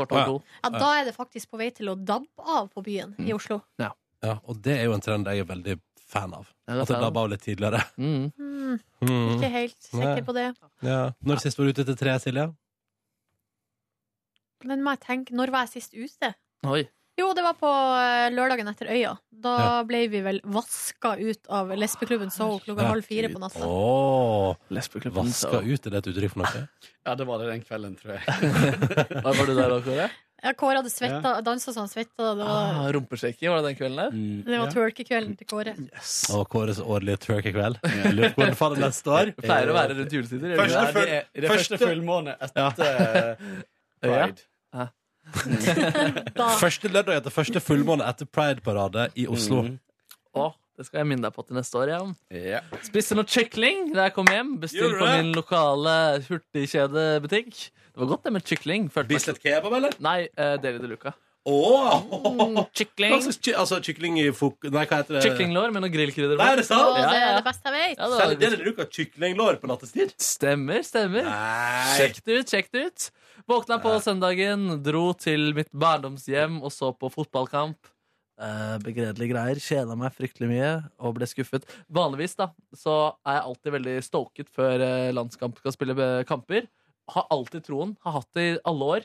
Speaker 3: Kort
Speaker 1: Å, ja.
Speaker 3: over to.
Speaker 2: Ja, da er det faktisk på vei til å dabbe av på byen i Oslo.
Speaker 1: Ja, og det er jo en trend jeg er veldig fan av.
Speaker 3: Ja, det er
Speaker 1: At det
Speaker 3: fan.
Speaker 1: dabba av litt tidligere.
Speaker 3: Mm.
Speaker 2: Hmm,
Speaker 1: Mm.
Speaker 2: ikke helt
Speaker 1: Nei.
Speaker 2: sikker på det.
Speaker 1: Ja. Når sist var du ute til tre, Silje?
Speaker 2: Men må jeg tenke, når var jeg sist ute?
Speaker 3: Oi.
Speaker 2: Jo, det var på eh, lørdagen etter Øya. Da ble vi vel vaska ut av lesbeklubben Soul klokka
Speaker 1: Ja.
Speaker 2: halv fire på natta.
Speaker 1: Åh,
Speaker 3: Lesbeklubben.
Speaker 1: vaska ut, er det et uttrykk for noe?
Speaker 5: Ja, det var det den kvelden, tror jeg.
Speaker 3: Var du der da, Kåre?
Speaker 2: Ja, Kåre hadde svetta, dansa så han svetta. Det var,
Speaker 3: Ah, Rumpesjekker, var det den kvelden der?
Speaker 2: det var tølkekvelden til Kåre.
Speaker 1: Og Kåres årlige twerk-kveld. Lurer på hvordan faller neste år?
Speaker 3: Det Pleier å være rundt juletider. gjør det ikke det?
Speaker 5: Ja, det er, det er første fullmåne etter eh, pride.
Speaker 2: Da,
Speaker 1: Første lørdag etter første fullmåne etter Pride-parade i Oslo.
Speaker 3: Mm. Å, det skal jeg minne deg på til neste år. Ja.
Speaker 5: Ja.
Speaker 3: Spiste noe kykling da jeg kom hjem. Bestilt
Speaker 1: Gjorde
Speaker 3: på
Speaker 1: du det?
Speaker 3: min lokale hurtigkjedebutikk. Det var godt det med kykling. Følte meg-
Speaker 1: Bislett kebab, eller?
Speaker 3: Nei, uh, Deli de Luca.
Speaker 1: Åh! Hva
Speaker 3: Kykling.
Speaker 1: slags ky- Altså kykling i fok... Nei, hva heter det?
Speaker 3: Mm. Kyklinglår med noe grillkrydder
Speaker 1: Nei,
Speaker 3: på.
Speaker 1: er det
Speaker 2: og
Speaker 1: sant?
Speaker 3: Ja,
Speaker 2: det
Speaker 3: ja,
Speaker 2: er
Speaker 3: ja.
Speaker 2: det beste jeg vet.
Speaker 3: Ja,
Speaker 1: Selv
Speaker 3: det
Speaker 1: dere bruker kyklinglår på nattestid?
Speaker 3: var- Stemmer, stemmer.
Speaker 1: Nei!
Speaker 3: Sjekk det ut, sjekk det ut. Våkna på søndagen, dro til mitt barndomshjem og så på fotballkamp. Eh, begredelige greier. Kjeda meg fryktelig mye og ble skuffet. Vanligvis da, så er jeg alltid veldig stoket før eh, landskamp skal spille eh, kamper. har alltid troen, har hatt det i alle år.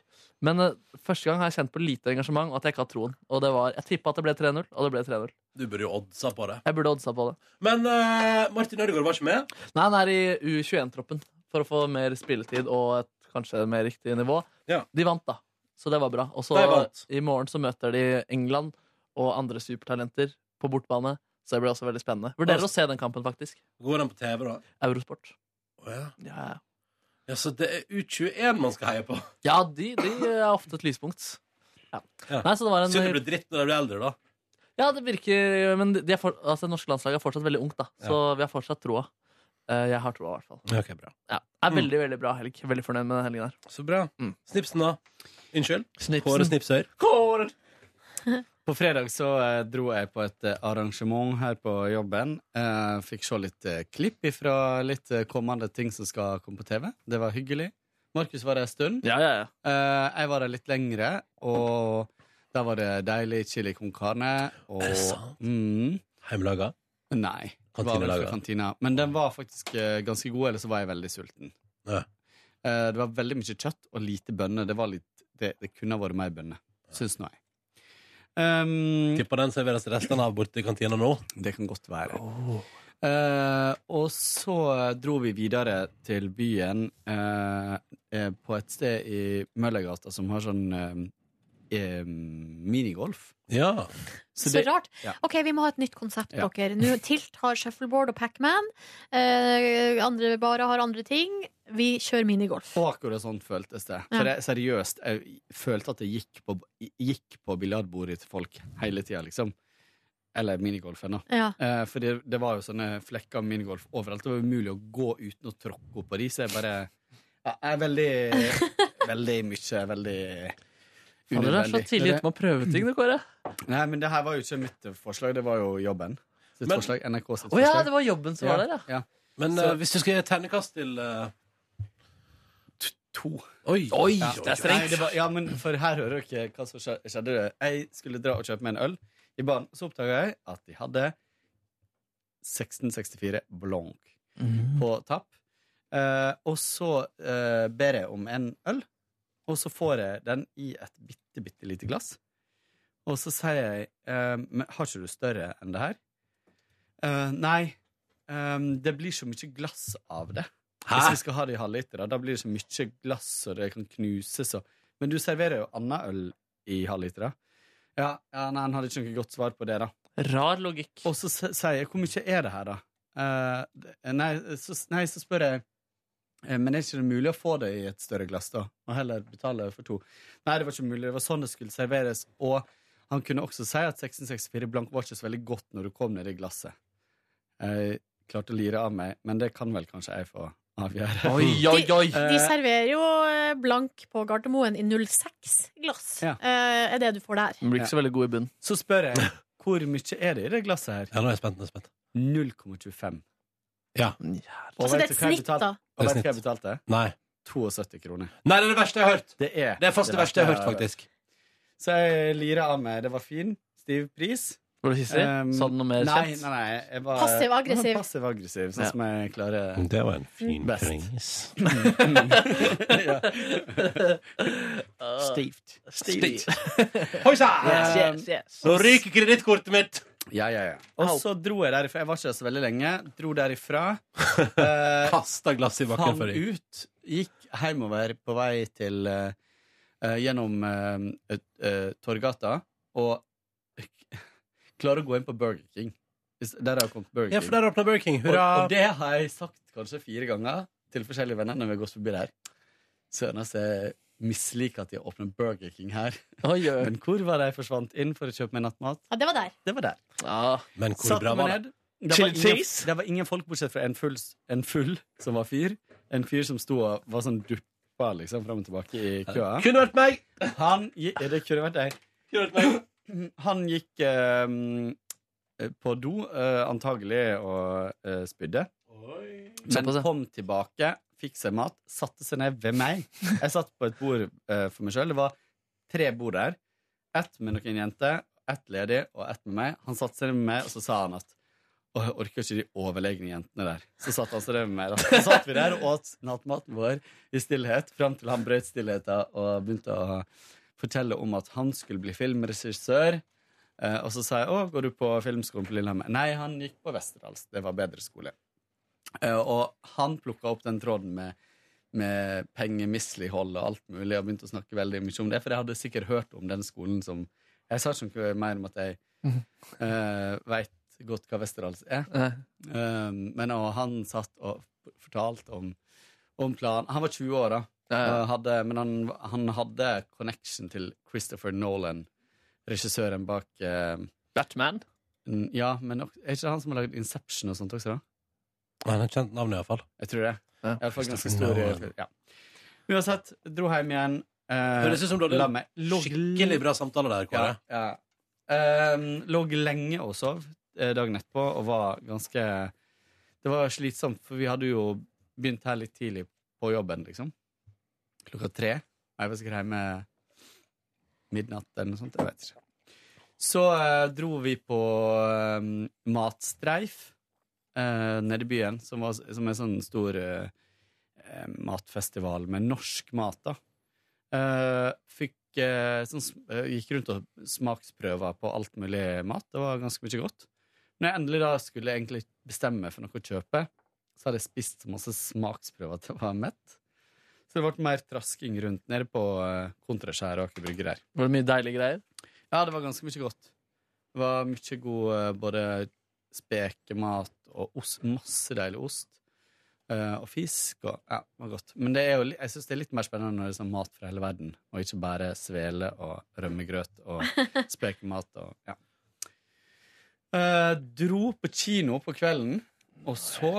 Speaker 3: Men eh, første gang har jeg kjent på lite engasjement og at jeg ikke har troen. Og det var, Jeg tippa at det ble 3-0, og det ble 3-0.
Speaker 1: Du burde jo oddsa på det.
Speaker 3: Jeg burde oddsa på det.
Speaker 1: Men eh, Martin Ødegaard var ikke med.
Speaker 3: Nei, han er i U21-troppen for å få mer spilletid og et kanskje mer riktig nivå.
Speaker 1: Ja.
Speaker 3: De vant, da. Så det var bra. Og så
Speaker 1: De vant.
Speaker 3: i morgen så møter de England og andre supertalenter på bortbane. Så det blir også veldig spennende. Vurderer å se den kampen, faktisk.
Speaker 1: Går han på TV, da?
Speaker 3: Eurosport.
Speaker 1: Å, ja.
Speaker 3: Ja, ja.
Speaker 1: ja, så det er U21 man skal heie på.
Speaker 3: ja de, de er ofte et lyspunkt. Ja.
Speaker 1: Ja.
Speaker 3: Nei, så det var
Speaker 1: Synd det
Speaker 3: en
Speaker 1: blir dritt når de blir eldre, da.
Speaker 3: Ja, det virker Men de er for, altså, det norske landslaget er fortsatt veldig ungt, da. Så vi har fortsatt troa. Eh, Jeg har troa, i hvert fall.
Speaker 1: Ja, ok, bra.
Speaker 3: Ja. Det er
Speaker 1: Mm.
Speaker 3: veldig, veldig bra helg. Veldig fornøyd med den helgen her.
Speaker 1: Så bra.
Speaker 3: Mm.
Speaker 1: Snipsen, da? Unnskyld? Kåre
Speaker 3: Snipsen.
Speaker 1: Snipsøyr.
Speaker 3: Kåre!
Speaker 5: På fredag så eh, dro jeg på et eh, arrangement her på jobben. Eh, fikk se litt eh, klipp ifra litt eh, kommende ting som skal komme på TV. Det var hyggelig. Markus var der en stund.
Speaker 3: Ja, ja, ja.
Speaker 5: Eh, jeg var der litt lengre, og da var det deilig chili con carne. Og,
Speaker 1: Er det sant?
Speaker 5: Mm,
Speaker 1: Heimelaga.
Speaker 5: nei. Det var vel
Speaker 1: Kantinelaget.
Speaker 5: fra kantina. Men den var faktisk eh, ganske god, eller så var jeg veldig sulten.
Speaker 1: Ja.
Speaker 5: Eh, det var veldig mye kjøtt og lite bønner. Det, var litt, det, det kunne ha vært mer bønner, syns nå jeg. Um,
Speaker 1: Mm. Tipper den serveres restene av borte i kantina nå.
Speaker 5: det kan godt være. Eh, og så dro vi videre til byen eh, eh, på et sted i Møllergata som har sånn eh, eh, minigolf.
Speaker 1: Ja.
Speaker 2: Så,
Speaker 5: det-
Speaker 2: rart.
Speaker 5: ja.
Speaker 2: OK, vi må ha et nytt konsept,
Speaker 5: Ja.
Speaker 2: dere. Nå Tilt har shuffleboard og Pacman. Eh, andre barer har andre ting. Vi kjører minigolf.
Speaker 5: Og akkurat sånn føltes det. For jeg, seriøst, jeg følte at jeg gikk på, gikk på biljardbordet til folk hele tida, liksom. Eller minigolfen, da.
Speaker 2: Ja.
Speaker 5: Eh, for det, det var jo sånne flekker av minigolf overalt. Det var umulig å gå uten å tråkke opp på de, så jeg bare ja, Jeg er veldig Veldig mye, veldig
Speaker 3: Fader, du er så tidlig ute med å prøve ting, du, Kåre.
Speaker 5: Nei, men det her var jo ikke mitt forslag, det var jo jobben. Sitt
Speaker 1: Men-
Speaker 5: forslag, NRK sitt
Speaker 3: Å ja,
Speaker 5: forslag.
Speaker 3: det var jobben som var der, ja.
Speaker 5: ja.
Speaker 1: Men
Speaker 5: Så-
Speaker 1: eh, hvis du skal gi et ternekast til eh,
Speaker 5: To.
Speaker 1: Oi! Oi,
Speaker 5: Ja.
Speaker 1: oi, oi.
Speaker 5: Nei, det var, ja, men for her hører dere hva som skje- skjedde. Jeg skulle dra og kjøpe meg en øl i baren. Så oppdaga jeg at de hadde 1664 Blanc
Speaker 3: Mm.
Speaker 5: på tapp. Eh, og så eh, ber jeg om en øl, og så får jeg den i et bitte, bitte lite glass. Og så sier jeg eh, Men har ikke du større enn det her? Eh, nei. ehm, det blir så mye glass av det. Hvis vi skal ha det i halvliter, da, da blir det så mye glass, og det kan knuses og Men du serverer jo annet øl i halvliter, da. Ja, ja, nei, han hadde ikke noe godt svar på det, da.
Speaker 3: Rar logikk.
Speaker 5: Og så s- sier jeg 'Hvor mye er det her, da?' Eh, det- nei, så, nei, så spør jeg eh, men er ikke det mulig å få det i et større glass, da? Og heller betale for to? Nei, det var ikke mulig. Det var sånn det skulle serveres. Og han kunne også si at 1664 blank var ikke så veldig godt når du kom ned i glasset. Jeg klarte å lire av meg, men det kan vel kanskje jeg få avgjøre.
Speaker 3: Oi, oi, oi!
Speaker 2: De serverer jo eh, blank på Gardermoen i 06-glass.
Speaker 5: Ja.
Speaker 2: Eh, er det du får der.
Speaker 3: Den blir ikke så veldig god i bunnen.
Speaker 5: Så spør jeg hvor mye er det i det glasset her?
Speaker 1: Ja, nå er jeg spent. Nå er jeg spent.
Speaker 5: 0,25.
Speaker 3: Mm,
Speaker 2: Altså, det er
Speaker 5: Og vet du
Speaker 2: et
Speaker 5: hva jeg
Speaker 2: snitt, da.
Speaker 5: betalte? Og vet du hva jeg betalte?
Speaker 1: Nei.
Speaker 5: 72 kroner.
Speaker 1: Nei, det er det verste jeg har hørt!
Speaker 5: Det er
Speaker 1: Det er fast det verste jeg har hørt, faktisk.
Speaker 5: Så jeg lirer av meg. Det var fin, stiv pris.
Speaker 3: Var du hissig?
Speaker 5: Um,
Speaker 3: Sa du noe
Speaker 1: Eh,
Speaker 3: mer
Speaker 5: nei,
Speaker 3: kjent?
Speaker 5: nei, nei. Jeg var,
Speaker 2: Passiv-aggressiv.
Speaker 5: jeg var Passiv-aggressiv, sånn
Speaker 3: Ja.
Speaker 5: som jeg klarer
Speaker 1: Det var en fin
Speaker 5: Mm. Best.
Speaker 1: pris.
Speaker 5: ja. Stivt.
Speaker 3: Ah. Stivt.
Speaker 1: Hoi sann!
Speaker 5: Yes,
Speaker 1: Nå ryker kredittkortet mitt!
Speaker 5: Eh, Ja, ja, ja. Og så dro jeg derifra. Jeg var ikke der så veldig lenge. Dro derifra. Eh,
Speaker 1: Kasta glasset i bakken
Speaker 5: Fant
Speaker 1: for deg.
Speaker 5: ut, gikk hjemover på vei til eh, eh, Gjennom eh, eh, Torgata og klarer å gå inn på Burger King. Hvis- Der har jeg kommet Burger King.
Speaker 1: Ja, for der åpna Burger King.
Speaker 5: og,
Speaker 1: Hurra!
Speaker 5: og det har jeg sagt kanskje fire ganger til forskjellige venner når vi har gått forbi der. Søren, altså, jeg misliker at de har åpnet Burger King her.
Speaker 3: Oi, oi.
Speaker 5: Men hvor var det jeg forsvant inn for å kjøpe meg nattmat?
Speaker 2: Ja, det var der.
Speaker 5: Det var der.
Speaker 3: Ah,
Speaker 1: Men hvor
Speaker 5: Satte
Speaker 1: bra
Speaker 5: meg
Speaker 1: var det?
Speaker 5: ned. Det var,
Speaker 3: Chili
Speaker 5: ingen,
Speaker 3: cheese?
Speaker 5: det var ingen folk bortsett fra en full, en full som var fyr. En fyr som sto og var sånn duppa liksom, fram og tilbake i køa.
Speaker 1: Kunne vært meg!
Speaker 5: Han, gi- ja, det kunne vært deg.
Speaker 1: Kunne vært meg.
Speaker 5: Han gikk eh, på do, eh, antagelig, og eh, spydde. Men
Speaker 3: Såpass, ja.
Speaker 5: kom tilbake, fikk seg mat, satte seg ned ved meg. Jeg satt på et bord eh, for meg sjøl. Det var tre bord der. Ett med noen jenter, ett ledig og ett med meg. Han satte seg ned med meg, og så sa han at Og jeg orker ikke de overlegne jentene der. Så satt han strevet med meg. da. Så satt vi der og åt nattmaten vår i stillhet, fram til han brøt stillheten og begynte å fortelle om at han skulle bli filmregissør. Eh, og så sa jeg å, går du på filmskolen på Lillehammer? Nei, han gikk på Westerdals. Det var bedre skole. Eh, og han plukka opp den tråden med, med pengemislighold og alt mulig, og begynte å snakke veldig mye om det, for jeg hadde sikkert hørt om den skolen som Jeg sa ikke noe mer om at jeg
Speaker 3: Mhm.
Speaker 5: uh, veit godt hva Westerdals er.
Speaker 3: Nei.
Speaker 5: Eh, men og han satt og fortalte om, om planen. Han var 20 år, da.
Speaker 3: Ja, ja.
Speaker 5: Og Hadde, men han, han hadde connection til Christopher Nolan, regissøren bak eh,
Speaker 3: Batman?
Speaker 5: n- Ja, men ok- er ikke det han som har lagd Inception og sånt også, da?
Speaker 1: Han har kjent navnet, iallfall.
Speaker 5: Jeg tror det.
Speaker 3: Ja,
Speaker 5: I hvert fall ganske
Speaker 1: Christopher
Speaker 5: stor
Speaker 1: Nolan.
Speaker 5: ja. Uansett, dro hjem igjen. eh,
Speaker 1: Høres ut som du
Speaker 5: la
Speaker 1: hadde
Speaker 5: meg
Speaker 1: en skikkelig bra samtale der, Kåre.
Speaker 5: Ja, ja. Ehm, lå lenge og sov eh, dagen etterpå og var ganske Det var slitsomt, for vi hadde jo begynt her litt tidlig på jobben, liksom. Klokka tre. Og jeg var sikkert hjemme midnatt eller noe sånt. Jeg vet ikke. Så eh, dro vi på eh, matstreif eh, nede i byen, som, var, som er en sånn stor eh, eh, matfestival med norsk mat, da. Eh, fikk, eh, sånn, sm- eh, gikk rundt og smaksprøva på alt mulig mat. Det var ganske mye godt. Når jeg endelig da skulle egentlig bestemme meg for noe å kjøpe, så hadde jeg spist så masse smaksprøver at jeg var mett. Så det ble mer trasking rundt nede på eh, Kontraskjæret og Aker Brygge der.
Speaker 3: Var det mye deilige greier?
Speaker 5: Ja, det var ganske mye godt. Det var mye god eh, både spekemat og ost. Masse deilig ost. Eh, og fisk og Ja, det var godt. Men det er jo, li- jeg syns det er litt mer spennende når det er sånn mat fra hele verden, og ikke bare svele og rømmegrøt og spekemat og Ja. Eh, dro på kino på kvelden og så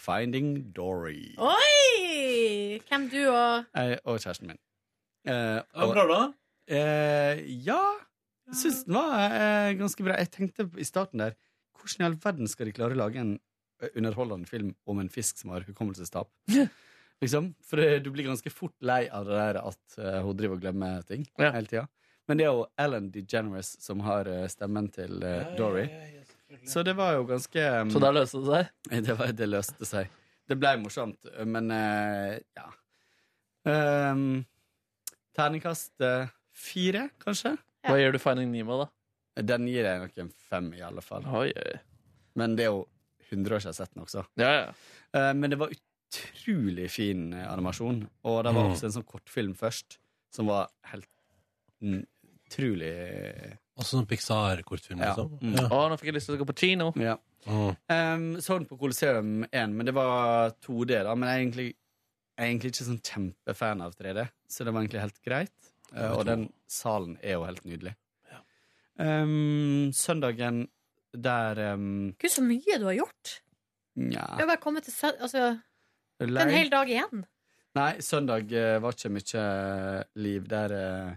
Speaker 5: Finding Dory.
Speaker 2: Oi! Hvem du og
Speaker 5: Jeg og kjæresten min. Eh,
Speaker 1: Det var bra, da.
Speaker 5: Eh, ja, jeg syns den var eh, ganske bra. Jeg tenkte i starten der Hvordan i all verden skal de klare å lage en eh, underholdende film om en fisk som har hukommelsestap? liksom, For eh, du blir ganske fort lei av det der at eh, hun driver og glemmer ting
Speaker 3: Ja.
Speaker 5: hele tida. Men det er jo Ellen DeGeneres som har eh, stemmen til eh, Dory. Så det var jo ganske um,
Speaker 3: Så der løste det seg?
Speaker 5: det, var, det løste seg. Det ble morsomt, men eh, ja. Um, terningkast eh, fire, kanskje?
Speaker 3: Hva gjør du Finding Nemo, da?
Speaker 5: Den gir jeg nok en fem, i alle fall.
Speaker 3: Oi, oi.
Speaker 5: Men det er jo 100 år siden jeg har sett den også.
Speaker 3: Ja, ja.
Speaker 5: Eh, men det var utrolig fin eh, animasjon. Og det var også en sånn kortfilm først, som var helt mm, utrolig
Speaker 1: Også sånn Pixar-kortfilm,
Speaker 5: Ja.
Speaker 1: liksom.
Speaker 5: Mm.
Speaker 1: Ja.
Speaker 3: Å, nå fikk jeg lyst til å gå på kino.
Speaker 5: Ja.
Speaker 1: Mm.
Speaker 5: Um, så den på Colosseum 1, men det var 2D, da. Men jeg er egentlig, jeg er egentlig ikke sånn kjempefan av 3D, så det var egentlig helt greit. Uh, og den salen er jo helt nydelig. Um, søndagen der um,
Speaker 2: Gud, så mye du har gjort!
Speaker 5: Nja
Speaker 2: Du har bare kommet til sø- altså, Det er en
Speaker 5: lei.
Speaker 2: hel dag igjen.
Speaker 5: Nei, søndag eh, var ikke mye liv der. eh,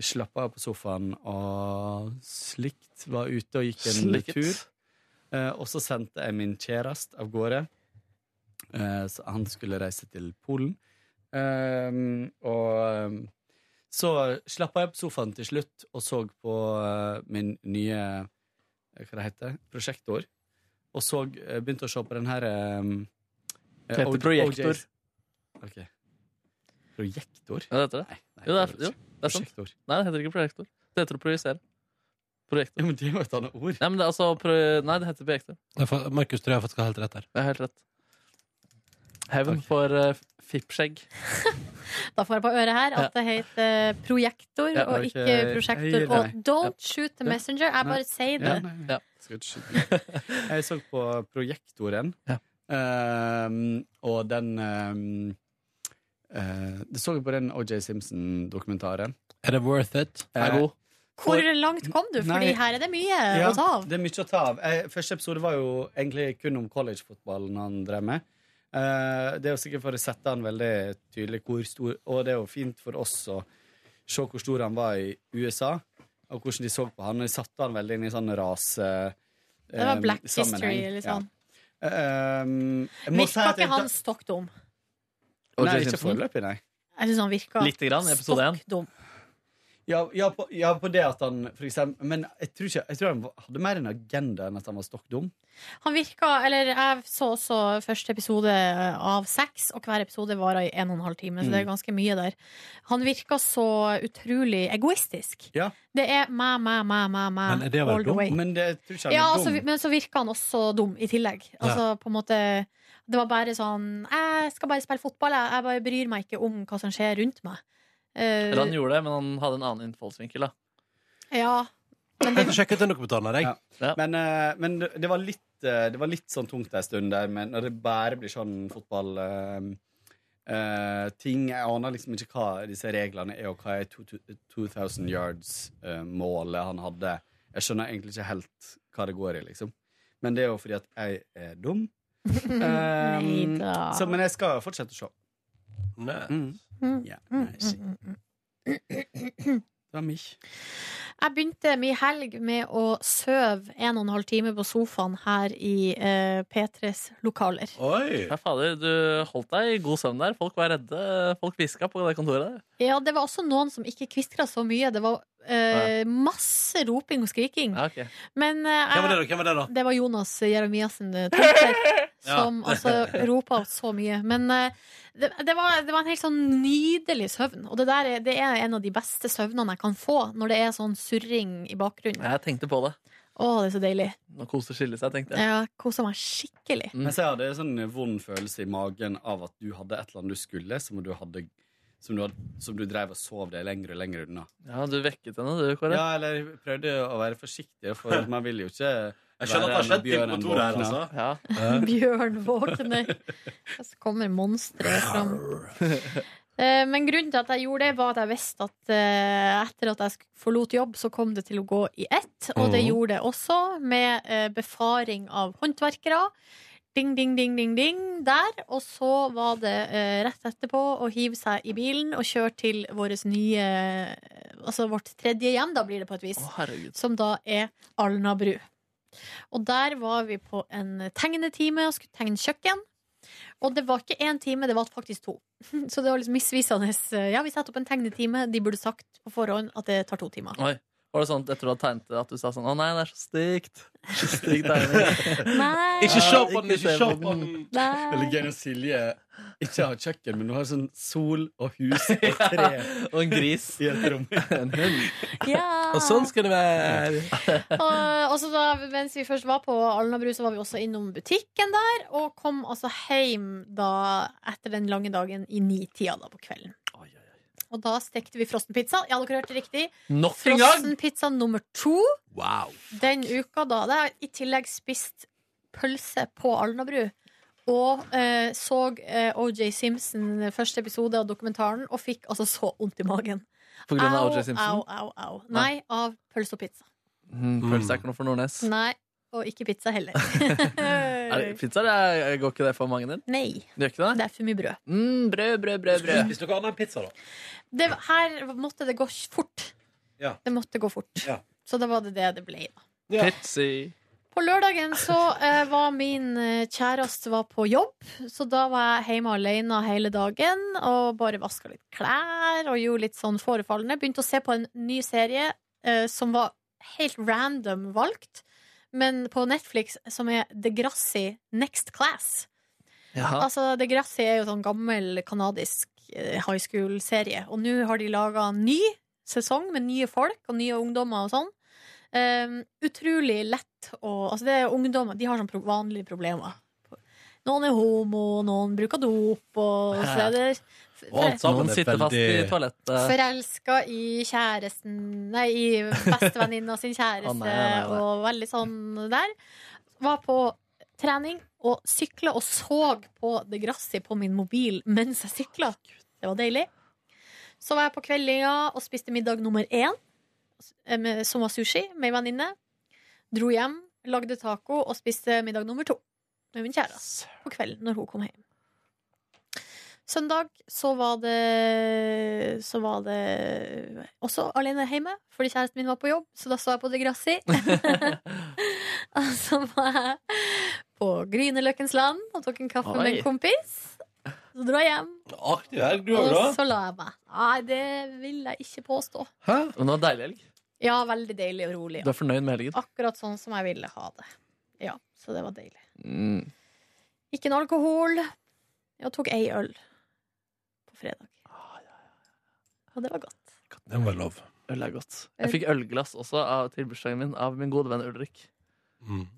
Speaker 5: Jeg slappa av på sofaen og slikt. Var ute og gikk en
Speaker 3: Slikt.
Speaker 5: tur. Eh, og så sendte jeg min kjæreste av gårde. Eh, så han skulle reise til Polen. Ehm, og ehm, så slappa jeg på sofaen til slutt og så på eh, min nye eh, Hva det heter Prosjektor. Og så eh, begynte å se på den her ehm, eh,
Speaker 3: Heter
Speaker 5: O-
Speaker 3: projektor.
Speaker 5: OJs. Ok. Projektor?
Speaker 3: Ja, det heter det.
Speaker 5: Nei, nei,
Speaker 3: Jo, det er,
Speaker 5: det
Speaker 3: jo,
Speaker 5: ikke.
Speaker 3: det er sant.
Speaker 5: Prosjektor.
Speaker 3: Nei, det heter ikke projektor. Det heter å projisere. Projektor.
Speaker 5: Ja, men det er jo et annet ord.
Speaker 3: Nei, men det er altså pro... Nei, det heter projektor.
Speaker 1: Jeg fa- Markus tror jeg faktisk har helt rett der.
Speaker 3: Det er helt rett. Hevn for eh, fippskjegg.
Speaker 2: Da får jeg på øret her at det heter eh, projektor
Speaker 3: Ja,
Speaker 2: og
Speaker 5: ok.
Speaker 2: ikke prosjektor.
Speaker 5: Jeg gir
Speaker 2: Og
Speaker 5: deg.
Speaker 2: don't shoot the messenger. Jeg
Speaker 5: Nei.
Speaker 2: bare sier det.
Speaker 5: Ja, nei,
Speaker 3: Ja.
Speaker 5: Skal ikke skyte meg. Jeg så på projektoren,
Speaker 3: Ja.
Speaker 5: ehm, og den ehm, eh, Du så jo på den OJ Simpson-dokumentaren.
Speaker 1: Er det worth it?
Speaker 10: Eh.
Speaker 3: Er god.
Speaker 2: Hvor langt kom du? Fordi
Speaker 5: Nei.
Speaker 2: her er det mye
Speaker 5: Ja,
Speaker 2: Eh, å ta av.
Speaker 5: det er mye å ta av. Eh, Første episode var jo egentlig kun om collegefotballen han drev med. Eh, Det er jo sikkert for å sette han veldig tydelig hvor stor Og det er jo fint for oss å se hvor stor han var i USA, og hvordan de så på han. Og de satte han veldig inn i sånn rase... eh,
Speaker 2: Det var black history, eller sånn. Virka ikke han stokk dum?
Speaker 5: Nei, ikke foreløpig, nei.
Speaker 2: Jeg syns han virka
Speaker 3: Lite grann i episode én.
Speaker 2: stokk dum.
Speaker 5: Ja, ja, på, ja, på det at han for eksempel, Men jeg tror, ikke, jeg tror han var- hadde mer en agenda enn at han var stokk dum.
Speaker 2: Han virka, eller jeg så også første episode eh, av seks, og hver episode varer i en og en halv time, så det er
Speaker 1: Mm.
Speaker 2: ganske mye der. Han virka så utrolig egoistisk.
Speaker 5: Ja.
Speaker 2: Det er meg, meg, meg, meg,
Speaker 1: Men er
Speaker 2: meg
Speaker 1: det å være
Speaker 2: all the
Speaker 1: dum?
Speaker 2: way.
Speaker 5: Men det, jeg tror ikke han
Speaker 2: Ja,
Speaker 5: er
Speaker 2: altså,
Speaker 5: dum.
Speaker 2: vi- men så virka han også dum i tillegg. Altså på en måte Det var bare sånn Jeg skal bare spille fotball, jeg. Jeg bare bryr meg ikke om hva som skjer rundt meg. Eh,
Speaker 10: Eller han gjorde det, men han hadde en annen innfallsvinkel. da
Speaker 2: ja.
Speaker 1: Jeg får sjekke ut den dokumentaren her, jeg.
Speaker 5: Ja. Men, eh, men det det var litt eh, Det var litt sånn tungt en stund der men Når det bare blir sånn fotball eh, eh, Ting Jeg aner liksom ikke hva disse reglene er Og hva er to- to- 2000 yards eh, Målet han hadde Jeg skjønner egentlig ikke helt hva det går i liksom Men det er jo fordi at jeg er dum um,
Speaker 2: Neida.
Speaker 5: så, Men jeg skal fortsette å se Mm.
Speaker 1: Nei.
Speaker 5: Ja, nice. Det var mye
Speaker 2: Jeg begynte min helg med å søve en og en halv time på sofaen her i eh, P3s lokaler.
Speaker 1: Oi!
Speaker 10: Ja, fader, Du holdt deg i god søvn der. Folk var redde. Folk hviska på det kontoret. der
Speaker 2: Ja, det var også noen som ikke kviskra så mye. Det var eh, masse roping og skriking.
Speaker 10: Ja, ok.
Speaker 2: Men eh,
Speaker 1: Hvem var det,
Speaker 2: jeg,
Speaker 1: da? Hvem var det, da?
Speaker 2: det var Jonas Jeremiassen eh, Tønsberg som
Speaker 1: Ja.
Speaker 2: altså ropa så mye. Men eh, det, det, var, det var en helt sånn nydelig søvn. Og det der er, det er en av de beste søvnene jeg kan få, når det er sånn surring i bakgrunnen.
Speaker 10: Jeg tenkte på det.
Speaker 2: Å, det er så deilig.
Speaker 10: Nå koser skille seg, tenkte jeg.
Speaker 2: Jeg kosa meg skikkelig.
Speaker 5: Mens jeg hadde en sånn vond følelse i magen av at du hadde et eller annet du skulle, som du, hadde, som du, hadde, som du drev og sov deg lenger og lenger unna.
Speaker 10: Ja, Du vekket henne, du, Kåre.
Speaker 5: Ja, eller jeg prøvde å være forsiktig, for man vil jo ikke
Speaker 1: Jeg skjønner at det har skjedd ting på kontoret her, altså.
Speaker 10: Ja.
Speaker 2: Bjørn våkner. Og Så kommer monsteret fram. Eh, Men grunnen til at jeg gjorde det, var at jeg visste at eh, etter at jeg sk- forlot jobb, så kom det til å gå i ett. Og det gjorde det også, med eh, befaring av håndverkere. Ding, ding, ding, ding, ding der. Og så var det eh, rett etterpå å hive seg i bilen og kjøre til våres nye Altså vårt tredje hjem, da blir det på et vis
Speaker 10: Å, herregud.
Speaker 2: som da er Alnabru. Og der var vi på en tegnetime og skulle tegne kjøkken. Og det var ikke én time, det var faktisk to. Så det var liksom misvisende. Ja, vi setter opp en tegnetime, de burde sagt på forhånd at det tar to timer.
Speaker 10: Oi. Var det sånn at etter du hadde tegnet det, at du sa sånn Å nei, det er så stygt. Så Stygg tegning.
Speaker 2: Nei!
Speaker 1: Ikke se på
Speaker 10: ikke
Speaker 1: den! Ikke
Speaker 10: se
Speaker 1: se
Speaker 10: på
Speaker 1: på
Speaker 10: den.
Speaker 1: den!
Speaker 5: Eller
Speaker 2: nei.
Speaker 5: gøy når Silje ikke har kjøkken, men hun har sånn sol og hus og tre
Speaker 10: Og en gris.
Speaker 5: i et rom.
Speaker 10: En hund.
Speaker 2: Ja.
Speaker 1: Og sånn skal det være.
Speaker 2: Og, og så da, mens vi først var på Alnabru, så var vi også innom butikken der. Og kom altså hjem da, etter den lange dagen i nitida da på kvelden. Og da stekte vi frossenpizza. Ja, dere hørte riktig.
Speaker 10: Nok en gang!
Speaker 2: Frossenpizza nummer to
Speaker 1: Wow.
Speaker 2: den uka, da. Da har jeg i tillegg spist pølse på Alnabru. Og eh, så eh, OJ Simpson første episode av dokumentaren og fikk altså så vondt i magen.
Speaker 10: På grunn av
Speaker 2: Au,
Speaker 10: OJ Simpson.
Speaker 2: au, au, au. Nei, av pølse og pizza.
Speaker 10: Mm, Pølse er ikke noe for Nordnes.
Speaker 2: Nei, og ikke pizza heller.
Speaker 10: Er det, pizza det er- går ikke det for magen din?
Speaker 2: Nei,
Speaker 10: Det gjør ikke det?
Speaker 2: det er for mye brød.
Speaker 10: Mm, brød, brød, brød. brød.
Speaker 1: Spis noe annet enn pizza, da.
Speaker 2: Det, her måtte det gå fort.
Speaker 1: Ja.
Speaker 2: Det måtte gå fort.
Speaker 1: Ja.
Speaker 2: Så da var det det det ble. da.
Speaker 1: Ja.
Speaker 10: Pizzi.
Speaker 2: På lørdagen så eh, var min eh, kjæreste var på jobb, så da var jeg hjemme alene hele dagen og bare vaska litt klær og gjorde litt sånn forefallende. Begynte å se på en ny serie eh, som var helt random valgt, men på Netflix, som er Degrassi Next Class.
Speaker 10: Jaha.
Speaker 2: Altså, Degrassi er jo sånn gammel kanadisk eh, high school-serie. Og nå har de laga ny sesong med nye folk og nye ungdommer og sånn. Ehm, utrolig lett å Altså, det er ungdommer De har sånn pro vanlige problemer. Noen er homo, noen bruker dop, og så er det
Speaker 1: Og alt sammen
Speaker 10: Noen
Speaker 1: er
Speaker 10: sitter fast i
Speaker 1: veldig
Speaker 10: toalettet.
Speaker 2: Forelska i kjæresten Nei, i bestevenninna sin kjæreste
Speaker 10: Å, nei, nei, nei.
Speaker 2: og veldig sånn der. Var på trening og sykla og så på det Grassi på min mobil mens jeg sykla. Det var deilig. Så var jeg på kveldinga og spiste middag nummer én, eh, med- som var sushi, med ei venninne. Dro hjem, lagde taco og spiste middag nummer to med min kjæreste på kvelden når hun kom hjem. Søndag så var det Så var det også alene hjemme, fordi kjæresten min var på jobb, så da så jeg på Degrassi. og så var jeg på Grünerløkkens land og tok en kaffe med
Speaker 10: Oi.
Speaker 2: en kompis. Så dro jeg hjem.
Speaker 1: Artig helg du har,
Speaker 2: Og
Speaker 1: da.
Speaker 2: så la jeg meg. Nei, det vil jeg ikke påstå.
Speaker 10: Hæ? Men det var deilig helg.
Speaker 2: Ja, veldig deilig og rolig.
Speaker 10: Du er fornøyd med helgen?
Speaker 2: Akkurat sånn som jeg ville ha det. Ja, så det var deilig.
Speaker 10: Mm.
Speaker 2: Ikke noe alkohol. Jeg tok ei øl på fredag. Og det var godt.
Speaker 1: Det var lov.
Speaker 10: Øl er godt. Jeg fikk ølglass også av, til bursdagen min av min gode venn Ulrik.
Speaker 1: Mm.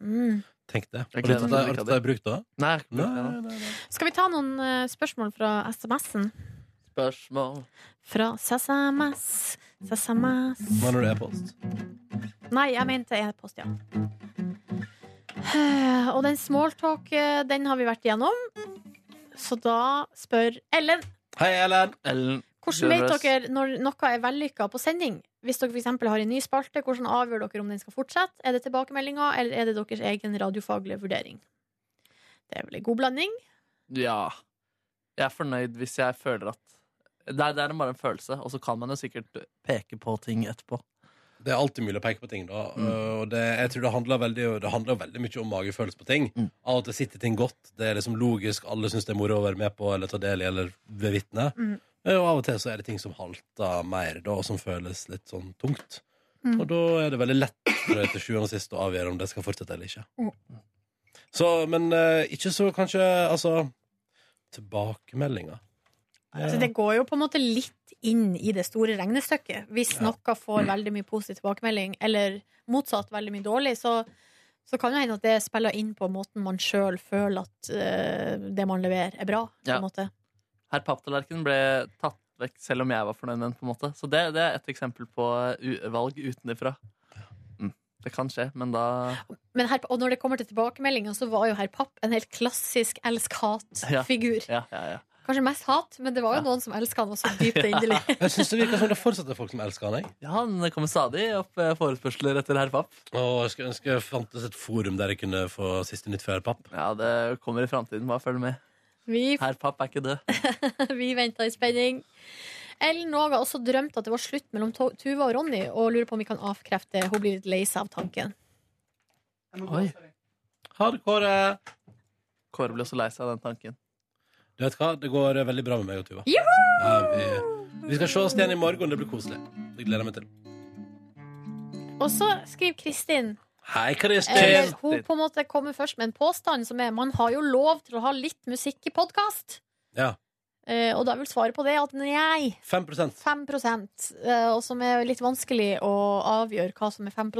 Speaker 2: Mm.
Speaker 1: Tenk det.
Speaker 10: Jeg
Speaker 1: Har du
Speaker 10: gleder meg til
Speaker 1: tatt deg-
Speaker 10: å
Speaker 1: har
Speaker 10: drikke
Speaker 1: du
Speaker 10: av
Speaker 1: tatt deg i bruk, da?
Speaker 10: Nei, jeg har ikke
Speaker 1: Nei,
Speaker 10: prøvd det ennå.
Speaker 2: Skal vi ta noen eh, spørsmål fra SMS-en?
Speaker 10: spørsmål.
Speaker 2: Fra SMS. SMS.
Speaker 1: Når det er post.
Speaker 2: Nei, jeg mente e-post, ja. Eh, Og den smalltalk, eh, den har vi vært igjennom. Så da spør Ellen
Speaker 1: Hei, Ellen.
Speaker 10: Ellen
Speaker 2: hvordan vet dere når noe er vellykka på sending? Hvis dere for eksempel har en ny spalte, hvordan avgjør dere om den skal fortsette? Er det tilbakemeldinger, eller er det deres egen radiofaglige vurdering? Det er vel en god blanding.
Speaker 10: Ja. Jeg er fornøyd hvis jeg føler at det er, det er bare en følelse, og så kan man jo sikkert peke på ting etterpå.
Speaker 1: Det er alltid mulig å peke på ting, da.
Speaker 2: Mm.
Speaker 1: Eh, Og det, jeg tror det handler, veldig, det handler veldig mye om magefølelse på ting.
Speaker 2: Mm.
Speaker 1: Av og til sitter ting godt. Det er liksom logisk. Alle syns det er moro å være med på eller ta del i eller bevitne. Eh,
Speaker 2: Mm.
Speaker 1: Og av og til så er det ting som halter mer, da, og som føles litt sånn tungt.
Speaker 2: Mm.
Speaker 1: Og da er det veldig lett tror jeg, til sjuende og sist å avgjøre om det skal fortsette eller ikke.
Speaker 2: Mm.
Speaker 1: Så, men eh, ikke så kanskje Altså, tilbakemeldinger
Speaker 2: Så det går jo på en måte litt inn i det store regnestykket. Hvis noe får veldig mye positiv tilbakemelding, eller motsatt veldig mye dårlig, så, så kan det hende at det spiller inn på måten man sjøl føler at eh, det man leverer, er bra. På
Speaker 10: Ja.
Speaker 2: en måte.
Speaker 10: Herr Papptallerken ble tatt vekk selv om jeg var fornøyd med den. på en måte Så det, det er et eksempel på eh, u valg utenfra. Mm. Det kan skje, men da
Speaker 2: Men her, og når det kommer til tilbakemeldinger, så var jo herr Papp en helt klassisk elsk-hat-figur.
Speaker 10: Ja, ja, ja.
Speaker 2: Kanskje mest hat, men det var jo noen som elska han også dypt og inderlig.
Speaker 1: Jeg syns det virker som det fortsatt er folk som elsker han, jeg.
Speaker 10: ja Han kommer stadig opp eh, forespørsler etter herr Papp.
Speaker 1: Og jeg skulle ønske det fantes et forum der jeg kunne få siste nytt før papp.
Speaker 10: Ja, det kommer i framtiden. Bare følg med.
Speaker 2: Vi,
Speaker 10: Herr Papp er ikke død.
Speaker 2: vi venta i spenning. Ellen Någ har også drømt at det var slutt mellom To- Tuva og Ronny, og lurer på om vi kan avkrefte Hun blir litt lei seg av tanken.
Speaker 10: Oi.
Speaker 1: Ha det, Kåre.
Speaker 10: Kåre ble så lei seg av den tanken.
Speaker 1: Du vet hva, det går veldig bra med meg og Tuva.
Speaker 2: Juhu!
Speaker 1: Ja, vi, vi skal se oss igjen i morgen. Det blir koselig. Det gleder jeg meg til.
Speaker 2: Og så skriver Kristin.
Speaker 1: Hei, Kristin.
Speaker 2: Eh, hun på en måte kommer først med en påstand som er man har jo lov til å ha litt musikk i podkast.
Speaker 1: Ja.
Speaker 2: Eh, og da vil svaret på det at nei,
Speaker 1: 5
Speaker 2: 5 eh, Og som er litt vanskelig å avgjøre hva som er 5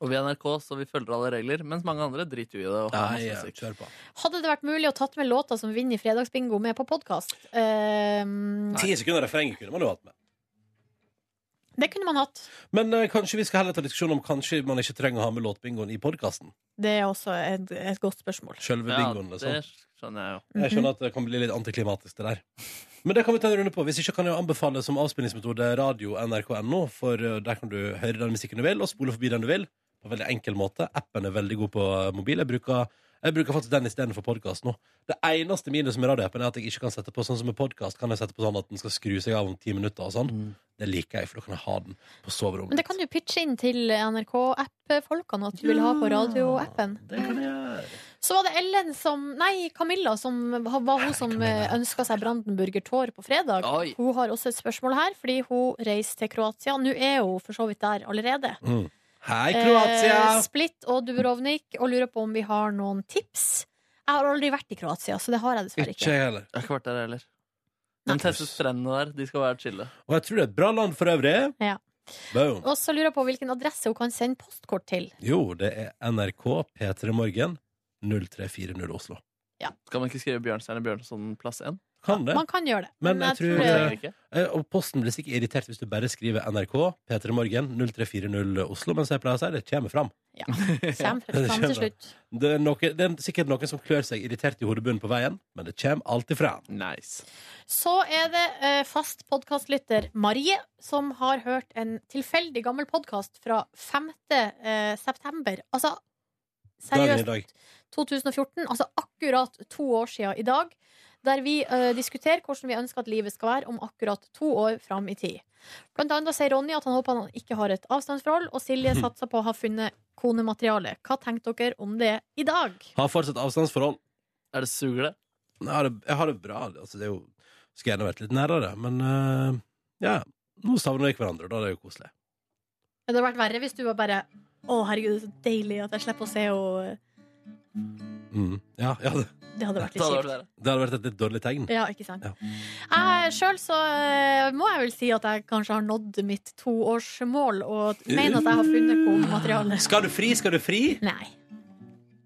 Speaker 10: Og vi er NRK, så vi følger alle regler. Mens mange andre driter jo i det. Og har
Speaker 1: Nei,
Speaker 10: masse
Speaker 1: ja,
Speaker 10: musikk.
Speaker 1: kjør på.
Speaker 2: Hadde det vært mulig å tatt med låta som vinner Fredagsbingo med på podkast? Eh,
Speaker 1: Ti sekunder refreng kunne man jo hatt med.
Speaker 2: det kunne man hatt.
Speaker 1: Men eh, kanskje vi skal heller ta diskusjon om kanskje man ikke trenger å ha med låtbingoen i podkasten.
Speaker 2: Det er også et, et godt spørsmål.
Speaker 1: Sjølve
Speaker 10: Ja,
Speaker 1: bingoen.
Speaker 10: det
Speaker 1: Liksom.
Speaker 10: skjønner jeg jo.
Speaker 1: Jeg skjønner
Speaker 2: Mhm.
Speaker 1: at det kan bli litt antiklimatisk, det der. Men det kan vi ta en runde på. Hvis ikke kan jeg anbefale som avspillingsmetode radio nrk.no, for eh, der kan du høre den musikken du vil, og spole forbi den du vil. På en veldig enkel måte. Appen er veldig god på eh, mobil. Jeg bruker, jeg bruker faktisk den istedenfor podkast nå. Det eneste minuset med radioappen er at jeg ikke kan sette på sånn som med podkast, kan jeg sette på sånn at den skal skru seg av om ti minutter og sånn. Det liker jeg, for da kan jeg ha den på soverommet.
Speaker 2: Mm. Men det kan du pitche inn til NRK-app-folkene at du vil ha på radioappen.
Speaker 1: Det kan jeg gjøre.
Speaker 2: Så var det Ellen som Nei, Camilla som var hun som ønska seg Brandenburger Tår på fredag.
Speaker 10: Oi.
Speaker 2: Hun har også et spørsmål her, fordi hun reiser til Kroatia. Nå er hun for så vidt der allerede.
Speaker 1: Mm. Hei, Kroatia!
Speaker 2: Eh, Split og Dubrovnik, og lurer på om vi har noen tips. Jeg har aldri vært i Kroatia, så det har jeg dessverre
Speaker 1: ikke
Speaker 2: ikke.
Speaker 1: jeg heller.
Speaker 10: Jeg har ikke vært der heller. De tester strendene der. De skal være chille.
Speaker 1: Og jeg tror det er et bra land for øvrig.
Speaker 2: Ja.
Speaker 1: Boom.
Speaker 2: Og så lurer jeg på hvilken adresse hun kan sende postkort til.
Speaker 1: Jo, det er NRK P3 Morgen 0340 Oslo.
Speaker 10: Skal man ikke skrive Bjørnstjerne Bjørnson plass 1?
Speaker 1: Kan det?
Speaker 2: Man kan gjøre det.
Speaker 1: Men jeg tror- Ja.
Speaker 2: det-
Speaker 1: Eh, Og posten blir sikkert irritert hvis du bare skriver NRK P3 Morgen 0340 Oslo, mens jeg pleier å si det kommer fram.
Speaker 2: Ja. Kommer fram til slutt.
Speaker 1: Det er, noe, det er sikkert noen som klør seg irritert i hodebunnen på veien, men det kommer alltid fram.
Speaker 10: Nice.
Speaker 2: Så er det eh, fast podkastlytter Marie som har hørt en tilfeldig gammel podkast fra 5. Eh, september. Altså
Speaker 1: Dagen i
Speaker 2: seriøst
Speaker 1: dag.
Speaker 2: 2014. Altså akkurat to år siden i dag. Der vi eh, diskuterer hvordan vi ønsker at livet skal være om akkurat to år fram i tid. Blant annet sier Ronny at han håper han ikke har et avstandsforhold, og Silje satser på å ha funnet konemateriale. Hva tenker dere om det i dag?
Speaker 1: Har fortsatt avstandsforhold.
Speaker 10: Er det sugle?
Speaker 1: Jeg har det, jeg har det bra. Altså, det er jo, skulle gjerne vært litt nærere, men eh, ja. Nå savner vi hverandre, og da er det jo koselig.
Speaker 2: Det hadde vært verre hvis du var bare Å, herregud, det er så deilig at jeg slipper å se henne.
Speaker 1: Mm. Ja, ja, det,
Speaker 2: Det hadde vært litt kjipt.
Speaker 1: det hadde vært et litt dårlig tegn.
Speaker 2: Ja, ikke sant.
Speaker 1: Ja.
Speaker 2: Jeg Sjøl så eh, må jeg vel si at jeg kanskje har nådd mitt toårsmål, og mener at jeg har funnet kodemateriale.
Speaker 1: Skal du fri? Skal du fri?
Speaker 2: Nei.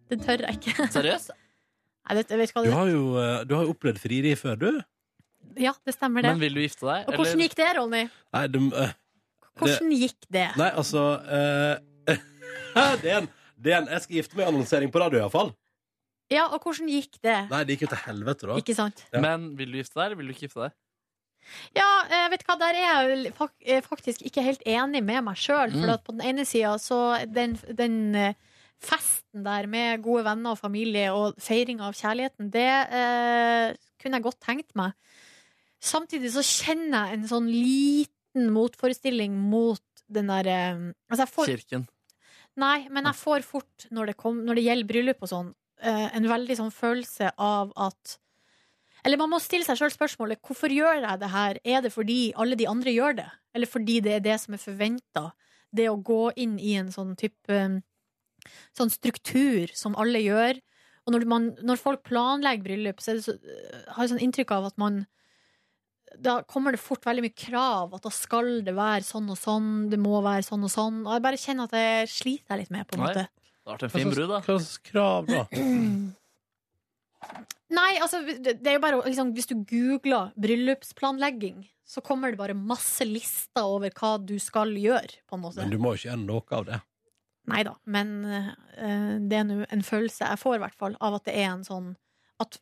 Speaker 2: Det tør jeg ikke.
Speaker 10: Seriøst?
Speaker 2: Nei, det, jeg vet hva
Speaker 1: Du
Speaker 2: det,
Speaker 1: har jo, eh, du har jo opplevd frieri før, du.
Speaker 2: ja, det stemmer, det.
Speaker 10: Men vil du gifte deg?
Speaker 2: Og hvordan gikk det, Ronny?
Speaker 1: Nei, du, eh,
Speaker 2: Hvordan gikk det?
Speaker 1: nei altså eh, det, er en, det er en Jeg skal gifte meg annonsering på radio, iallfall.
Speaker 2: Ja, og hvordan gikk det?
Speaker 1: Nei, det gikk jo til helvete, da.
Speaker 2: Ikke sant?
Speaker 1: Ja.
Speaker 10: Men vil du gifte deg, eller vil du ikke gifte deg?
Speaker 2: Ja, eh, vet du hva, der er jeg vel fak- eh, faktisk ikke helt enig med meg sjøl. For
Speaker 10: Mm.
Speaker 2: at på den ene sida så den, den eh, festen der med gode venner og familie og feiring av kjærligheten, det eh, kunne jeg godt tenkt meg. Samtidig så kjenner jeg en sånn liten motforestilling mot den der eh, altså jeg får,
Speaker 10: Kirken.
Speaker 2: Nei, men jeg får fort, når det, kom, når det gjelder bryllup og sånn, eh, en veldig sånn følelse av at Eller man må stille seg sjøl spørsmålet hvorfor gjør jeg det her? Er det fordi alle de andre gjør det? Eller fordi det er det som er forventa? Det å gå inn i en sånn type eh, Sånn struktur som alle gjør. Og når, man, når folk planlegger bryllup, så, er det så eh, har jeg sånn inntrykk av at man da kommer det fort veldig mye krav. At da skal det være sånn og sånn. Det må være sånn og sånn. Og jeg bare kjenner at jeg sliter jeg litt med, på en
Speaker 10: Nei.
Speaker 2: måte.
Speaker 10: Det har vært en
Speaker 1: sånn
Speaker 10: fin brud, da.
Speaker 1: Hva slags krav, da?
Speaker 2: Nei, altså, det det er jo bare å- liksom, Hvis du googler bryllupsplanlegging, så kommer det bare masse lister over hva du skal gjøre, på en
Speaker 1: Men
Speaker 2: måte.
Speaker 1: du må jo ikke gjøre noe av det.
Speaker 2: Nei da, men eh, det er nå en følelse jeg får, i hvert fall, av at det er en sånn At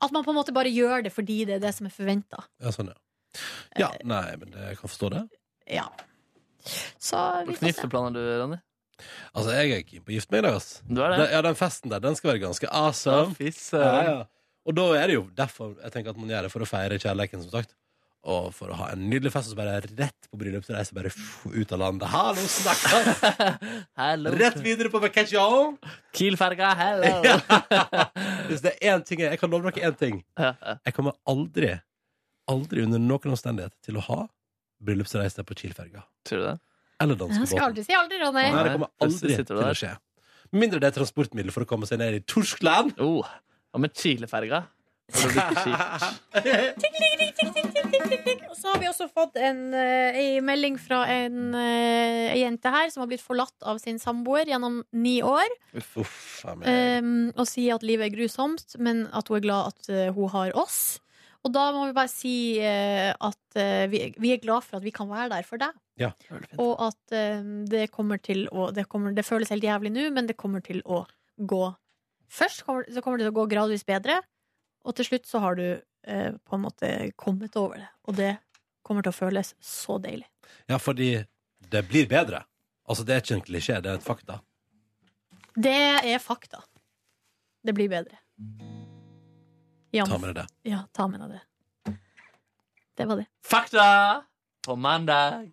Speaker 2: at man på en måte bare gjør det fordi det er det som er forventa.
Speaker 1: Ja, sånn, ja. Ja, nei, men det- jeg kan forstå det.
Speaker 2: Ja. Så vi
Speaker 10: Hvilken
Speaker 2: får se.
Speaker 10: gifteplaner du, Ronny?
Speaker 1: Altså, jeg er keen på å gifte meg i dag, ass.
Speaker 10: Du er det?
Speaker 1: Den, ja, den festen der, den skal være ganske
Speaker 10: Ja,
Speaker 1: awesome.
Speaker 10: fy
Speaker 1: Ja,
Speaker 10: søren.
Speaker 1: ja. Og da er det jo derfor jeg tenker at man gjør det, for å feire kjærligheten, som sagt. Og for å ha en nydelig fest, og så bare rett på bryllupsreise, bare pff, ut av landet. Hallo, snakker!
Speaker 10: Hello.
Speaker 1: Rett videre på vacation!
Speaker 10: Kielferga, hello.
Speaker 1: Hvis det er én ting jeg, jeg kan love dere én ting. Jeg kommer aldri, aldri under noen omstendighet til å ha bryllupsreise på Kiel-ferga.
Speaker 10: Tror du det?
Speaker 1: Eller
Speaker 2: Jeg skal
Speaker 1: danskebåten.
Speaker 2: aldri si aldri, Ronny.
Speaker 1: Nei, det
Speaker 10: Nei,
Speaker 1: kommer
Speaker 10: plutselig
Speaker 1: aldri
Speaker 10: sitter
Speaker 1: til
Speaker 10: du
Speaker 1: å
Speaker 10: der.
Speaker 1: skje. Med mindre det er transportmiddel for å komme seg ned i Torskland.
Speaker 10: Oh, hva med Chileferga? Har du blitt skilt?
Speaker 2: Og så har vi også fått en, eh, ei melding fra en eh, ei jente her som har blitt forlatt av sin samboer gjennom ni år.
Speaker 1: Uff, jeg mener.
Speaker 2: eh, og sier at livet er grusomt, men at hun er glad at eh, hun har oss. Og da må vi bare si eh, at eh, vi, vi er glad for at vi kan være der for deg.
Speaker 1: Ja.
Speaker 2: Og at eh, det kommer til å det, kommer, det føles helt jævlig nå, men det kommer til å gå Først kommer, så kommer det til å gå gradvis bedre, og til slutt så har du eh, på en måte kommet over det. Og det kommer til å føles så deilig.
Speaker 1: ja, fordi det blir bedre. Altså, det er ikke en klisjé, det er et fakta.
Speaker 2: Det er fakta. Det blir bedre. Ja,
Speaker 1: Ta med deg det.
Speaker 2: ja ta med deg det. Det var det.
Speaker 10: Fakta på mandag.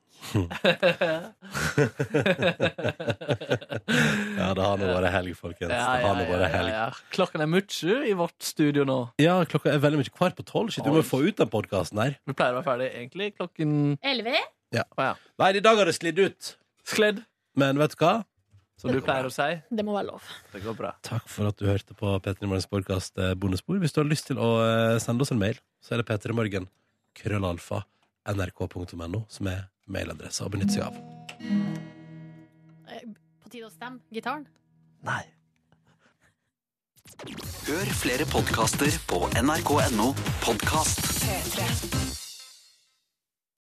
Speaker 1: Ja, det har nå vært helg, folkens.
Speaker 10: Ja,
Speaker 1: Det
Speaker 10: ja,
Speaker 1: har nå
Speaker 10: ja,
Speaker 1: vært
Speaker 10: ja,
Speaker 1: helg.
Speaker 10: ja. Klokken er mye i vårt studio nå.
Speaker 1: Ja, klokka er veldig mye kvart på tolv. Shit, vi må få ut den podkasten her.
Speaker 10: Vi pleier å være ferdig egentlig klokken
Speaker 2: Elleve?
Speaker 1: Nei, i dag har det sklidd ut.
Speaker 10: skledd,
Speaker 1: Men vet du hva?
Speaker 10: som du pleier å si.
Speaker 2: Det må være lov.
Speaker 10: Det går bra.
Speaker 1: Takk for at du hørte på P3 Morgens podkast Bondespor. Hvis du har lyst til å eh, sende oss en mail, så er det p3morgen krøllalfa nrk.no som er mailadressa å benytte seg av.
Speaker 2: På tide å stemme gitaren.
Speaker 10: Nei.
Speaker 9: Hør flere podkaster på nrk.no podkast.